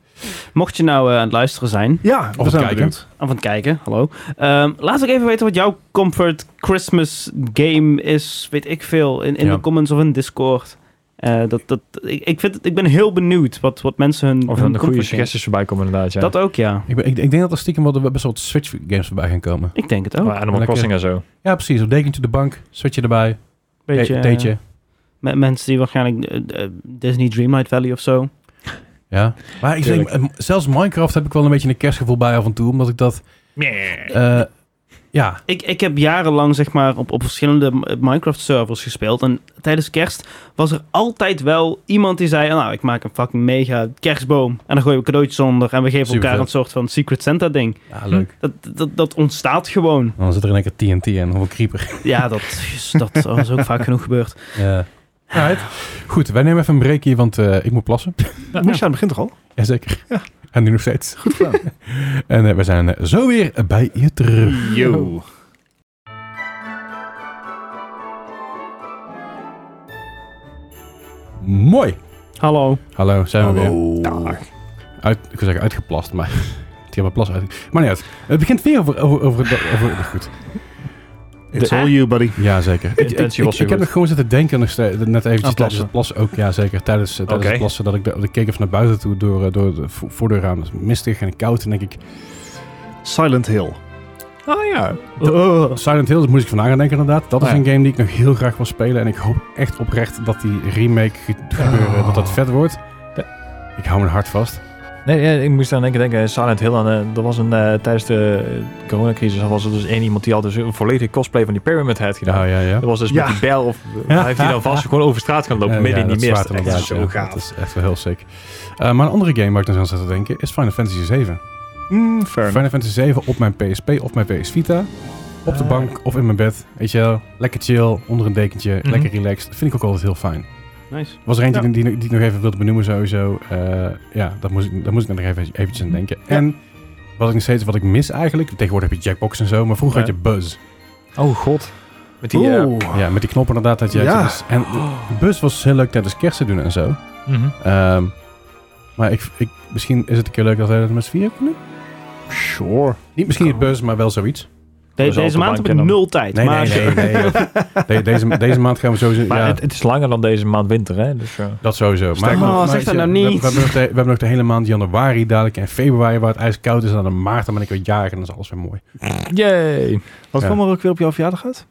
Mocht je nou eh, aan het luisteren zijn, Ja, het we zijn kijken. benieuwd. of aan het kijken, hallo. Ehm, laat ook even weten wat jouw comfort Christmas game is, weet ik veel, in, in Ja. de comments of in Discord. Eh, dat, dat, ik, ik, vind, het- ik ben heel benieuwd wat, wat mensen hun Of hun er een goede comfort games- suggesties voorbij komen inderdaad, ja. Dat ook, ja. Ik, ben, ik, ik denk dat er stiekem wel de- best wel wat Switch games voorbij gaan komen. Ik denk het ook. Maar Animal Lekker. Crossing en zo. Ja, precies. Een dekentje op de bank, Switchje erbij, Beetje, de- eh, theetje. met mensen die waarschijnlijk eh, eh, Disney Dreamlight Valley of zo. Ja. Maar ik denk, Tuurlijk. eh, zelfs Minecraft heb ik wel een beetje een kerstgevoel bij af en toe, omdat ik dat... eh, ja, Ik, ik heb jarenlang zeg maar op, op verschillende M- Minecraft-servers gespeeld. En tijdens kerst was er altijd wel iemand die zei... Nou, ik maak een fucking mega kerstboom. En dan gooien we cadeautjes onder. En we geven Super elkaar vet. een soort van Secret Santa-ding. ja leuk. Dat, dat, dat ontstaat gewoon. Dan zit er in één keer TNT en dan een creeper. Ja, dat is, dat is ook vaak genoeg gebeurd. Ja. Alright. Goed, wij nemen even een break hier, want eh, ik moet plassen. *laughs* Moest je aan het begin toch al? Jazeker. Ja. En nu nog steeds. Goed gedaan. *laughs* En eh, we zijn eh, zo weer bij je terug. Yo. Mooi. Hallo. Hallo, zijn we weer. Dag. Uit, ik wil zeggen uitgeplast, maar *laughs* die hebben plas uit. Maar niet uit. Het begint weer over... over, over, over goed. It's De- all you, buddy. Jazeker. Ik, ik, Intentie ik, ik was heb weer goed. nog gewoon zitten denken, nog steeds, net eventjes Aan tijdens het plassen ook, ja zeker, tijdens, eh, tijdens Oké. het plassen, dat ik, de- ik keek even naar buiten toe door, eh, door de vo- voordeurraam, dat is mistig en koud, en denk ik, Silent Hill. Ah ja. Oh, Silent Hill, daar moest ik van aan gaan denken inderdaad. Dat is Oh Ja. een game die ik nog heel graag wil spelen. En ik hoop echt oprecht dat die remake ge- gebeuren, dat Oh. dat vet wordt. Ik hou mijn hart vast. Nee, ja, ik moest aan denken, denken Silent Hill, en, eh, er was een, eh, tijdens de eh, coronacrisis was er dus één iemand die had dus een volledige cosplay van die Pyramid Head gedaan. Ja, ja, ja. Dat was dus Ja. met die bel, of Ja. heeft hij dan vast *laughs* gewoon over straat gaan lopen, Eh, midden ja, in die dat mist. zwaard Echt inderdaad, zo ja. gaaf. Dat is echt wel heel sick. Eh, maar een andere game waar ik nog aan zat te denken is Final Fantasy VII. Mm, fair enough. Final Fantasy 7 op mijn PSP of mijn PS Vita. Op de Ah. bank of in mijn bed. Weet je wel, lekker chill, onder een dekentje, Mhm. lekker relaxed. Vind ik ook altijd heel fijn. Nice. Was er eentje Ja. die, die, die ik nog even wilde benoemen sowieso. Eh, ja, daar moest, ik- daar moest ik nog even eventjes aan denken. En wat ik nog steeds wat ik mis eigenlijk. Tegenwoordig heb je Jackbox en zo, maar vroeger Ja. had je Buzz. Oh god. Met die... eh, Oeh. Ja, met die knoppen inderdaad. Dat je Ja. dus- en eh, Buzz was heel leuk tijdens kerst te doen en zo. mhm. Ehm, maar ik, ik, misschien is het een keer leuk dat wij dat met z'n vieren kunnen. Sure. Niet misschien niet Buzz, maar wel zoiets. De- is al deze te maand lang, heb ik Kenan. nul tijd. Nee, maar nee, nee. nee. De- deze, deze maand gaan we sowieso... Maar ja, het, het is langer dan deze maand winter, hè? Dus, eh, dat sowieso. Maar, Oh, zeg dat nou we- We, niet. hebben nog de, we hebben nog de hele maand januari dadelijk en februari waar het ijskoud is. En dan in maart dan ben ik weer jarig en dan is alles weer mooi. Yay! Wat Ja. kwam er ook weer op jouw verjaardag uit?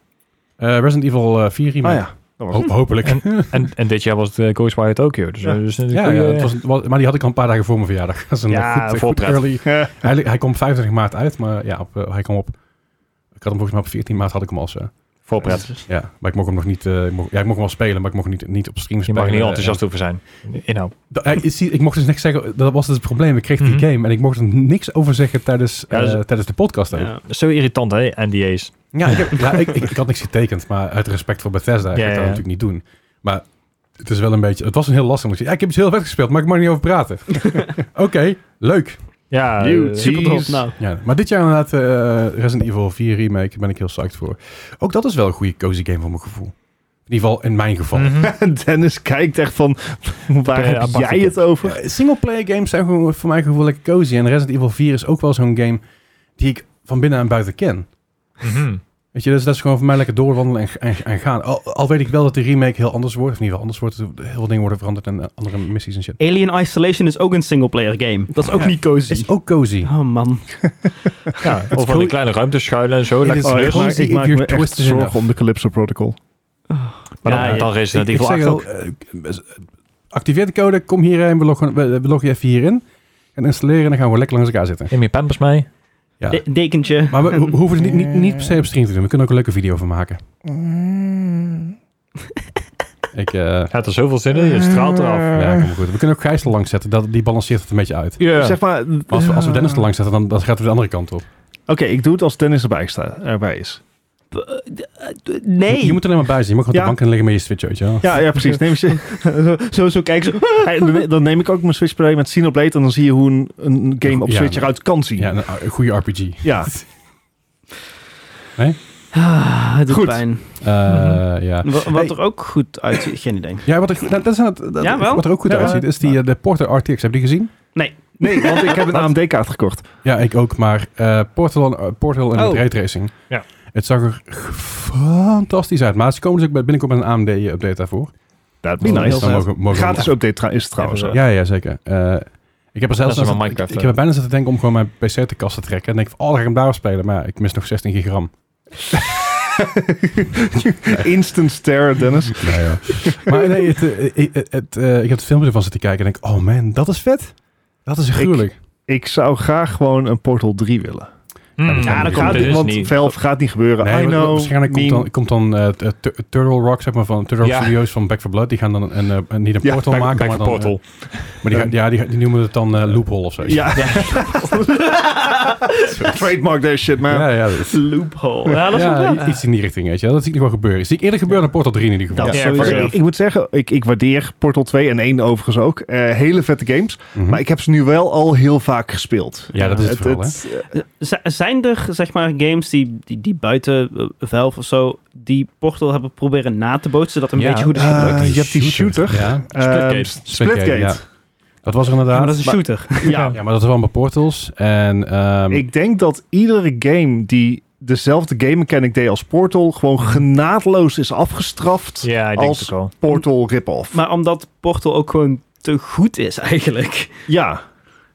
Eh, Resident Evil eh, 4 Ah remake. Oh ja. Dat was Ho- *laughs* hopelijk. *laughs* En, en dit jaar was het uh, Ghostwire Tokyo. Dus, Ja. eh, dus een ja, goeie- ja, het was, het was- maar die had ik al een paar dagen voor mijn verjaardag. *laughs* Dat is een Ja, goed, goed voorpret. early. het. Hij, hij komt 25 maart uit, maar ja, op, eh, hij kwam op... Ik had hem volgens mij op 14 maart had ik hem al zo. *laughs* voorpret. Ja, maar ik mocht hem nog niet... eh, ik mocht, ja, ik mocht hem wel spelen, maar ik mocht hem niet, niet op stream Je spelen. mag er niet Eh, enthousiast over zijn. Inhoud. Da- eh, ik, zie- ik mocht dus niks zeggen, dat was dus het probleem. Ik kreeg Mhm. die game en ik mocht er niks over zeggen tijdens, Ja, dus- dat is- eh, tijdens de podcast. ook. Ja, Ja. Zo irritant, hè? NDA's. ik, heb- *laughs* ja, ik, ik, ik had niks getekend, maar uit respect voor Bethesda, ik Ja, ga ik dat ja. natuurlijk niet doen. Maar het is wel een beetje, het was een heel lastig. omdat ik zei, Ja, ik heb iets heel vet gespeeld, maar ik mag er niet over *laughs* praten. Oké, leuk. Ja, You eh, Super tof. Jeez. Nou, Ja, maar dit jaar inderdaad eh, Resident Evil 4 remake, ben ik heel psyched voor. Ook dat is wel een goede cozy game voor mijn gevoel. In ieder geval in mijn geval. mhm. Dennis kijkt echt van, waar Eh, heb apart, jij ik- het over? Ja, Singleplayer games zijn gewoon voor mijn gevoel lekker cozy. En Resident Evil 4 is ook wel zo'n game die ik van binnen en buiten ken. Mhm. Weet je, dus dat is gewoon voor mij lekker doorwandelen en, en, en gaan. Al, al weet ik wel dat die remake heel anders wordt. Of in ieder geval anders wordt. Heel veel dingen worden veranderd en eh, andere missies en shit. Alien Isolation is ook een singleplayer game. Dat is ook Ja. niet cozy. Is ook cozy. Oh man. Ja, of in cool. die kleine ruimtes schuilen en zo. Het lekker- is Oh, ik cozy maak, ik if maak you're me echt twisted enough. zorgen om de Calypso Protocol. Maar dan, Ja, ja. dan Resident Ik- ik Evil zeg 8 ook. al, eh, activeer de code, kom hierheen, we loggen, we, we loggen je even hierin. En installeren en dan gaan we lekker langs elkaar zitten. Neem je pampers mee. Ja. De- dekentje. Maar we, we *laughs* hoeven het niet, niet, niet per se op stream te doen. We kunnen ook een leuke video van maken. Ik, eh Gaat er zoveel zin in? Je straalt eraf. ja, kom maar goed. We kunnen ook Gijs er langs zetten. Dat, die balanceert het een beetje uit. Zeg maar, Maar ah. als, we, als we Dennis er langs zetten, dan, dan gaat het de andere kant op. Oké, ik doe het als Dennis erbij, sta, erbij is. eh, Nee. Je, je moet er helemaal bij zijn. Je mag op Ja. de bank en liggen met je switch, weet je wel. Ja, ja precies. Neem je, zo, zo kijk zo. *laughs* Hey, dan- dan neem ik ook mijn Switch Play met Xenoblade en dan zie je hoe een, een game op Ja. Switch eruit kan zien. Ja, Ja. een, een goede RPG. Ah, het doet Goed. pijn. Eh, ja. Wa- Wat, Hey. er ook goed *coughs* uitziet, geen idee. Ja, wat er, dat, dat is het- dat- Ja, wel? wat er ook goed Ja. uitziet, is die eh, de Porter RTX. Heb je die gezien? Nee, want ik heb een AMD-kaart gekocht. Ja, ik ook. Maar eh Portal, eh, Portal en Oh. het raytracing. Ja. Het zag er g- fantastisch uit. Maar ze komen dus ook bij- binnenkort met een AMD-update daarvoor. That'd be Oh, Dus nice. dan vet. mogen, mogen we- Gratis update tra- is het trouwens. Even ook. zo. Ja, ja, zeker. Eh, ik heb er zelfs Dat is aan maar zitten- Minecraft, ik, ik hè? heb er bijna zitten denken om gewoon mijn PC uit de kast te trekken. En denk van, oh, dan ga ik hem daarop spelen. Maar ja, ik mis nog 16 gigram. Instant stare, Dennis. Nou ja. maar nee, het, eh, eh, het, eh, ik heb het filmpje ervan zitten kijken en denk, oh man, dat is vet. Dat is gruwelijk. Ik zou graag gewoon een Portal 3 willen. Hmm. Ja, dat gaat komt niet, dus want niet. Valve gaat niet gebeuren. Nee, I wa- wa- know, waarschijnlijk komt meme. dan, komt dan eh, t- eh, t- Turtle Rock, zeg maar, van Turtle Rock Ja. Studios van Back for Blood. Die gaan dan een, eh, een- niet een Ja, portal Back- maken, maar, back for dan, eh, portal. maar die, gaan- ja, die, gaan- die noemen het dan eh, Loophole of zo. Ja. *laughs* Trademark that shit, man. ja, ja, dat is- Loophole. Ja, dat is ja, wel- i- iets in die richting, weet je. wel. Dat zie ik nog wel gebeuren. Zie ik eerder gebeuren dan Portal 3 in ieder geval. Dat Ja, sowieso. sowieso. Ik, ik moet zeggen, ik, ik waardeer Portal 2 en 1 overigens ook. Eh, hele vette games. Mhm. Maar ik heb ze nu wel al heel vaak gespeeld. ja, dat is het, vooral, het- eh, Z- zijn er zeg maar games die, die, die buiten eh, Valve of zo die Portal hebben proberen na te bootsen dat een Ja. beetje goed is Eh, je gebruikt? hebt die shooter. Ja. ehm, Splitgate. Splitgate. ja. Dat was er Ja, maar inderdaad. dat is een shooter. Ja, Ja, maar dat is wel bij Portals. En ehm, ik denk dat iedere game die dezelfde game mechanic deed als Portal... gewoon genadeloos is afgestraft. Ja, ik denk Als- het ook wel. Portal rip-off. *laughs* Maar omdat Portal ook gewoon te goed is eigenlijk. Ja,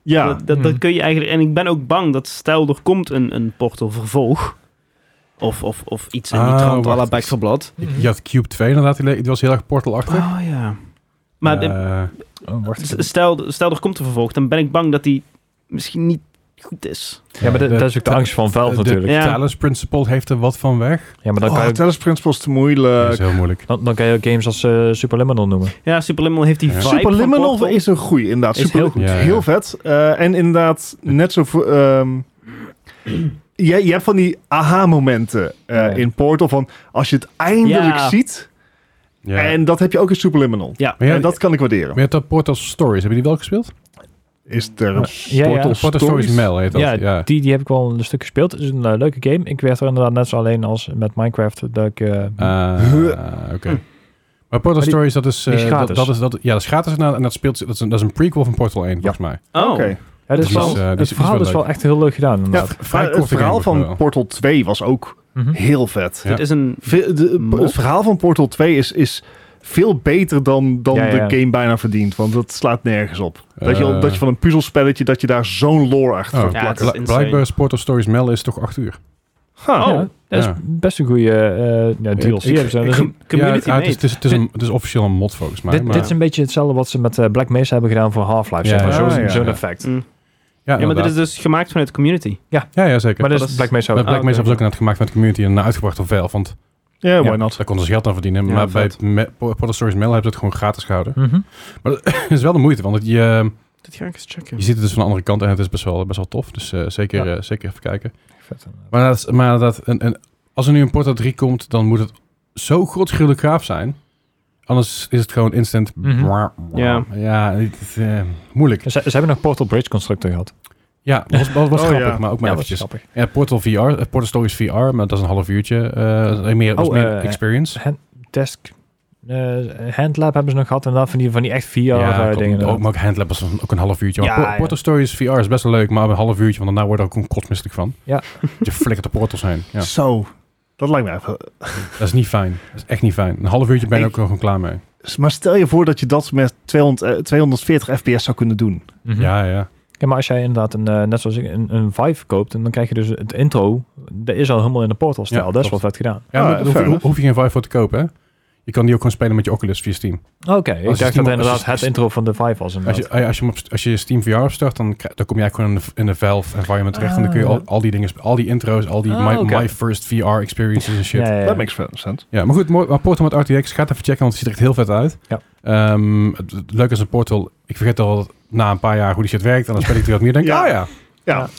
ja. Dat, dat, dat kun je eigenlijk. En ik ben ook bang dat stel er komt een, een Portal vervolg. Of, of, of iets in die Ah, trant à la wacht. Back 4 Blood. je had Cube 2 inderdaad. Die, le- die was heel erg Portal-achtig. Oh ja. Maar eh, Eh, Oh, wacht. s- stel, stel er komt een vervolg, dan ben ik bang dat die misschien niet goed is. Ja, maar dat- dat is ook de angst van Valve de- natuurlijk. Ja. Talents Principle heeft er wat van weg. Ja, maar dan Oh, kan je, Tennis Principle is te Dat is moeilijk. heel moeilijk. dan, dan kan je ook games als eh Superliminal noemen. Ja, Superliminal heeft die Ja. vibe van Superliminal Portal. is een goeie, inderdaad. Is heel goed. Ja, ja. Heel vet. Eh, en inderdaad, net zo... voor, ehm, je, je hebt van die aha-momenten eh, Ja. in Portal. Van als je het eindelijk Ja. ziet. Ja. En dat heb je ook in Superliminal. Ja. Maar ja, en dat kan ik waarderen. maar je had dat Portal Stories. Heb je die wel gespeeld? Is er een Ja, ja. Portal Portal Stories Stories? Mail heet dat. Ja, Ja, ja. Die, die heb ik wel een stuk gespeeld. Het is een eh, leuke game. Ik werd er inderdaad net zo alleen als met Minecraft. Dat ik, eh, Eh, Oké. Maar Portal Maar die- Stories, dat is, eh, die is dat, gratis. dat is, dat, ja, dat is gratis inderdaad. en dat, speelt, dat, is een, dat is een prequel van Portal 1, volgens mij. Oh, Oké. ja, dit die is is, wel, eh, die is- het die is verhaal wel is wel leuk. echt heel leuk gedaan Ja, inderdaad. Vrij maar het korte verhaal game, van volgens mij Nou, wel. Hm? Portal 2 was ook Mhm. heel vet. Ja. dit is een... Ve- de- Mol? het verhaal van Portal 2 is, is veel beter dan, dan Ja, ja. de game bijna verdient. Want dat slaat nergens op. Dat je, Eh. dat je van een puzzelspelletje, dat je daar zo'n lore achter Oh. kan Ja, het plakken. is Bla- insane. Blijkbaar is Portal Stories Mail is toch 8 uur. Oh. Ha. Ja, dat is Oh, Ja. best een goede eh ja, ik- DLC. hebben ze. Dat is een- Community ja, het, made. is, het, is, het, is een, het is officieel een mod volgens mij. dit, maar, dit is een beetje hetzelfde wat ze met eh, Black Mesa hebben gedaan voor Half-Life. Ja, zeg maar. ja, Zo'n ja, zo'n ja. effect. Mm. ja, Ja, maar dit inderdaad. is dus gemaakt vanuit de community. ja, ja, zeker. Maar Maar dit dat is is- Black Mesa. Black ook. Mesa oké. hebben ze ook inderdaad gemaakt van de community en uitgebracht door Valve. Want Ja, why ja, dus- not? daar konden ze geld aan verdienen. Ja, maar bij vet. het me- Portal Stories Mail hebben ze het gewoon gratis gehouden. *laughs* Mhm. Het is wel de moeite, want het- je, Dit ga ik eens checken. je ziet het dus van de andere kant en het is best wel, best wel tof. Dus eh, zeker, eh, zeker even kijken. Vet, eh, inderdaad. Maar, dat, is- maar dat, een, een, als er nu een Portal 3 komt, dan moet het zo grotschuwelijk gaaf zijn. Anders is het gewoon instant... Mhm. Ja. ja het is, eh, moeilijk. Ze, ze hebben nog Portal Bridge Constructor gehad. Ja, was, was, was Oh, grappig, ja. maar ook maar ja, dat is eventjes. grappig. Ja, Portal VR, eh, Portal Stories VR, maar dat is een half uurtje. eh nee, meer, was Oh, meer eh, experience. Desk. eh, handlab hebben ze nog gehad. Inderdaad, van die, van die echt VR eh, klopt. dingen. ook, maar ook handlab was een- ook een half uurtje. Maar Ja, Por- ja. Portal Stories VR is best wel leuk, maar een half uurtje, want daarna word ik ook kotsmisselijk van. Ja. *laughs* Je flikkert de portals heen. Ja. Zo, dat lijkt me even. Dat is niet fijn. Dat is echt niet fijn. Een half uurtje ben je Ik- ook gewoon klaar mee. Maar stel je voor dat je dat met 200, eh, 240 fps zou kunnen doen. Mhm. Ja, ja. Ja, maar als jij inderdaad een, eh, net zoals ik, een, een Vive koopt, en dan krijg je dus het intro, dat is al helemaal in de portal stijl. Ja, dat is wel klopt. vet gedaan. ja Ah, maar daar hoef, fair je- hoef je geen Vive voor te kopen, hè? Je kan die ook gewoon spelen met je Oculus via Steam. Oké, ik Als je dacht Steam- dat als inderdaad je- het intro van de Vive was. Als inderdaad. je, eh, als, je hem op, als je Steam VR opstart, dan, krijg- dan kom je eigenlijk gewoon in de, in de Valve environment terecht. En dan kun je al, Ah. al die dingen, sp- al die intro's, al die Ah, my, oké. my first VR experiences en shit. Ja, Ja, ja, ja. Dat makes sense. maar goed, mooi- maar Portal met RTX, ga het even checken, want het ziet er echt heel vet uit. Ja. Ehm, het, het leuke is een Portal, ik vergeet al na een paar jaar hoe die shit werkt. En dan speel ik er wat meer denk ik, Ja. ah ja. Je,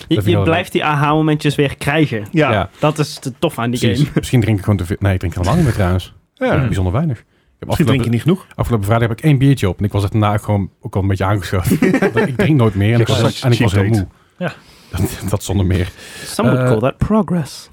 vind ik je wel blijft die aha-momentjes weer krijgen. Ja. Ja. Dat is te tof aan die Precies. game. Misschien drink ik gewoon te veel. Nee, ik drink heel lang meer trouwens. Ja. Ja. Bijzonder weinig. Ik heb Misschien drink je afgelopen, niet genoeg. afgelopen vrijdag heb ik één biertje op. En ik was echt daarna ook gewoon ook al een beetje *laughs* aangeschoten. Want ik drink nooit meer. En ik Ja, was, such en ik was heel cheap moe. Ja. Dat, dat zonder meer. *laughs* Some would Eh, call that progress.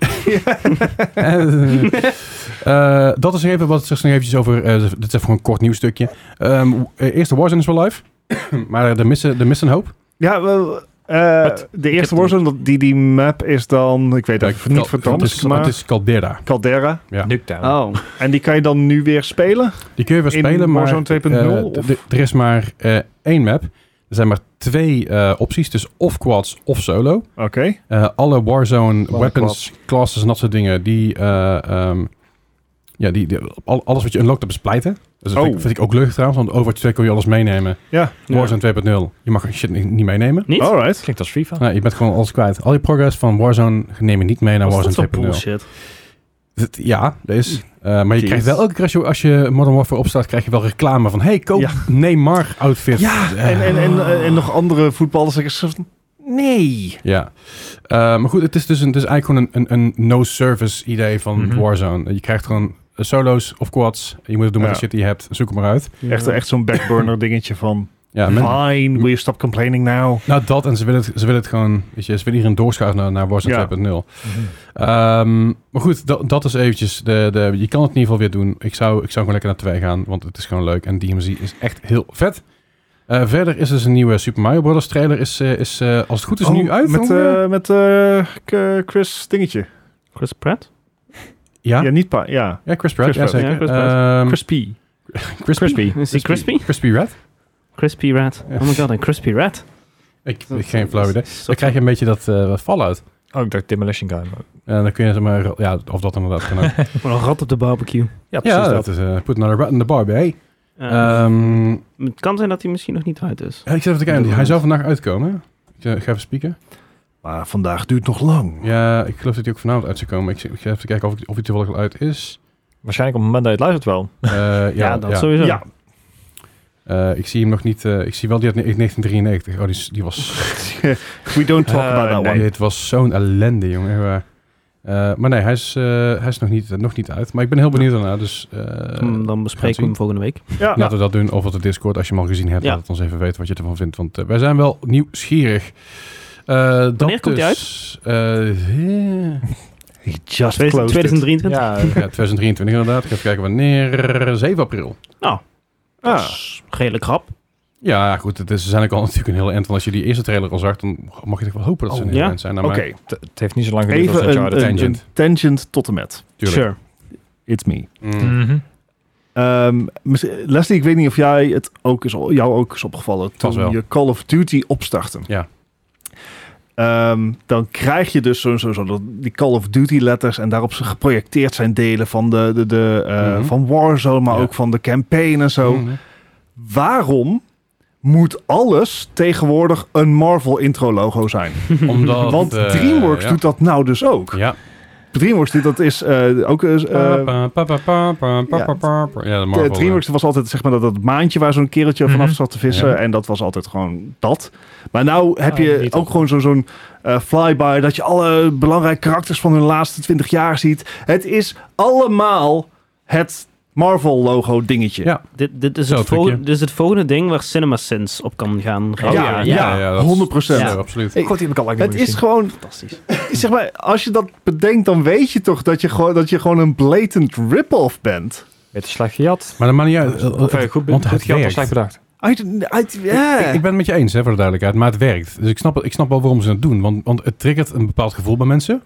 Eh, dat is even wat straks nog eventjes over. eh, dit is even gewoon een kort nieuwsstukje. Ehm eh, eerst de Warzone is wel live. *coughs* maar de missen, de missen een hoop. Ja, wel, eh, Wat? de heb eerste hem Warzone, dat- die, die map is dan, ik weet Ja, even niet Cal- het, is, vertand, het maar is Caldera. Caldera. Nuketown. Oh, En die kan je dan nu weer spelen. Die kun je weer In spelen, maar Warzone 2.0 eh, d- of? d- er is maar eh, één map. Er zijn maar twee eh, opties, dus of quads of solo. Oké. Eh, alle Warzone Alle weapons, quads. classes en dat soort dingen, die, eh, ehm, ja, die, die- al- alles wat je unlockt, dat is splijten. Dus dat Oh. vind, ik, vind ik ook leuk trouwens, want Overwatch 2 kon je alles meenemen. Ja. Warzone Oh, 2.0, je mag shit niet, niet meenemen. niet? Alright. Klinkt als *laughs* FIFA. Nee, je bent gewoon alles kwijt. Al je progress van Warzone neem je niet mee naar Wat is dat Warzone voor 2.0. bullshit? Dat- Ja, dat is. eh, maar je Jeez. krijgt wel elke keer als je, als je Modern Warfare opstaat, krijg je wel reclame van... Hey, koop Ja. Neymar outfit. Ja, Eh, en, en, en, en, en nog andere voetballers. Ik zeg, Nee. Ja, Eh, maar goed, het is dus een, het is eigenlijk gewoon een, een, een no-service idee van Mhm. Warzone. Je krijgt gewoon eh, solo's of quads. Je moet het doen met Ja. de shit die je hebt. Zoek hem maar uit. Echt, Ja. echt zo'n backburner dingetje van, Ja, men- fine, will you stop complaining now? nou dat en ze willen het, ze willen het gewoon, weet je, ze willen hier een doorschuif naar, naar Warzone Ja. 2.0. Mhm. Ehm, maar goed, dat- dat is eventjes, de, de, je kan het in ieder geval weer doen. Ik zou, ik zou gewoon lekker naar 2 gaan, want het is gewoon leuk. En DMZ is echt heel vet. Eh, verder is dus een nieuwe Super Mario Bros. trailer. Is, eh, is, eh, als het goed is, Oh, nu uit. Met, ongeveer? eh, met eh, K- Chris dingetje. Chris Pratt? ja? Ja, ja? niet pa ja. Chris Chris Pratt. ja, Pratt. zeker. Ja, Chris Ehm, Crispy. Crispy. Crispy. Is hij Crispy? Crispy Red? Crispy Rat. Ja. Oh my god, een Crispy Rat. Ik, Dat- ik geen flauw idee. dat is Dan krijg je een beetje dat eh, Fallout. Oh, ik dacht Demolition Guy. maar- En dan kun je zeg maar... Ja, of dat inderdaad kan ook. Gewoon een rat op de barbecue. Ja, precies ja, dat. dat is... eh put another rat in the barbie, hey. Eh, Ehm, het kan zijn dat hij misschien nog niet uit is. ik zit even te kijken. Hij zou vandaag uitkomen. Ik eh, ga even spieken. Maar vandaag duurt nog lang. Ja, ik geloof dat hij ook vanavond uit zou komen. Ik, zit- ik ga even kijken of, ik, of hij toevallig al uit is. Waarschijnlijk op het moment dat je het luistert Eh, wel. ja, Ja, ja, dat sowieso. Mm, Ja. *laughs* Eh, ik zie hem nog niet... eh, ik zie wel die uit 1993. Oh, die, is- die was... We don't talk Eh, about that nee. one. Dit was zo'n ellende, jongen. Echt waar. Eh, maar nee, hij is, eh, hij is nog, niet, nog niet uit. Maar ik ben heel benieuwd daarna. Dus, eh, Hmm, dan gaat bespreken zien. we hem volgende week. Ja, Laten we dat doen. Of op de Discord, als je hem al gezien hebt, Ja. laat het ons even weten wat je ervan vindt. Want eh, wij zijn wel nieuwsgierig. Eh dat komt die dus, eh, *laughs* he just Tweede- closed it. 2023? Ja, ja, 2023 inderdaad. Ik ga even kijken wanneer. 7 april. Dat Ah, is redelijk rap. Ja, goed. Het is, ze zijn ook al *laughs* natuurlijk een heel eind. Want als je die eerste trailer al zag, dan mag je toch wel hopen dat ze Oh, een heel ja? eind zijn. Nou, oké. maar het, het heeft niet zo lang geduurd als Even een, Uncharted. een, Tangent. een tangent tot en met. tuurlijk. It's me. Mm. Mhm. Ehm, mis- Leslie, ik weet niet of jij het ook is, jou ook is opgevallen toen Vast wel. je Call of Duty opstartte. Ja. Ehm, dan krijg je dus zo, zo, zo dat- die Call of Duty letters en daarop ze geprojecteerd zijn delen van, de, de, de, eh, Mhm. van Warzone, maar Ja. ook van de campaign en zo. Mm. Waarom moet alles tegenwoordig een Marvel intro logo zijn? *laughs* Omdat, Want eh, DreamWorks ja. doet dat nou dus ook. Ja. DreamWorks doet dat is eh, ook... eh, eh, Pa, pa, pa, pa, pa, pa, pa, pa, pa. Ja, de De Marvel. Eh, eh. DreamWorks was altijd zeg maar, dat, dat maandje waar zo'n kereltje vanaf Mhm. zat te vissen. Ja. En dat was altijd gewoon dat. Maar nou heb Ah, je niet ook dat. gewoon zo- zo'n eh, flyby. Dat je alle belangrijke karakters van hun laatste 20 jaar ziet. Het is allemaal het Marvel logo dingetje. Ja. Dit, dit, is Zo, het volgende, trucje. dit is het volgende ding waar CinemaSins op kan gaan Ja, reageren. ja, Oh, ja, ja, dat is- 100%. Ja, absoluut. Ik- God, die heb ik al lang niet Het meer is gezien. gewoon, Fantastisch. zeg maar, als je dat bedenkt, dan weet je toch dat je gewoon, dat je gewoon een blatant rip-off bent. Beetje slecht gejat. Maar dat maakt niet uit. Of eh, goed, Want want het goed gejat of werkt. slecht bedacht. Uit, uit, ja. Ik, ik ben het met je eens, hè, voor de duidelijkheid. Maar het werkt. Dus ik snap, ik snap wel waarom ze het doen. Want, want het triggert een bepaald gevoel bij mensen.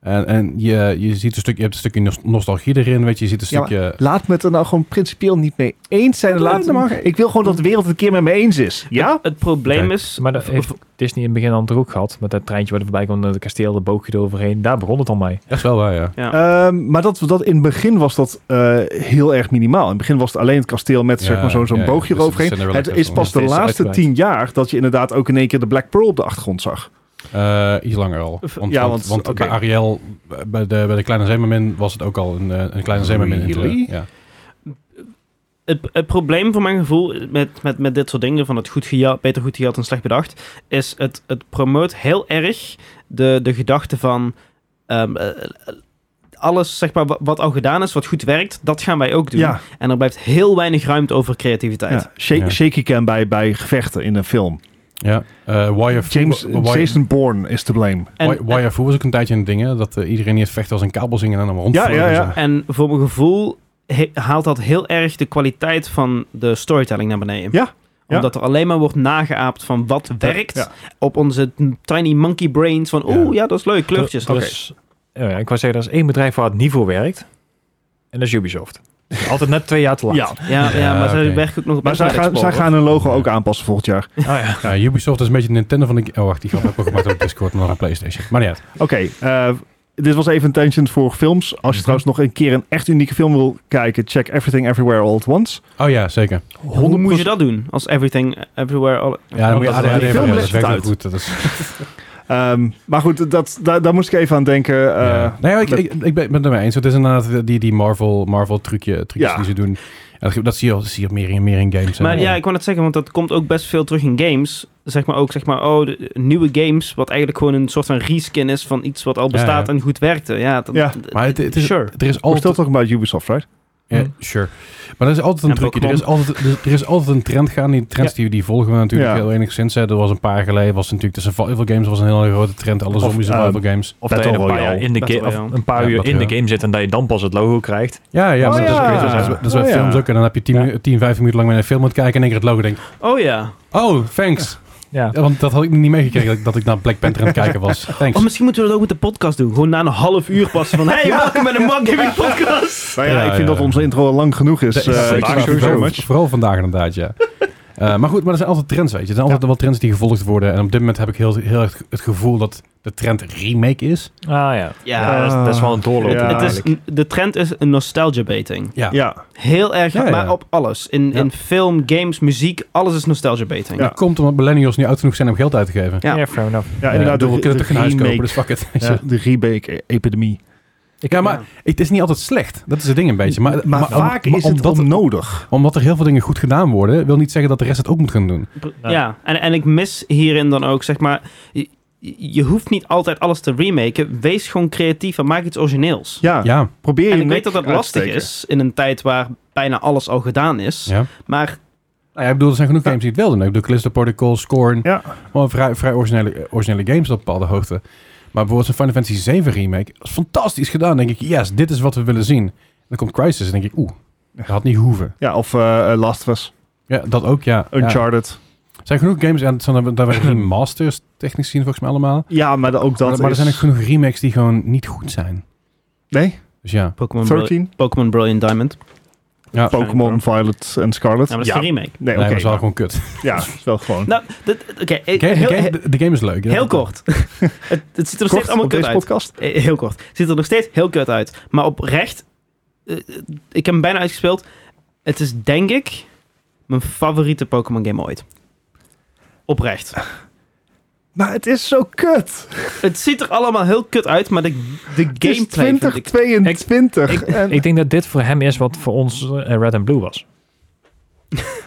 En, en je, je, ziet een stuk, je hebt een stukje nos- nostalgie erin, weet je. Je ziet een Ja, maar- stukje... Laat me het er nou gewoon principieel niet mee eens zijn. Nee, Laat dat mag. ik wil gewoon dat de wereld het een keer met me eens is. Ja? Het probleem Kijk, is... Maar dat heeft Disney in het begin al toch ook gehad. Met dat treintje waar er voorbij kwam, dat kasteel, de boogje eroverheen. Daar begon het al mee. Dat is wel waar, ja. Ehm, maar dat, dat in het begin was dat eh, heel erg minimaal. In het begin was het alleen het kasteel met zeg Ja, maar, zo'n zo'n ja, ja. boogje Dus het eroverheen. zijn er wel Het echt is wel. pas Het de is laatste uitgebreid. tien jaar dat je inderdaad ook in één keer de Black Pearl op de achtergrond zag. Eh, iets langer al. Want, Ja, want, want- want bij oké. Ariel, bij de, bij de Kleine Zemermin, was het ook al een, eh, een Kleine Zemermin. intro. Really? Ja. Het, het probleem voor mijn gevoel met, met, met dit soort dingen, van het goed gejat, beter goed gejat en slecht bedacht, is het, het promoot heel erg de, de gedachte van ehm, eh, eh, alles zeg maar, wa- wat al gedaan is, wat goed werkt, dat gaan wij ook doen. Ja, En er blijft heel weinig ruimte over creativiteit. ja. Shake, Ja. shaky cam bij, bij gevechten in een film. ja. Eh, Wire Fu- James, Wire- Jason Bourne is te blame. En, Wire- Wire Fu was ook een tijdje een ding, hè, Dat eh, iedereen die het vechten als een kabel zingen en dan rond. Ja, ja, ja. en voor mijn gevoel he- haalt dat heel erg de kwaliteit van de storytelling naar beneden. Ja, ja. Omdat er alleen maar wordt nageaapt van wat werkt ja. op onze tiny monkey brains. Van Ja. oeh, ja, dat is leuk, kleurtjes. Er- er Oké. is- oh ja, ja, ik wou zeggen, er is één bedrijf waar het niet voor werkt. En dat is Ubisoft. Altijd net twee jaar te laat. Ja. Ja, ja, Ja, maar zij oké. werken ook nog op Maar zij Internet gaan, zij Explorer. gaan hun logo ook aanpassen volgend jaar. Oh, ja. Ja, Eh, Ubisoft is een beetje de Nintendo van de... Oh, wacht, die grap heb ik al gemaakt op Discord en dan op Playstation. Maar niet uit. Oké, eh, dit was even een tangent voor films. Mhm. Als je trouwens nog een keer een echt unieke film wil kijken, check Everything Everywhere All at Once. Oh ja, zeker. Hoe moet je dat doen? Als everything, everywhere, all... Ja, dan moet je Oh, dat is wel- ADHD hebben. film Ja, Dat legt werkt het ook uit. goed. Dat is, Ehm, maar goed, dat, daar, daar moest ik even aan denken. eh, ja. Nee, ik, met- ik, ik ben het ermee eens. Het is inderdaad die, die Marvel, Marvel trucje, trucjes Ja. die ze doen. En dat, dat zie je al dat zie je al meer en meer in games. hè. Maar ja, ik wou net zeggen, want dat komt ook best veel terug in games. Zeg maar ook, zeg maar, oh, de- nieuwe games, wat eigenlijk gewoon een soort van reskin is van iets wat al Ja, bestaat ja. en goed werkte. Ja, dat, Ja. Maar het, het is, Sure. er is Hoe stelt altijd... dat ook bij Ubisoft, right? Ja, sure. Maar er is altijd een En trucje. Er Pokémon. is altijd, er, er is altijd een trend gaan. Die trends die, die volgen we natuurlijk Ja. heel enigszins. Hè. Er was een paar jaar geleden, was natuurlijk tussen Valve Games was een hele grote trend. Alle Of, zombies in eh, Valve Games. Of dat je Battle een paar, Royale. jaar in de Battle game, of Royale. een paar Ja, uur Battle in de Royale. game zit en dat je dan pas het logo krijgt. Ja, ja, Oh maar dat, ja. Is, dat, is, dat is bij Oh ja. films ook. En dan heb je 10, 10 15 minuten lang met een film aan het kijken en in één keer het logo denkt. Oh ja. Oh, thanks. Ja. Ja, want dat had ik niet meegekregen dat ik- dat ik naar Black Panther aan het kijken *laughs* was. Thanks. Oh, misschien moeten we dat ook met de podcast doen. Gewoon na een half uur passen van, hey, welkom bij de *laughs* Mark Gaming Podcast. Nou ja, Ja, ik vind ja. dat onze intro al lang genoeg is. Dat eh, is ik vandaag thank you so vooral- much. Vooral vandaag inderdaad, ja. Eh, maar goed, maar er zijn altijd trends, weet je. Er zijn altijd wel trends die gevolgd worden. En op dit moment heb ik heel, heel erg het gevoel dat de trend remake is. Ah ja. Ja, dat, is, dat is wel een doorloop. Ja, het is, de trend is een nostalgia-baiting. Ja, Heel erg, Ja, ja. maar op alles. In, Ja. in film, games, muziek, alles is nostalgia-baiting. Ja. Dat komt omdat millennials niet oud genoeg zijn om geld uit te geven. Ja. Ja, fair enough. ja Eh, ik inderdaad. bedoel, we kunnen de toch geen huis kopen, dus remake, fuck it. weet ja, je. de remake-epidemie. Ja, maar het is niet altijd slecht. Dat is het ding een beetje. Maar, Maar, vaak maar is het omdat, onnodig. omdat er heel veel dingen goed gedaan worden, wil niet zeggen dat de rest het ook moet gaan doen. Ja. Ja, En, en ik mis hierin dan ook, zeg maar... Je, je hoeft niet altijd alles te remaken. Wees gewoon creatief en maak iets origineels. Ja, Ja, probeer je en ik nek weet dat dat uit te lastig steken. is in een tijd waar bijna alles al gedaan is. ja. Maar Nou ja, ik bedoel, er zijn genoeg games die het wel doen. Nou, Ik bedoel, Callisto Protocol, Scorn. Ja. Allemaal vrij, vrij originele, originele games op bepaalde hoogte. Maar bijvoorbeeld een Final Fantasy 7 remake. is fantastisch gedaan. Dan denk ik, yes, dit is wat we willen zien. Dan komt Crisis en denk ik, oeh, dat had niet hoeven. Ja, of eh, eh, Last of Us, Ja, dat ook, ja. Ja. Uncharted. Er zijn genoeg games, en het zijn daar werken *clears throat* geen masters technisch gezien volgens mij allemaal. Ja, maar ook dat maar, maar er is- zijn ook genoeg remakes die gewoon niet goed zijn. Nee, Dus ja. Pokémon, Brilli- 13, Pokémon Brilliant Diamond. Ja, Pokémon, Violet en Scarlet. maar dat is geen remake. Nee, Nee, oké. maar het is wel gewoon kut. Ja, het is wel gewoon. Nou, dat- oké. eh, Game- heel, de, game, he- de- de game is leuk. heel *laughs* kort. het, het ziet er Kort nog steeds allemaal op kut deze uit. podcast. Eh, Heel kort. Het ziet er nog steeds heel kut uit. Maar oprecht, eh, eh, ik heb hem bijna uitgespeeld. Het is denk ik mijn favoriete Pokémon game ooit. Oprecht. *laughs* Maar het is zo kut. Het ziet er allemaal heel kut uit, maar de, de Het is gameplay vind ik- 2022. en- Ik denk dat dit voor hem is wat voor ons eh, Red and Blue was.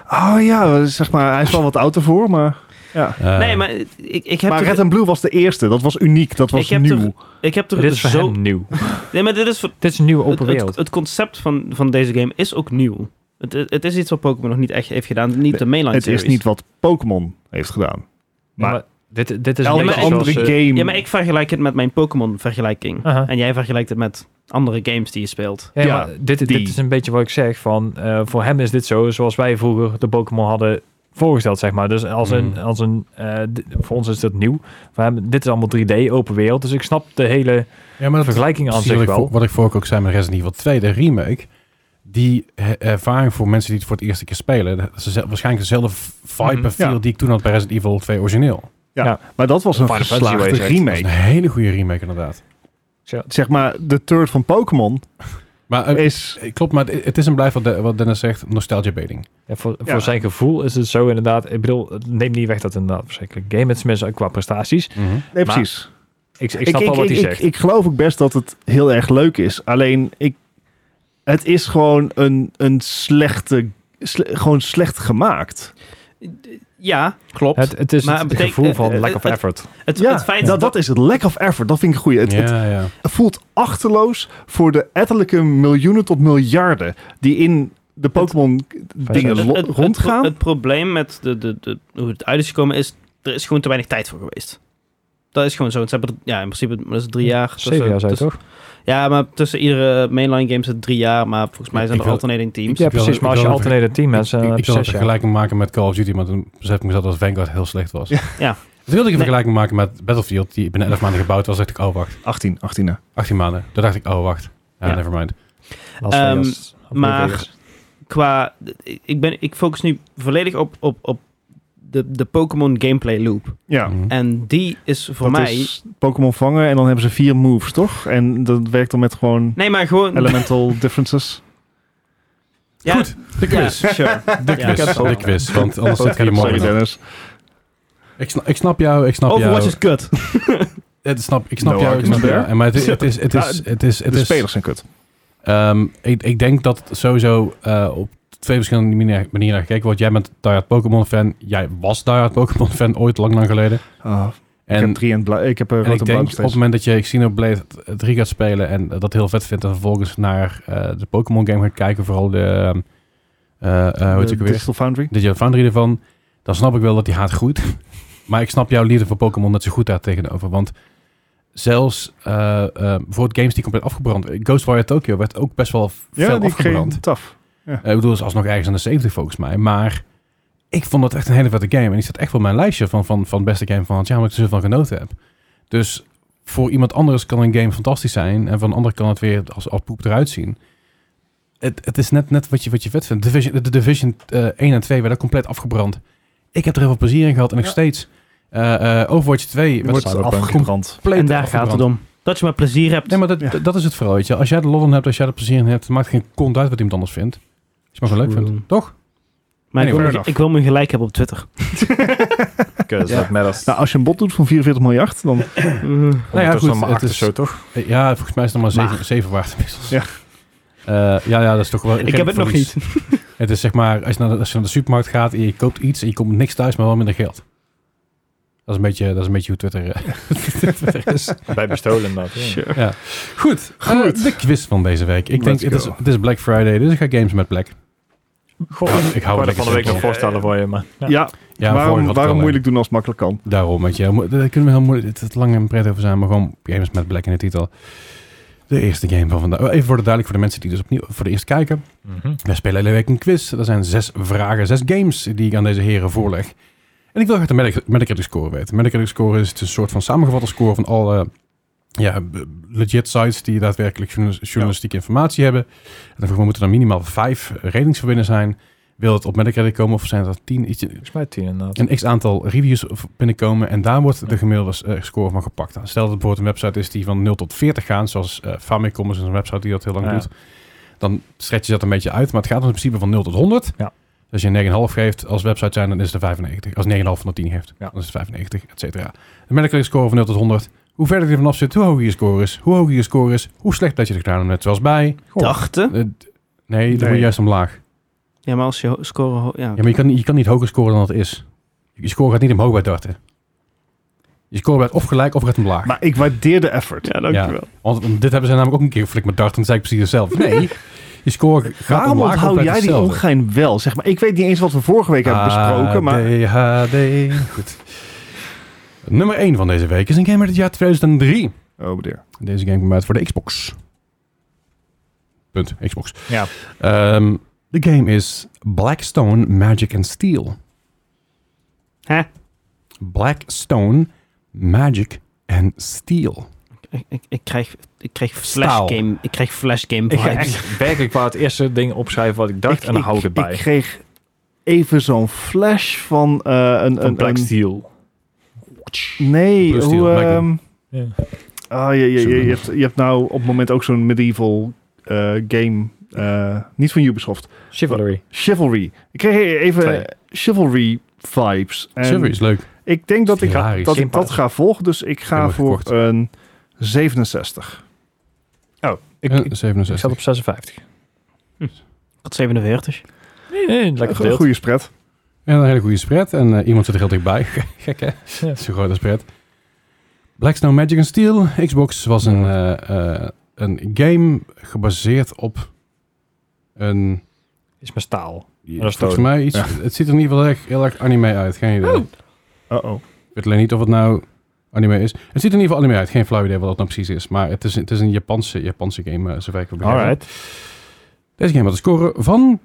oh ja, zeg maar, hij is wel wat oud ervoor, maar... Ja. Eh, nee, maar ik, ik heb Maar er, Red and Blue was de eerste. Dat was uniek. Dat Ik was heb Oh, nieuw. ik heb er dus dit is voor zo... hem nieuw. Nee, maar dit is voor, dit is een nieuwe het, open wereld. het, het concept van, van deze game is ook nieuw. Het, het is iets wat Pokémon nog niet echt heeft gedaan. Niet de mainline Het is series. niet wat Pokémon heeft gedaan. maar, maar- dit, dit is Elke een maar beetje ik- andere zoals, eh, game. Ja, maar ik vergelijk het met mijn Ah. Pokémon-vergelijking. Aha. En jij vergelijkt het met andere games die je speelt. Ja, Ja, maar dit, dit die. is een beetje wat ik zeg. Van, eh, voor hem is dit zo, zoals wij vroeger de Pokémon hadden voorgesteld, zeg maar. Dus als een, Mm. als een eh, d- voor ons is dat nieuw. We hebben- dit is allemaal 3D, open wereld. Dus ik snap de hele Ja, maar dat vergelijking aan precies wat zich ik, wel. voor- wat ik vorige keer ook zei met Resident Evil 2, de remake. Die he- ervaring voor mensen die het voor het eerste keer spelen. Dat is dezelfde- waarschijnlijk dezelfde v- vibe Mhm. en feel Ja. die ik toen had bij Resident Evil 2 origineel. Maar dat was een Final Fantasy geslaagde Ways, echt. Dat is een remake. hele goede remake inderdaad. Zeg maar, de turd van Pokémon Maar eh, is... eh, klopt, maar het, het is een blijf wat, de- wat Dennis zegt, nostalgia baiting. Ja, voor, Ja. voor zijn gevoel is het zo inderdaad. Ik bedoel, het neemt niet weg dat het inderdaad verschrikkelijk game is, tenminste qua prestaties. Nee, Maar- precies. Ik, ik snap al wat hij ik, zegt. Ik, geloof ook best dat het heel erg leuk is. Alleen, ik, het is gewoon een, een slechte... sle- gewoon slecht gemaakt. Ja, klopt. het, het is Maar het betek- gevoel van eh, eh, lack of het- effort. het, ja, het feit dat, dat is het. Lack of effort. Dat vind ik een goeie. Het, het Ja, ja. voelt achterloos voor de ettelijke miljoenen tot miljarden... die in de Pokémon dingen Het- lo- het- het- rondgaan. Het, probleem met de, de, de, hoe het uit is gekomen is, er is gewoon te weinig tijd voor geweest. Dat is gewoon zo. Ze hebben er- ja, in principe dat is drie jaar. Zeven tussen- jaar zei je tussen- toch? Ja, maar tussen iedere mainline game zit drie jaar, maar volgens mij Ik- zijn ik er wil- alternating Ja, teams. wil- precies. ik Maar als je wil- alternative team hebt, dan ik, heb ik je wil een eh, zes jaar. vergelijking maken met Call of Duty, maar toen besef ik mezelf dat Vanguard heel slecht was. Ja. Ja. Toen wilde ik een Nee. vergelijking maken met Battlefield, die binnen 11 maanden gebouwd was. dacht ik, oh wacht, 18, 18 hè. 18 maanden. Toen dacht ik, oh wacht, ja, Ja. never mind. Las Ehm, Vegas, of maar- Vegas. Qua, ik, ben, ik focus nu volledig op, op, op de, de Pokémon gameplay loop. Ja. Mhm. En die is voor Dat mij... is Pokémon vangen en dan hebben ze vier moves, toch? En dat werkt dan met gewoon Nee, maar gewoon... elemental differences. ja, Goed, de ja, quiz. sure. De Ja, quiz, ik heb het de al. quiz, want anders zitten we hier Sorry, morgen nog. Dennis. Ik snap, ik snap jou, ik snap Overwatch jou. is kut. Het snap, ik snap No jou, ik snap argument jou. there. En Maar het, het is, het Ja, is, het is, het De is, spelers zijn kut. Ehm, ik, ik denk dat het sowieso eh, op twee verschillende manieren, manieren naar gekeken wordt. Jij bent diehard Pokémon fan. Jij was diehard Pokémon fan ooit, lang, lang geleden. Ah, En, ik heb drie en bla- ik heb een en rood ik en denk blauw op nog het steeds. moment dat je Xenoblade 3 gaat spelen en eh, dat heel vet vindt en vervolgens naar eh, de Pokémon game gaat kijken, vooral de, ehm, eh, eh, hoe heet De het ook weer? Digital Foundry. Digital Foundry ervan, dan snap ik wel dat die haat groeit. *laughs* maar ik snap jouw liefde voor Pokémon net zo goed daar tegenover. Want zelfs eh, eh, bijvoorbeeld games die compleet afgebrand... Ghostwire Tokyo werd ook best wel fel Ja, die afgebrand. kreeg taf. Eh, ik bedoel, dat is alsnog ergens aan de 70 volgens mij. Maar ik vond dat echt een hele vette game. En die staat echt wel op mijn lijstje van, van, van beste game van het jaar. Omdat ik er zoveel van genoten heb. Dus voor iemand anders kan een game fantastisch zijn. En van een ander kan het weer als, als poep eruit zien. Het, het is net, net wat, je, wat je vet vindt. Division, de- de Division eh 1 en 2 werden compleet afgebrand. Ik heb er heel veel plezier in gehad. En nog Ja. steeds. eh, eh, Overwatch 2 Je wordt werd afgebrand. compleet En daar gaat afgebrand. het om. Dat je maar plezier hebt. Nee, maar dat, Ja. dat is het vooral. Weet je. Als jij de lol in hebt, als jij er plezier in hebt, het maakt geen kont uit wat iemand anders vindt. Als je maar zo leuk vindt. Mm. Toch? Maar ik, Anyway, wil, fair ik wil me gelijk hebben op Twitter. Kut, Ja. dat matters. *laughs* Nou, als je een bot doet van 44 miljard, dan... *laughs* Nou ja, Ondertussen goed, maar het acht is- of zo, toch? Eh, Ja, volgens mij is het nog maar Maar- 7 zeven waard inmiddels. Ja. Eh, ja, ja, dat is toch wel... ik heb het nog niet. Het is zeg maar, als je, naar de, als je naar de supermarkt gaat en je koopt iets en je komt niks thuis, maar wel minder geld. Dat is een beetje, dat is een beetje hoe Twitter, eh, Twitter is. Bij bestolen dat. Ja. Goed, *laughs* eh, de quiz van deze week. Ik denk, Let's het is, go. het is Black Friday, dus ik ga games met Black. Goh, Ja, ik hou het er lekker van de week simpel. nog voorstellen voor je, maar... Ja, Ja, vorige had waarom, ik waarom al, eh, moeilijk doen als het makkelijk kan? Daarom, weet je. Mo- Daar kunnen we heel moeilijk... Het is lang en pret over zijn, maar gewoon games met Black in de titel. De eerste game van vandaag. Even voor de duidelijk voor de mensen die dus opnieuw voor de eerst kijken. Mhm. Wij spelen hele week een quiz. Er zijn zes vragen, zes games die ik aan deze heren voorleg. En ik wil graag de Metac- Metacritic score weten. Metacritic score is een soort van samengevatte score van alle ja, b- legit sites die daadwerkelijk journalis- journalistieke informatie hebben. En dan moeten er minimaal vijf ratings voor binnen zijn. Wil het op Metacritic komen of zijn er tien? Iets, Volgens mij tien inderdaad. een x-aantal reviews v- binnenkomen en daar wordt de gemiddelde eh, score van gepakt. Stel dat het bijvoorbeeld een website is die van 0 tot 40 gaan, zoals eh, Famicom is een website die dat heel lang Ja. doet, dan stretch je dat een beetje uit. Maar het gaat in principe van 0 tot 100. Ja. Dus als je 9,5 geeft als website zijn, dan is het een 95. Als 9,5 van de 10 geeft, Ja. dan is het 95, et cetera. De Metacritic score van 0 tot 100. Hoe verder je vanaf zit, hoe hoger je score is. Hoe hoger je score is, hoe slecht dat je er gedaan hebt. Net zoals bij... Eh, d- Dachten. nee, dan Nee. moet je juist omlaag. Ja, maar als je ho- score... ho- Ja. Ja, maar je kan, niet- je kan niet hoger scoren dan het is. Je score gaat niet omhoog bij darten. Je score blijft of gelijk of gaat omlaag. Maar ik waardeer de effort. Ja, dankjewel. Want want dit hebben ze namelijk ook een keer geflikt met darten. Dan zei ik precies hetzelfde. Nee, je score gaat Waarom omlaag. onthoud blijft jij die hetzelfde. Ah, ongein wel? Zeg maar, ik weet niet eens wat we vorige week hebben besproken, maar... ADHD. Goed. Nummer 1 van deze week is een game uit het jaar 2003. Oh, meneer. Deze game kwam uit voor de Xbox. Punt, Xbox. Ja. Ehm, De game is Blackstone Magic and Steel. Hè? Blackstone, Magic en Steel. Ik, ik, ik krijg, ik krijg Staal. flash game, ik krijg flash game Ik ga vibes. echt werkelijk waar het eerste ding opschrijven wat ik dacht en dan hou ik het bij. Ik kreeg even zo'n flash van eh, een... Van een, Black een- Steel. nee, Blue Steel, hoe... Black ehm, Ja. ah, je, je, je, Superman. je hebt, je hebt nou op het moment ook zo'n medieval eh, game. eh, niet van Ubisoft. Chivalry. Chivalry. Ik kreeg even Twee. Chivalry vibes. En Chivalry is leuk. Ik denk dat ik, Hilarisch. dat, ik dat Simpel. ga volgen, dus ik ga Helemaal voor gekocht. een 67. Ik, Eh, ik, ik 67. zat op 56. Tot 47. Nee, nee, lekker Een verdeeld. goede spread. En een hele goede spread. En eh, iemand zit er heel dichtbij. *laughs* Gek, hè? Dat is een grote spread. Blackstone Magic and Steel. Xbox was een, eh, eh, een game gebaseerd op een... Is mijn staal. dat is Volgens dood. mij iets... Het ziet er in ieder geval heel erg, heel erg anime uit. Geen Oh. idee. *laughs* Uh-oh. Ik weet alleen niet of het nou anime is. Het ziet er in ieder geval anime uit. Geen flauw idee wat dat nou precies is. Maar het is, het is een Japanse, Japanse game, eh, zover ik het begrijp. Alright. Deze game had een score van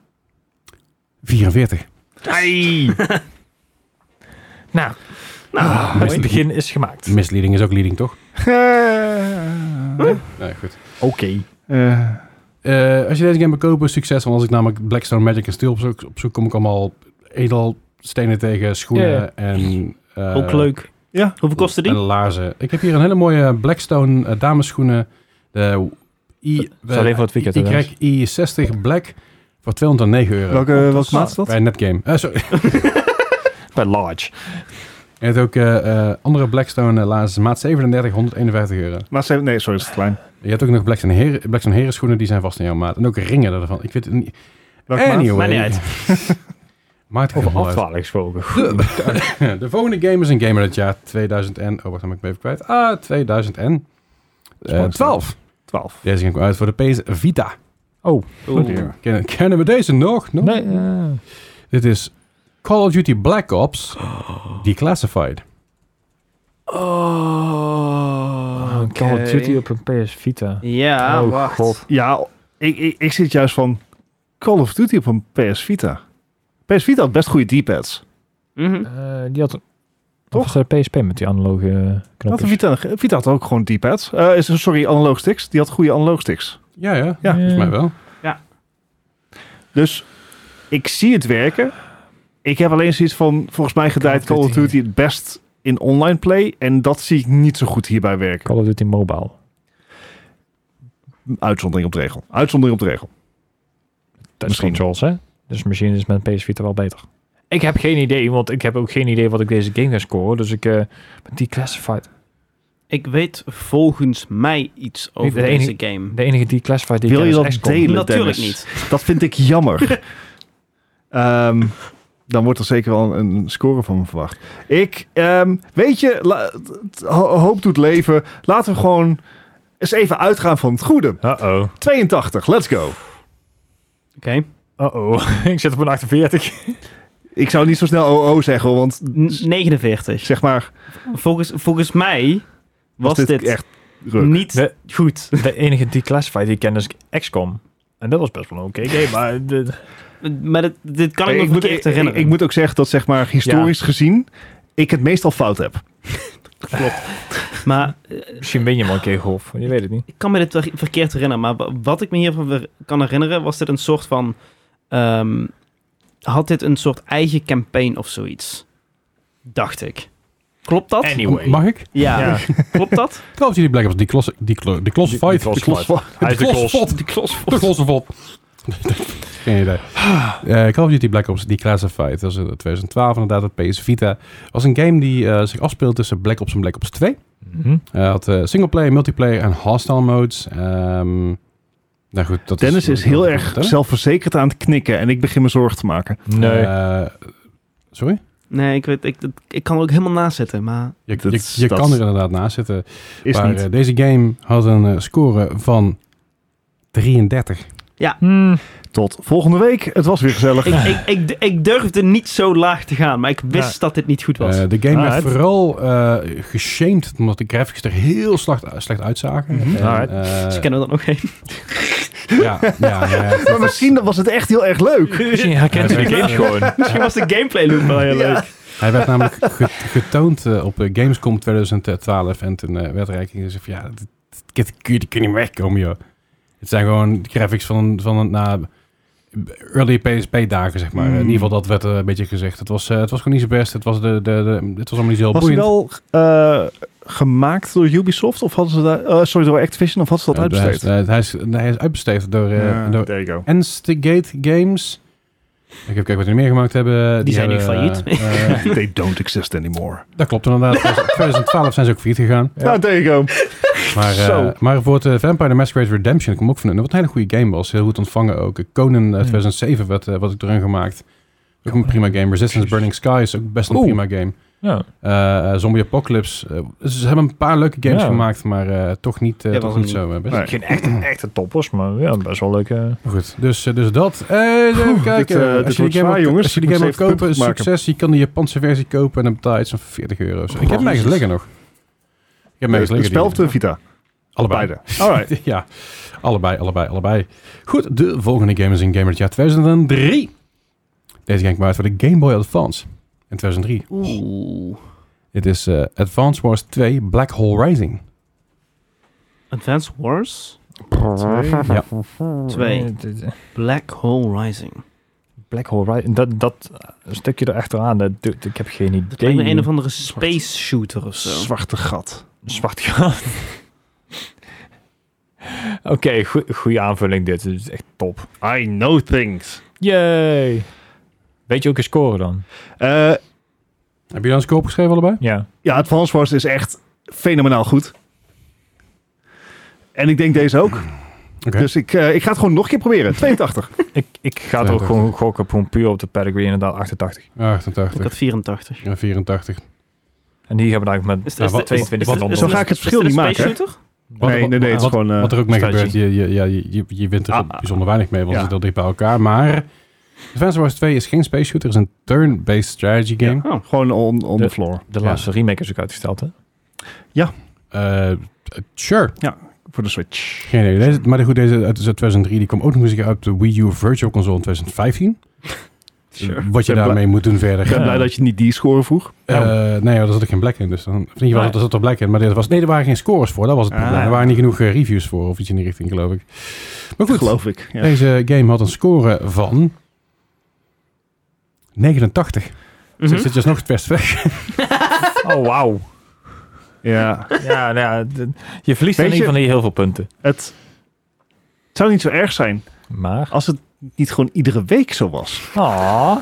44. Nou, Ah, het misleading. begin is gemaakt. Misleading is ook leading, toch? Eh, Nee, goed. Oké. eh, Eh, als je deze game wil kopen, succes. Want als ik namelijk Blackstone Magic en Steel opzoek, opzoek kom ik allemaal edelstenen tegen, schoenen Ja. en... eh, Ook leuk. ja. Hoeveel kostte En die? laarzen. Ik heb hier een hele mooie Blackstone eh, damesschoenen. De I, zal even voor het weekend, Y, I60 Black voor 209 euro. Welke, welke maat is dat? Bij Netgame. Eh, sorry. Bij Large. Je hebt ook eh, eh, andere Blackstone eh, laarzen. Maat 37, 151 euro. Maar ze, nee, sorry, het is te klein. Je hebt ook nog Blackstone, heren, Blackstone herenschoenen. Die zijn vast in jouw maat. En ook ringen daarvan. Ik weet het niet. Welke maat? Anyway. Maakt niet uit. *laughs* Maakt het Over helemaal uit. afdwaling gesproken. De, *laughs* de volgende game is een gamer het jaar 2000 en... Oh, wacht, dan ben ik me even kwijt. Ah, 2000 en... eh, Spannend. 12. 12. Deze ging uit voor de PS Vita. Oh dear. Kennen, kennen we deze nog? nog? Nee, eh, Dit is Call of Duty Black Ops Declassified. Oh, Call of Duty op een PS Vita. Ja, Oh, wacht. God. Ja, ik, ik, ik zit juist van Call of Duty op een PS Vita. PS Vita had best goede D-pads. Mhm. Eh, die had Toch? toch PSP met die analoge eh, Had de knopjes. Vita, Vita had ook gewoon D-pads. Eh, is- sorry, analoog sticks. Die had goede analoog sticks. Ja, ja. Ja. Eh. Volgens mij wel. Dus ik zie het werken. Ik heb alleen zoiets van, volgens mij gedijt Call of Duty het best in online play. En dat zie ik niet zo goed hierbij werken. Call of Duty Mobile. Uitzondering op de regel. Uitzondering op de regel. Touch Misschien. controls, hè? Dus misschien is mijn PS Vita wel beter. Ik heb geen idee, want ik heb ook geen idee wat ik deze game ga scoren. Dus ik eh die classified. Ik weet volgens mij iets over de deze enige- game. De enige die classified die Wil ik je ken dat is XCOM. delen? Natuurlijk Dennis. niet. Dat vind ik jammer. Ehm, dan wordt er zeker wel een, een score van me verwacht. Ik, ehm, weet je, la- t- ho- hoop doet leven. Laten we gewoon eens even uitgaan van het goede. Uh-oh. 82, let's go. Oké. Uh-oh. *laughs* ik zit op een 48. Ik zou niet zo snel OO zeggen, hoor, want N- 49. zeg maar, Volgens, volgens mij was was dit, dit, echt ruk. niet Nee. goed. De enige die classified die ik ken is XCOM. En dat was best wel een oké game, maar... de- Maar dit, dit kan ik me ik, moet, verkeerd ik- herinneren. ik moet ook zeggen dat, zeg maar, historisch gezien, ik het meestal fout heb. maar eh, misschien win je wel een keer golf. Je weet het niet. ik kan me dit ver- verkeerd herinneren. Maar wa- wat ik me hiervan ver- kan herinneren, was dit een soort van... ehm, had dit een soort eigen campaign of zoiets? Dacht ik. Klopt dat? Anyway. Mag ik? *laughs* Ja. Ja. Klopt dat? Call of Duty Black Ops Declass- Decla- Declassified. Die- die Declass- classified. Hij is de klos. Declassified. *laughs* Declassified. Geen idee. Eh, Call of Duty Black Ops Declassified. Dat is in 2012 inderdaad, op PS Vita. was een game die eh, zich afspeelt tussen Black Ops en Black Ops 2. Mhm. Eh, had eh, singleplayer, multiplayer en hostile modes. Ehm, nou goed, dat Dennis is heel dat- erg dat- zelfverzekerd aan het knikken en ik begin me zorgen te maken. Nee. Eh, sorry? Nee, ik, weet, ik, dat- ik kan er ook helemaal naast zitten, maar... Je, Dat je- is- je dat kan is- er inderdaad naast zitten. Is maar niet. eh, deze game had een eh, score van 33. Hmm. Tot volgende week. Het was weer gezellig. Ik, ik, ik, ik durfde niet zo laag te gaan, maar ik wist Ja. dat dit niet goed was. Eh, de game Ah, werd het- vooral eh geshamed omdat de graphics er heel slecht, slecht uitzagen. Mhm. En, Alright. eh, Ze Dus kennen er nog geen. ja, ja, ja, ja. maar misschien was het echt heel erg leuk. Misschien herkent Ja, hij de zeker. game gewoon. Misschien was de gameplay loop wel heel leuk. Hij werd namelijk ge- getoond eh, op eh, Gamescom 2012. En toen eh, werd er eigenlijk gezegd van, ja, dit, dit, dit kun je, dit kun je niet wegkomen, joh. Het zijn gewoon graphics van, een- van een na, early PSP-dagen, zeg maar. Mm. In ieder geval, dat werd eh, een beetje gezegd. Het was, eh, het was gewoon niet zo best. Het was, de, de, de, het was allemaal niet zo heel Was die boeiend. wel eh, gemaakt door Ubisoft of hadden ze daar, eh, sorry, door Activision of hadden ze dat Eh, hij, is, uitbesteed? eh, hij, is, nee, hij is uitbesteed door, eh, Ja, door there you go. Instigate Games. Ik heb kijken wat die meer gemaakt hebben. Die, zijn niet hebben, failliet. eh, *laughs* eh, They don't exist anymore. dat klopt *laughs* inderdaad. In 2012 zijn ze ook failliet gegaan. Ja. Nou, there you go. Maar, eh, Zo. maar voor het eh, Vampire the Masquerade Redemption kwam ook van wat een hele goede game was. Heel goed ontvangen ook. Conan eh, 2007 werd, eh, wat ik erin gemaakt. Ook een prima game. Resistance Burning Skies, ook best een Oeh. prima game. Ja. Eh, eh, Zombie Apocalypse. eh, ze hebben een paar leuke games Ja. gemaakt, maar eh, toch niet, eh, Ja, toch was niet een- zo eh, best. Nee. Geen echte, echte toppers, maar ja, best wel leuk. eh. Maar Goed, dus, eh, dus dat. Eh, even kijken. eh, dit als, wordt je die game zwaar, wil- jongens. als je die Ik game moet wil zeven kopen, punten maken. succes. Je kan de Japanse versie kopen en dan betaal je iets van 40 euro. of zo. Ik heb hem Oh, Jezus. ergens liggen nog. Ik heb hem ergens liggen. Het die- spel of de Vita? Allebei. *laughs* Beide. Alright. ja, allebei, allebei, allebei. Goed, de volgende game is een game uit het jaar 2003. Deze game kwam uit voor de Game Boy Advance in 2003. Oeh. Dit is eh, Advance Wars 2 Black Hole Rising. Advanced Wars Ja. Oh, 2. eh, Dit- dit- Black Hole Rising. Black Hole Rising. Dat, dat stukje erachteraan, dat, doet- ik heb geen idee. Dat is een of andere space shooter of zo. Zwarte gat. Zwart gaan. *laughs* Oké, goe- goede aanvulling dit. Dit is echt top. I know things. Yay! Weet je ook een score dan? Eh, Heb je dan een score opgeschreven allebei? Ja. ja, Advance Wars is echt fenomenaal goed. En ik denk deze ook. Oké. Dus ik, eh, ik ga het gewoon nog een keer proberen. 82. Ik, ik ga er ook gewoon gokken op, puur op de pedigree, inderdaad 88. Ik 88 had 84. en 84. En hier hebben we eigenlijk met Is, is, wat- is- is- wat- is- wat- is- zo is- ga ik het is- verschil is dit niet een space maken, shooter? Wat- nee, nee, nee. Het is wat, gewoon... eh, wat er ook mee strategy. gebeurt, je, je, ja, je, je, je wint er Ah, ah, bijzonder weinig mee, want ja. het is heel dicht bij elkaar. Maar Advance Wars 2 is geen space shooter, het is een turn-based strategy game. Oh. Gewoon on, on the floor. de Ja. laatste remake is ook uitgesteld, hè? Eh, sure. Voor de Switch. Geen idee. Deze, maar goed, deze uit 2003 die kwam ook nog eens een keer uit de Wii U Virtual Console in 2015. Wat je Ik ben daarmee moet doen verder. *laughs* Ik ben Ja. blij dat je niet die score vroeg. Eh, nee, ja, daar zat ik geen black in. Dus dan, of in ieder geval, Nee. daar zat er black in. Maar dit was, nee, er waren geen scores voor. Dat was het probleem. Ah. Er waren niet genoeg eh, reviews voor of iets in die richting, geloof ik. Maar goed, Geloof ik. Ja. deze game had een score van 89. Dus dit Mhm. zit dus nog het best weg. Oh, wauw. ja. Ja, nou ja, d- je verliest in Weet ieder je- geval niet heel veel punten. Het zou niet zo erg zijn Maar... als het niet gewoon iedere week zo was. Oh,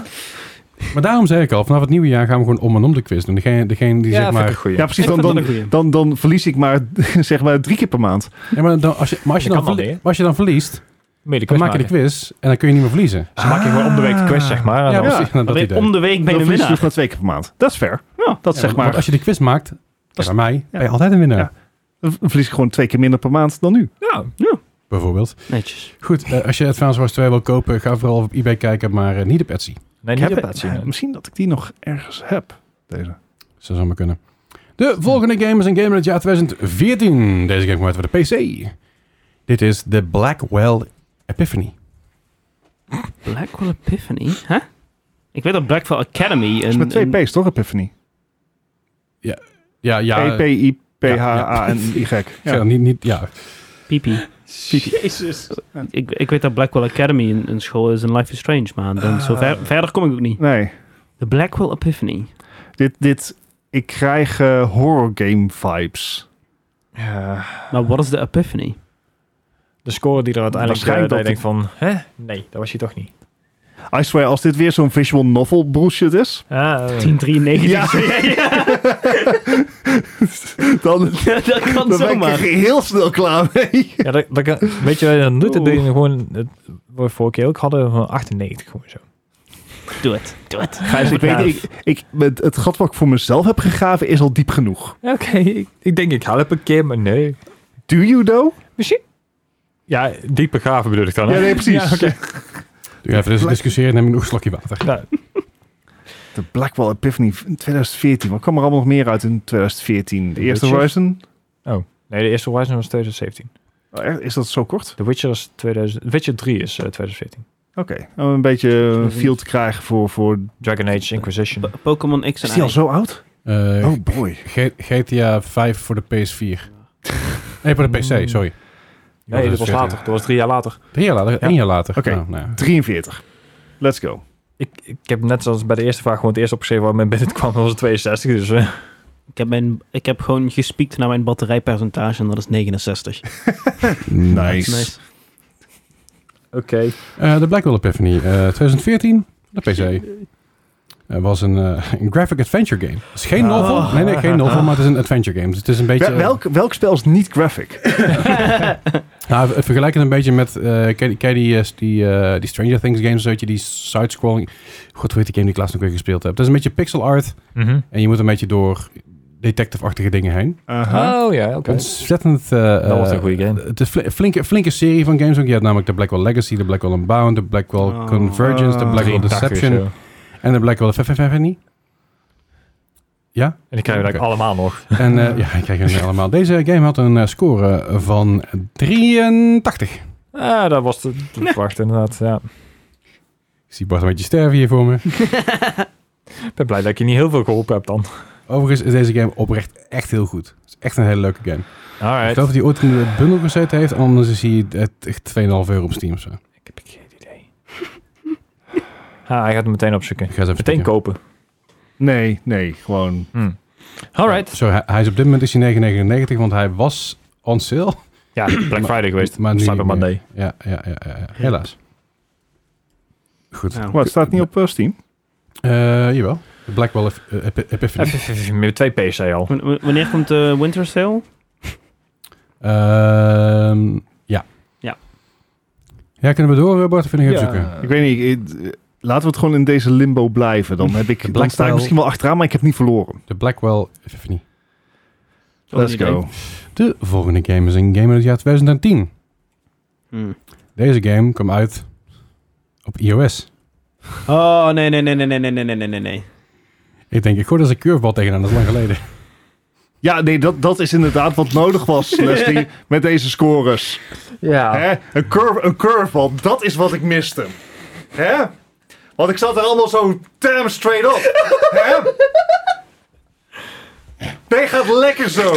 Maar daarom zei ik al, vanaf het nieuwe jaar gaan we gewoon om en om de quiz doen. Degene, degene die zeg maar... goeie. Ja, precies. Dan, Ik vind dat dan, een goeie. dan, dan verlies ik maar, *laughs* zeg maar drie keer per maand. Ja, maar, dan, als, je, maar als, je Dat dan kan wel verlie- niet, hè? maar als je dan verliest, Mede dan quiz maak je de maken. quiz en dan kun je niet meer verliezen. Ze maken gewoon om de week de quiz, zeg Ah. maar. En Ja, dan- was- precies. Nou, Dan dat ben je idee. om de week ben dan je een verlies je dus winnaar. maar twee keer per maand. Dat is fair. Ja. Dat zeg Ja, want- want maar. als je de quiz maakt, is- kijk, bij mij, ben je ja. altijd een winnaar. Ja. Dan verlies ik gewoon twee keer minder per maand dan nu. Ja. Bijvoorbeeld. Netjes. Goed, eh, als je Advance Wars 2 wil kopen, ga vooral op eBay kijken, maar eh, niet op Etsy. Nee, Ik niet heb- op Etsy, nee. misschien dat ik die nog ergens heb. Deze. Zo zou maar kunnen. De volgende game is een game uit het jaar 2014. Deze game komt uit voor de PC. Dit is de Blackwell Epiphany. Blackwell Epiphany? Huh? Ik weet dat Blackwell Academy is een... met twee een- P's, toch? Epiphany. E Ja, ja. E-P-I-P-H-A-N-Y. ja, Niet, niet, ja. Pipi. Jezus. Ik, ik weet dat Blackwell Academy een, een school is in Life is Strange, maar dan zo ver- verder kom ik ook niet. Nee. De Blackwell Epiphany. Dit, dit, ik krijg eh, horror game vibes. Maar wat is de *laughs* Epiphany? De score die er uiteindelijk... eh, Waarschijnlijk dat je denkt dat van... Hè? Nee, dat was je toch niet. I swear, als dit weer zo'n visual novel bullshit is, Ah, eh, 1093. Ja. *laughs* dan, *laughs* dat dan ben kan ik er zomaar. heel snel klaar mee. ja, dat, dat, kan- weet je, wat je dan doet dat doe je gewoon... Het, wat we vorige keer ook hadden, van 98 gewoon zo. Doe het. Doe het. Gijs, ik weet, ik, ik, met het gat wat ik voor mezelf heb gegraven is al diep genoeg. Oké, ik, ik denk ik help een keer, maar nee. Do you though? Misschien... Ja, diep begraven bedoel ik dan. hè? Ja, nee, precies. Ja, oké. Doe even dus discussiëren en neem ik nog een slokje water. *laughs* Nou, De Blackwell Epiphany in 2014. Wat kwam er allemaal nog meer uit in 2014? De The eerste Witcher. Horizon? nee, de eerste Horizon was 2017. Oh, echt? Is dat zo kort? The Witcher is 2000... Witcher 3 is eh, 2014. Oké. Om een beetje eh, feel te krijgen voor... voor... Dragon Age Inquisition. Po- Pokémon X en Is die al Y. zo oud? Eh, Oh boy. G- GTA 5 voor de PS4. Nee, voor de Hmm. PC, sorry. Nee, dat was later. Dat was drie jaar later. Drie jaar later, één jaar later. Oké. Nou, nou ja. 43. Let's go. Ik, ik heb net zoals bij de eerste vraag gewoon het eerste opgeschreven waar men binnen kwam. Dat was het 62. Dus eh, Ik heb, mijn, ik heb gewoon gespiekt naar mijn batterijpercentage en dat is 69. *laughs* Nice. Nice. oké. Eh, de Blackwell Epiphany, eh, 2014, de PC. Eh, was een, eh, een graphic adventure game. Het is geen Oh. novel, nee, nee, geen novel, maar het is een adventure game. Dus het is een beetje... Ah. Wel- welk, welk spel is niet graphic? Nou, ver- vergelijk het een beetje met... eh ken, je- ken je die, eh, die, eh, die Stranger Things games, weet je, die side-scrolling... God, hoe heet die game die ik laatst nog weer gespeeld heb? Het is een beetje pixel art Mhm. en je moet een beetje door detective-achtige dingen heen. Oh ja, oké. Ontzettend... eh, Dat was een eh, goede game. Het is fli- flinke, flinke serie van games ook. Je had namelijk de Blackwell Legacy, de Blackwell Unbound, de Blackwell Oh. Convergence, de Oh. Blackwell 83 Deception of zo. en de Blackwell Epiphany. Ja? En die krijgen we Oké. eigenlijk allemaal nog. En eh, *laughs* ja, ik krijg hem allemaal. Deze game had een eh, score van 83. Ik Ah, dat was te te verwachten inderdaad. Ja. zie Bart een beetje sterven hier voor me. Ik ben blij dat ik je niet heel veel geholpen heb dan. Overigens is deze game oprecht echt heel goed. Het is echt een hele leuke game. Ik Alright. geloof dat hij ooit in de bundel gezeten heeft. Anders is hij eh, echt 2,5 euro op Steam. of Zo. Ik heb geen idee. Ah, hij gaat hem meteen opzoeken. Ik ga eens even Meteen kijken. kopen. Nee, nee, gewoon... Hm. Alright. Zo, hij, hij is op dit moment is hij 9,99. Want hij was on sale. *laughs* Ja, Black Friday geweest. Maar nu Cyber niet meer. Monday. Ja, ja, ja, ja, ja. helaas. Goed. Nou. Wat, staat het niet op eh, Steam? Eh, jawel. Blackwell Ep- Ep- Epiphany. Met twee PC al. W- w- wanneer komt de Winter Sale? Ehm, ja. Ja. Ja, kunnen we door, eh, Bart? Of vind ik even zoeken? Ik weet niet, ik- eh, laten we het gewoon in deze limbo blijven. Dan, heb ik, dan sta ik Blackwell- misschien wel achteraan, maar ik heb niet verloren. De Blackwell Epiphany. Let's go. De volgende game is een game uit het jaar 2010. Hmm. Deze game kwam uit op iOS. Oh, nee, nee, nee, nee, nee, nee, nee, nee, nee, nee, nee. Ik denk, ik gooi daar eens een curveball tegenaan. Dat is lang geleden. *laughs* Ja, nee, dat, dat is inderdaad wat nodig was, Leslie, met deze scores. Ja. Hè? Een, curve, een curveball, dat is wat ik miste. Hè? Want ik zat er allemaal zo damn straight op. Hè? Nee, gaat lekker zo.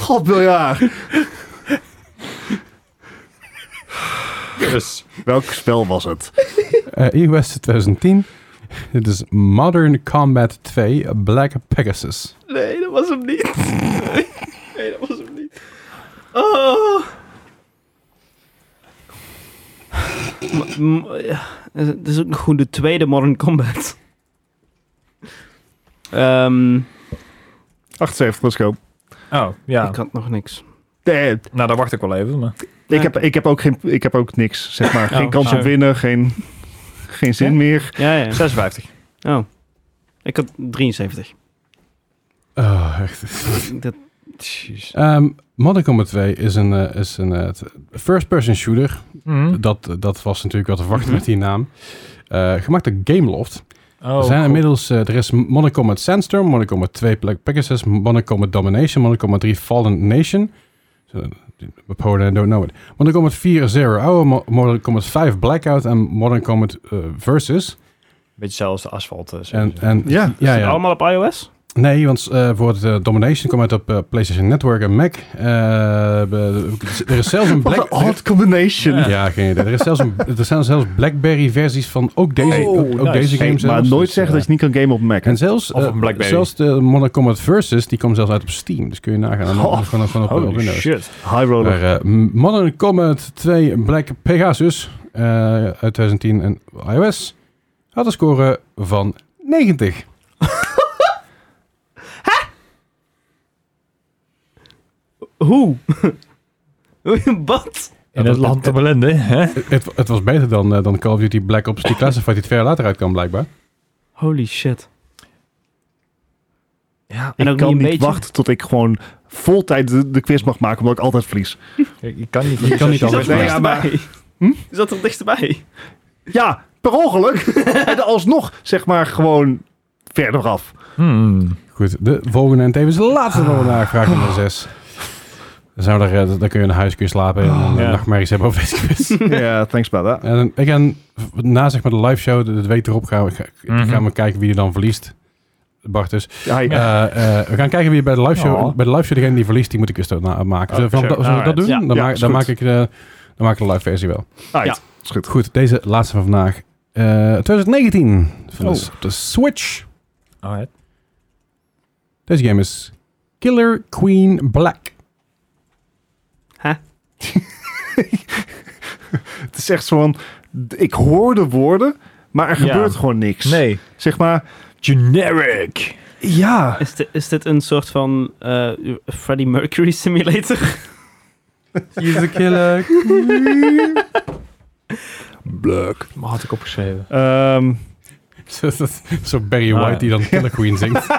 God miljard. Dus. Welk spel was het? Eh, iOS 2010. Dit is Modern Combat 2 Black Pegasus. Nee, dat was hem niet. *laughs* Nee, dat was hem niet. Oh. M- m- ja, Het is ook nog gewoon de tweede Modern Combat. Ehm 78, let's go. Oh, ja. Ik had nog niks. Nee, Nou, daar wacht ik wel even. Maar... ik, heb, ik, heb ook geen, ik heb ook niks, zeg maar. Geen Oh, kans op oh. winnen, geen, geen zin Ja? meer. Ja, ja. 56. Oh. Ik had 73. Oh, echt. Dat, Jeez. Ehm, Modern Combat 2 is een, eh, is een eh, first-person shooter Mhm. Dat, dat was natuurlijk wat te verwachten met die naam. Eh, gemaakt door Gameloft. Oh, er zijn goed. inmiddels, eh, er is Modern Combat Sandstorm, Modern Combat 2 Black Pegasus, Modern Combat Domination, Modern Combat 3 Fallen Nation. So, opponent, I don't know it. Modern Combat 4 Zero Hour, Mo- Modern Combat 5 Blackout en Modern Combat eh, Versus. Beetje zelfs de asfalt. eh, zo. En, en, Ja. ja, Ah, ja. Allemaal op iOS? Nee, want eh, voor het eh, Domination komt uit op eh, PlayStation Network en Mac. Eh, be- er is zelfs een Wat Black... een odd combination. Ja, geen idee. Er, is zelfs een, er zijn zelfs Blackberry-versies van ook deze, ook, Oh, ook nice. deze Hey, games. dus- maar nooit zeggen dat je niet kan gamen op Mac. hè? eh, En zelfs, Of eh, een Blackberry. zelfs de Modern Combat Versus, die komt zelfs uit op Steam. Dus kun je nagaan. En dan Oh. Gewoon, gewoon op, op Holy Windows. shit. High roller. Maar, eh, Modern Combat 2 Black Pegasus eh, uit 2010 en iOS had een score van 90. *laughs* Hoe? Wat? In het land te belende, hè? Het- Eh, het, het was beter dan, eh, dan Call of Duty Black Ops *laughs* 2 Classified, die twee jaar later uitkwam blijkbaar. Holy shit. Ja. En ik ook kan niet niet een beetje- *laughs* wachten tot ik gewoon vol tijd de, de quiz mag maken, omdat ik altijd verlies. Je je kan niet. Je kan niet Je al zat er Nee, weggaan. ja, dichterbij. Je zat er dichterbij. Ja, per ongeluk. *laughs* en alsnog, zeg maar, gewoon verder af. Hmm. Goed, de volgende en tevens de laatste van vandaag, vraag nummer 6. Dan, zijn we er, eh, dan kun je naar huis kun je slapen en dan Ah, ja. nachtmerries hebben over deze quiz. Ja, thanks about that. en again, na zeg maar de live show, de, de week erop, gaan we, ga- Mhm. gaan we kijken wie er dan verliest. Bart dus. Hi. Eh, eh, we gaan kijken wie bij de live show, Oh. bij de live show degene die verliest, die moet ik quiz na- maken. Zullen we Oké, dat, zullen we dat alright. doen? Ja. Dan, Ja, maak, is dan, goed. maak ik, eh, dan maak ik de live versie wel. Alright, Ja. is goed. Goed, deze laatste van vandaag. Eh, 2019 van de, Oh. op de Switch. Alright. Deze game is Killer Queen Black. Het is echt zo van, d- ik hoor de woorden, maar er Ja. gebeurt gewoon niks. Nee. Zeg maar, Generic. ja. Is, di- is dit een soort van eh, Freddie Mercury simulator? He's a killer. *laughs* Bluk. Maar had ik opgeschreven. Ehm, Zo zo Barry Ah, White ja. die dan Killer Queen *laughs* zingt. eh,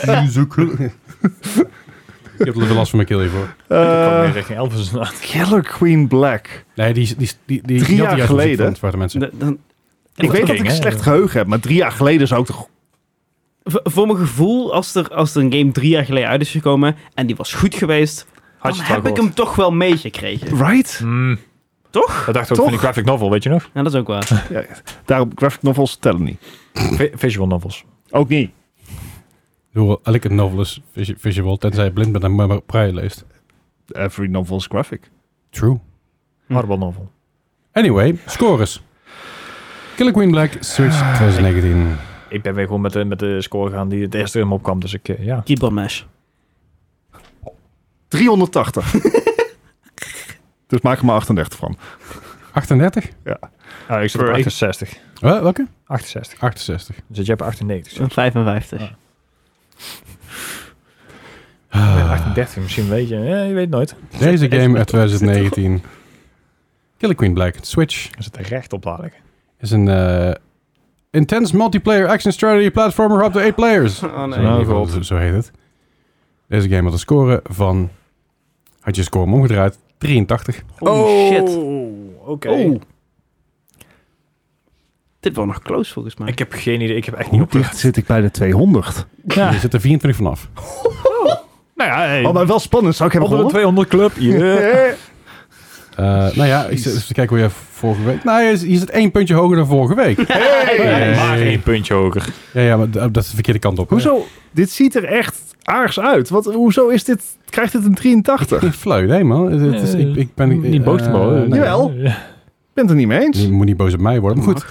He's a killer. Ik heb er wel last van mijn keel hiervoor. ik kwam eh, weer richting Elvis *laughs* na. Killer Queen Black. Nee, die, die, die, die, Drie die jaar juist muziek geleden. van zwarte mensen. *laughs* Dan- dan- Ik weet dat ik ging, een hè? slecht geheugen heb, maar drie jaar geleden zou ik toch... v- voor mijn gevoel, als er, als er een game drie jaar geleden uit is gekomen en die was goed geweest, Had dan je het heb wel ik hem toch wel *laughs* meegekregen. Right? Mm. Toch? Dat dacht ik ook Toch? van die graphic novel, weet je nog? Ja, dat is ook waar. Ja, daarom, graphic novels tellen niet. Vi- visual novels. Ook niet. Doe elke novel is visu- visual, tenzij je blind bent en maar praai leest. Every novel is graphic. True. Hm. Hardball novel. Anyway, scores. Killer Queen Black, Switch Ah, 2019. Ik ben weer gewoon met de, met de score gaan die het eerste hem opkwam. Dus ik, eh, ja. Keyboard Mash. 380. *laughs* dus maak er maar 38 van. 38? Ah, ik zit op Voor- 68. Wel, welke? 68. 68. Dus je hebt 98. Een 55. Ja. Ah. Ah. 38 misschien, weet je. Eh, je weet nooit. Deze game uit 2019. Killer Queen Black, Switch. Er zit er recht op, laat ik. Is een eh, intense multiplayer action strategy platformer up to 8 players. Oh nee. Zo, in ieder geval, God. zo, zo heet het. Deze game had een score van... Had je score hem omgedraaid? 83. Holy shit. oké. Oh. Dit was nog close volgens mij. Ik heb geen idee. Ik heb echt niet op. dicht zit ik bij de 200? Ja. Je zit er 24 vanaf. *laughs* Nou ja, hey. Oh, maar wel spannend. Zou ik hebben onder de gewonnen? 200 club. *laughs* Yeah. Eh, nou ja, ik zit even te kijken hoe je vorige week... Nou, je, je zit één puntje hoger dan vorige week. *laughs* Hey, Maar Hey. één puntje hoger. Ja, ja maar d- dat is de verkeerde kant op. Hoezo? Dit ziet er echt aargs uit. Wat, hoezo is dit, krijgt dit een 83? Ja, Ik flauw, nee man. Het, het is, ik, ik ben... niet boos te eh, worden. nee. Jawel. ben het er niet mee eens. Je moet niet boos op mij worden. Maar goed,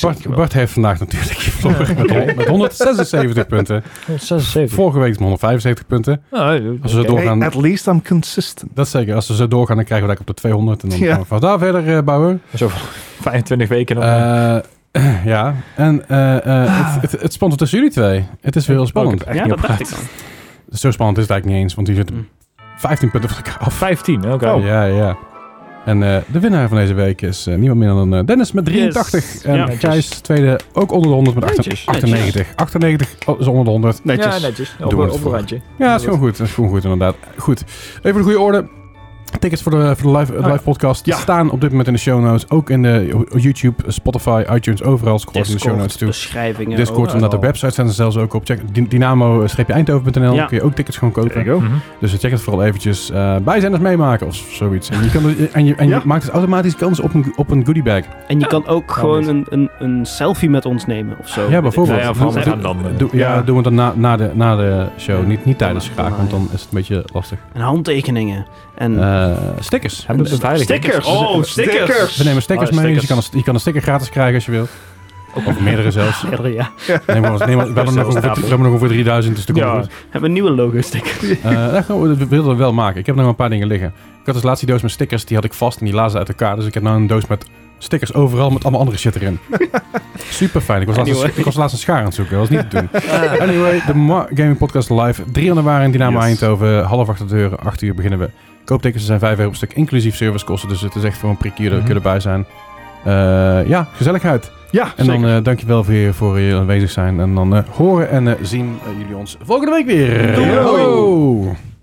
Bart, Bart heeft vandaag natuurlijk verloren met, met 176 punten. 76. Vorige week is het 175 punten. Nou, Als we oké. door- Hey, doorgaan. at least I'm consistent. Dat zeker. Als we zo doorgaan, dan krijgen we dat op de 200. En dan Ja. gaan we van daar verder eh, bouwen. Zo, 25 weken. nog. Eh, *clears throat* ja, en eh, eh, het, het, het spant tussen jullie twee. Het is weer heel Oh, spannend. ik heb echt ja, niet dat dacht opgelet. ik al. Zo spannend is het eigenlijk niet eens, want die Mm. zitten 15 punten van elkaar af. 15, oké. Ja, ja. En eh, de winnaar van deze week is eh, niemand minder dan eh, Dennis met 83. Yes. En Ja. Gijs tweede ook onder de 100 met achter- Netjes. 98. 98 oh, is onder de 100. Netjes. Ja, netjes. Op, Doen we op, het een voor. randje. Ja, is gewoon goed. Is gewoon goed, inderdaad. Goed. Even voor de goede orde. Tickets voor de, voor de live, ja. live podcast Ja. staan op dit moment in de show notes. Ook in de YouTube, Spotify, iTunes, overal. Scroll even in de show notes Discord, toe. beschrijvingen. Discord, oh, omdat de oh. website staan er zelfs ook op. Check Dy- dynamo-eindhoven.nl. Ja. Kun je ook tickets gewoon kopen. There you go. Dus check het vooral eventjes. eh bijzenders meemaken of zoiets. En je, kan er- en je, en je Ja. maakt dus automatisch kans op een, op een goodie bag. En je kan ook gewoon niet. een, een, een selfie met ons nemen of zo. Ja, bijvoorbeeld. Nou ja, Doe- vooral met doe- hem dan, eh. doe- ja, Ja. doen we het dan na, na, de, na de show. Niet, niet tijdens Ja, graag, ja. want dan is het een beetje lastig. En handtekeningen. En Eh, stickers. Hebben we het veilig? Stickers. Oh, stickers. We nemen stickers Oh, mee. Dus stickers. je, kan een, je kan een sticker gratis krijgen als je wil. Of meerdere zelfs. Neem verder, *laughs* ja. maar wat- neem maar- we, hebben nog ongeveer, we hebben nog ongeveer 3000, dus dat komt Ja. wel goed. Hebben we nieuwe logo *laughs* stickers. Eh, dat gaan we, dat wilden we wel maken. Ik heb nog een paar dingen liggen. Ik had dus laatst die doos met stickers, die had ik vast en die lazen uit elkaar. Dus ik heb nu een doos met stickers overal met allemaal andere shit erin. Super fijn. Ik was, laatst een, Anyway. ik was laatst een schaar aan het zoeken. Dat was niet te doen. anyway, de Ma- Gaming Podcast live. 3 januari in Dynamo Yes. Eindhoven. Half acht op de deur. 8 uur beginnen we. Kooptekens zijn 5 euro per stuk, inclusief servicekosten. Dus het is echt voor een prikje dat we Mhm. kunnen erbij zijn. Eh, ja, gezelligheid. Ja, En dan zeker. eh, dankjewel weer voor je aanwezig zijn. En dan eh, horen en eh, zien eh, jullie ons volgende week weer. Doei. Ho!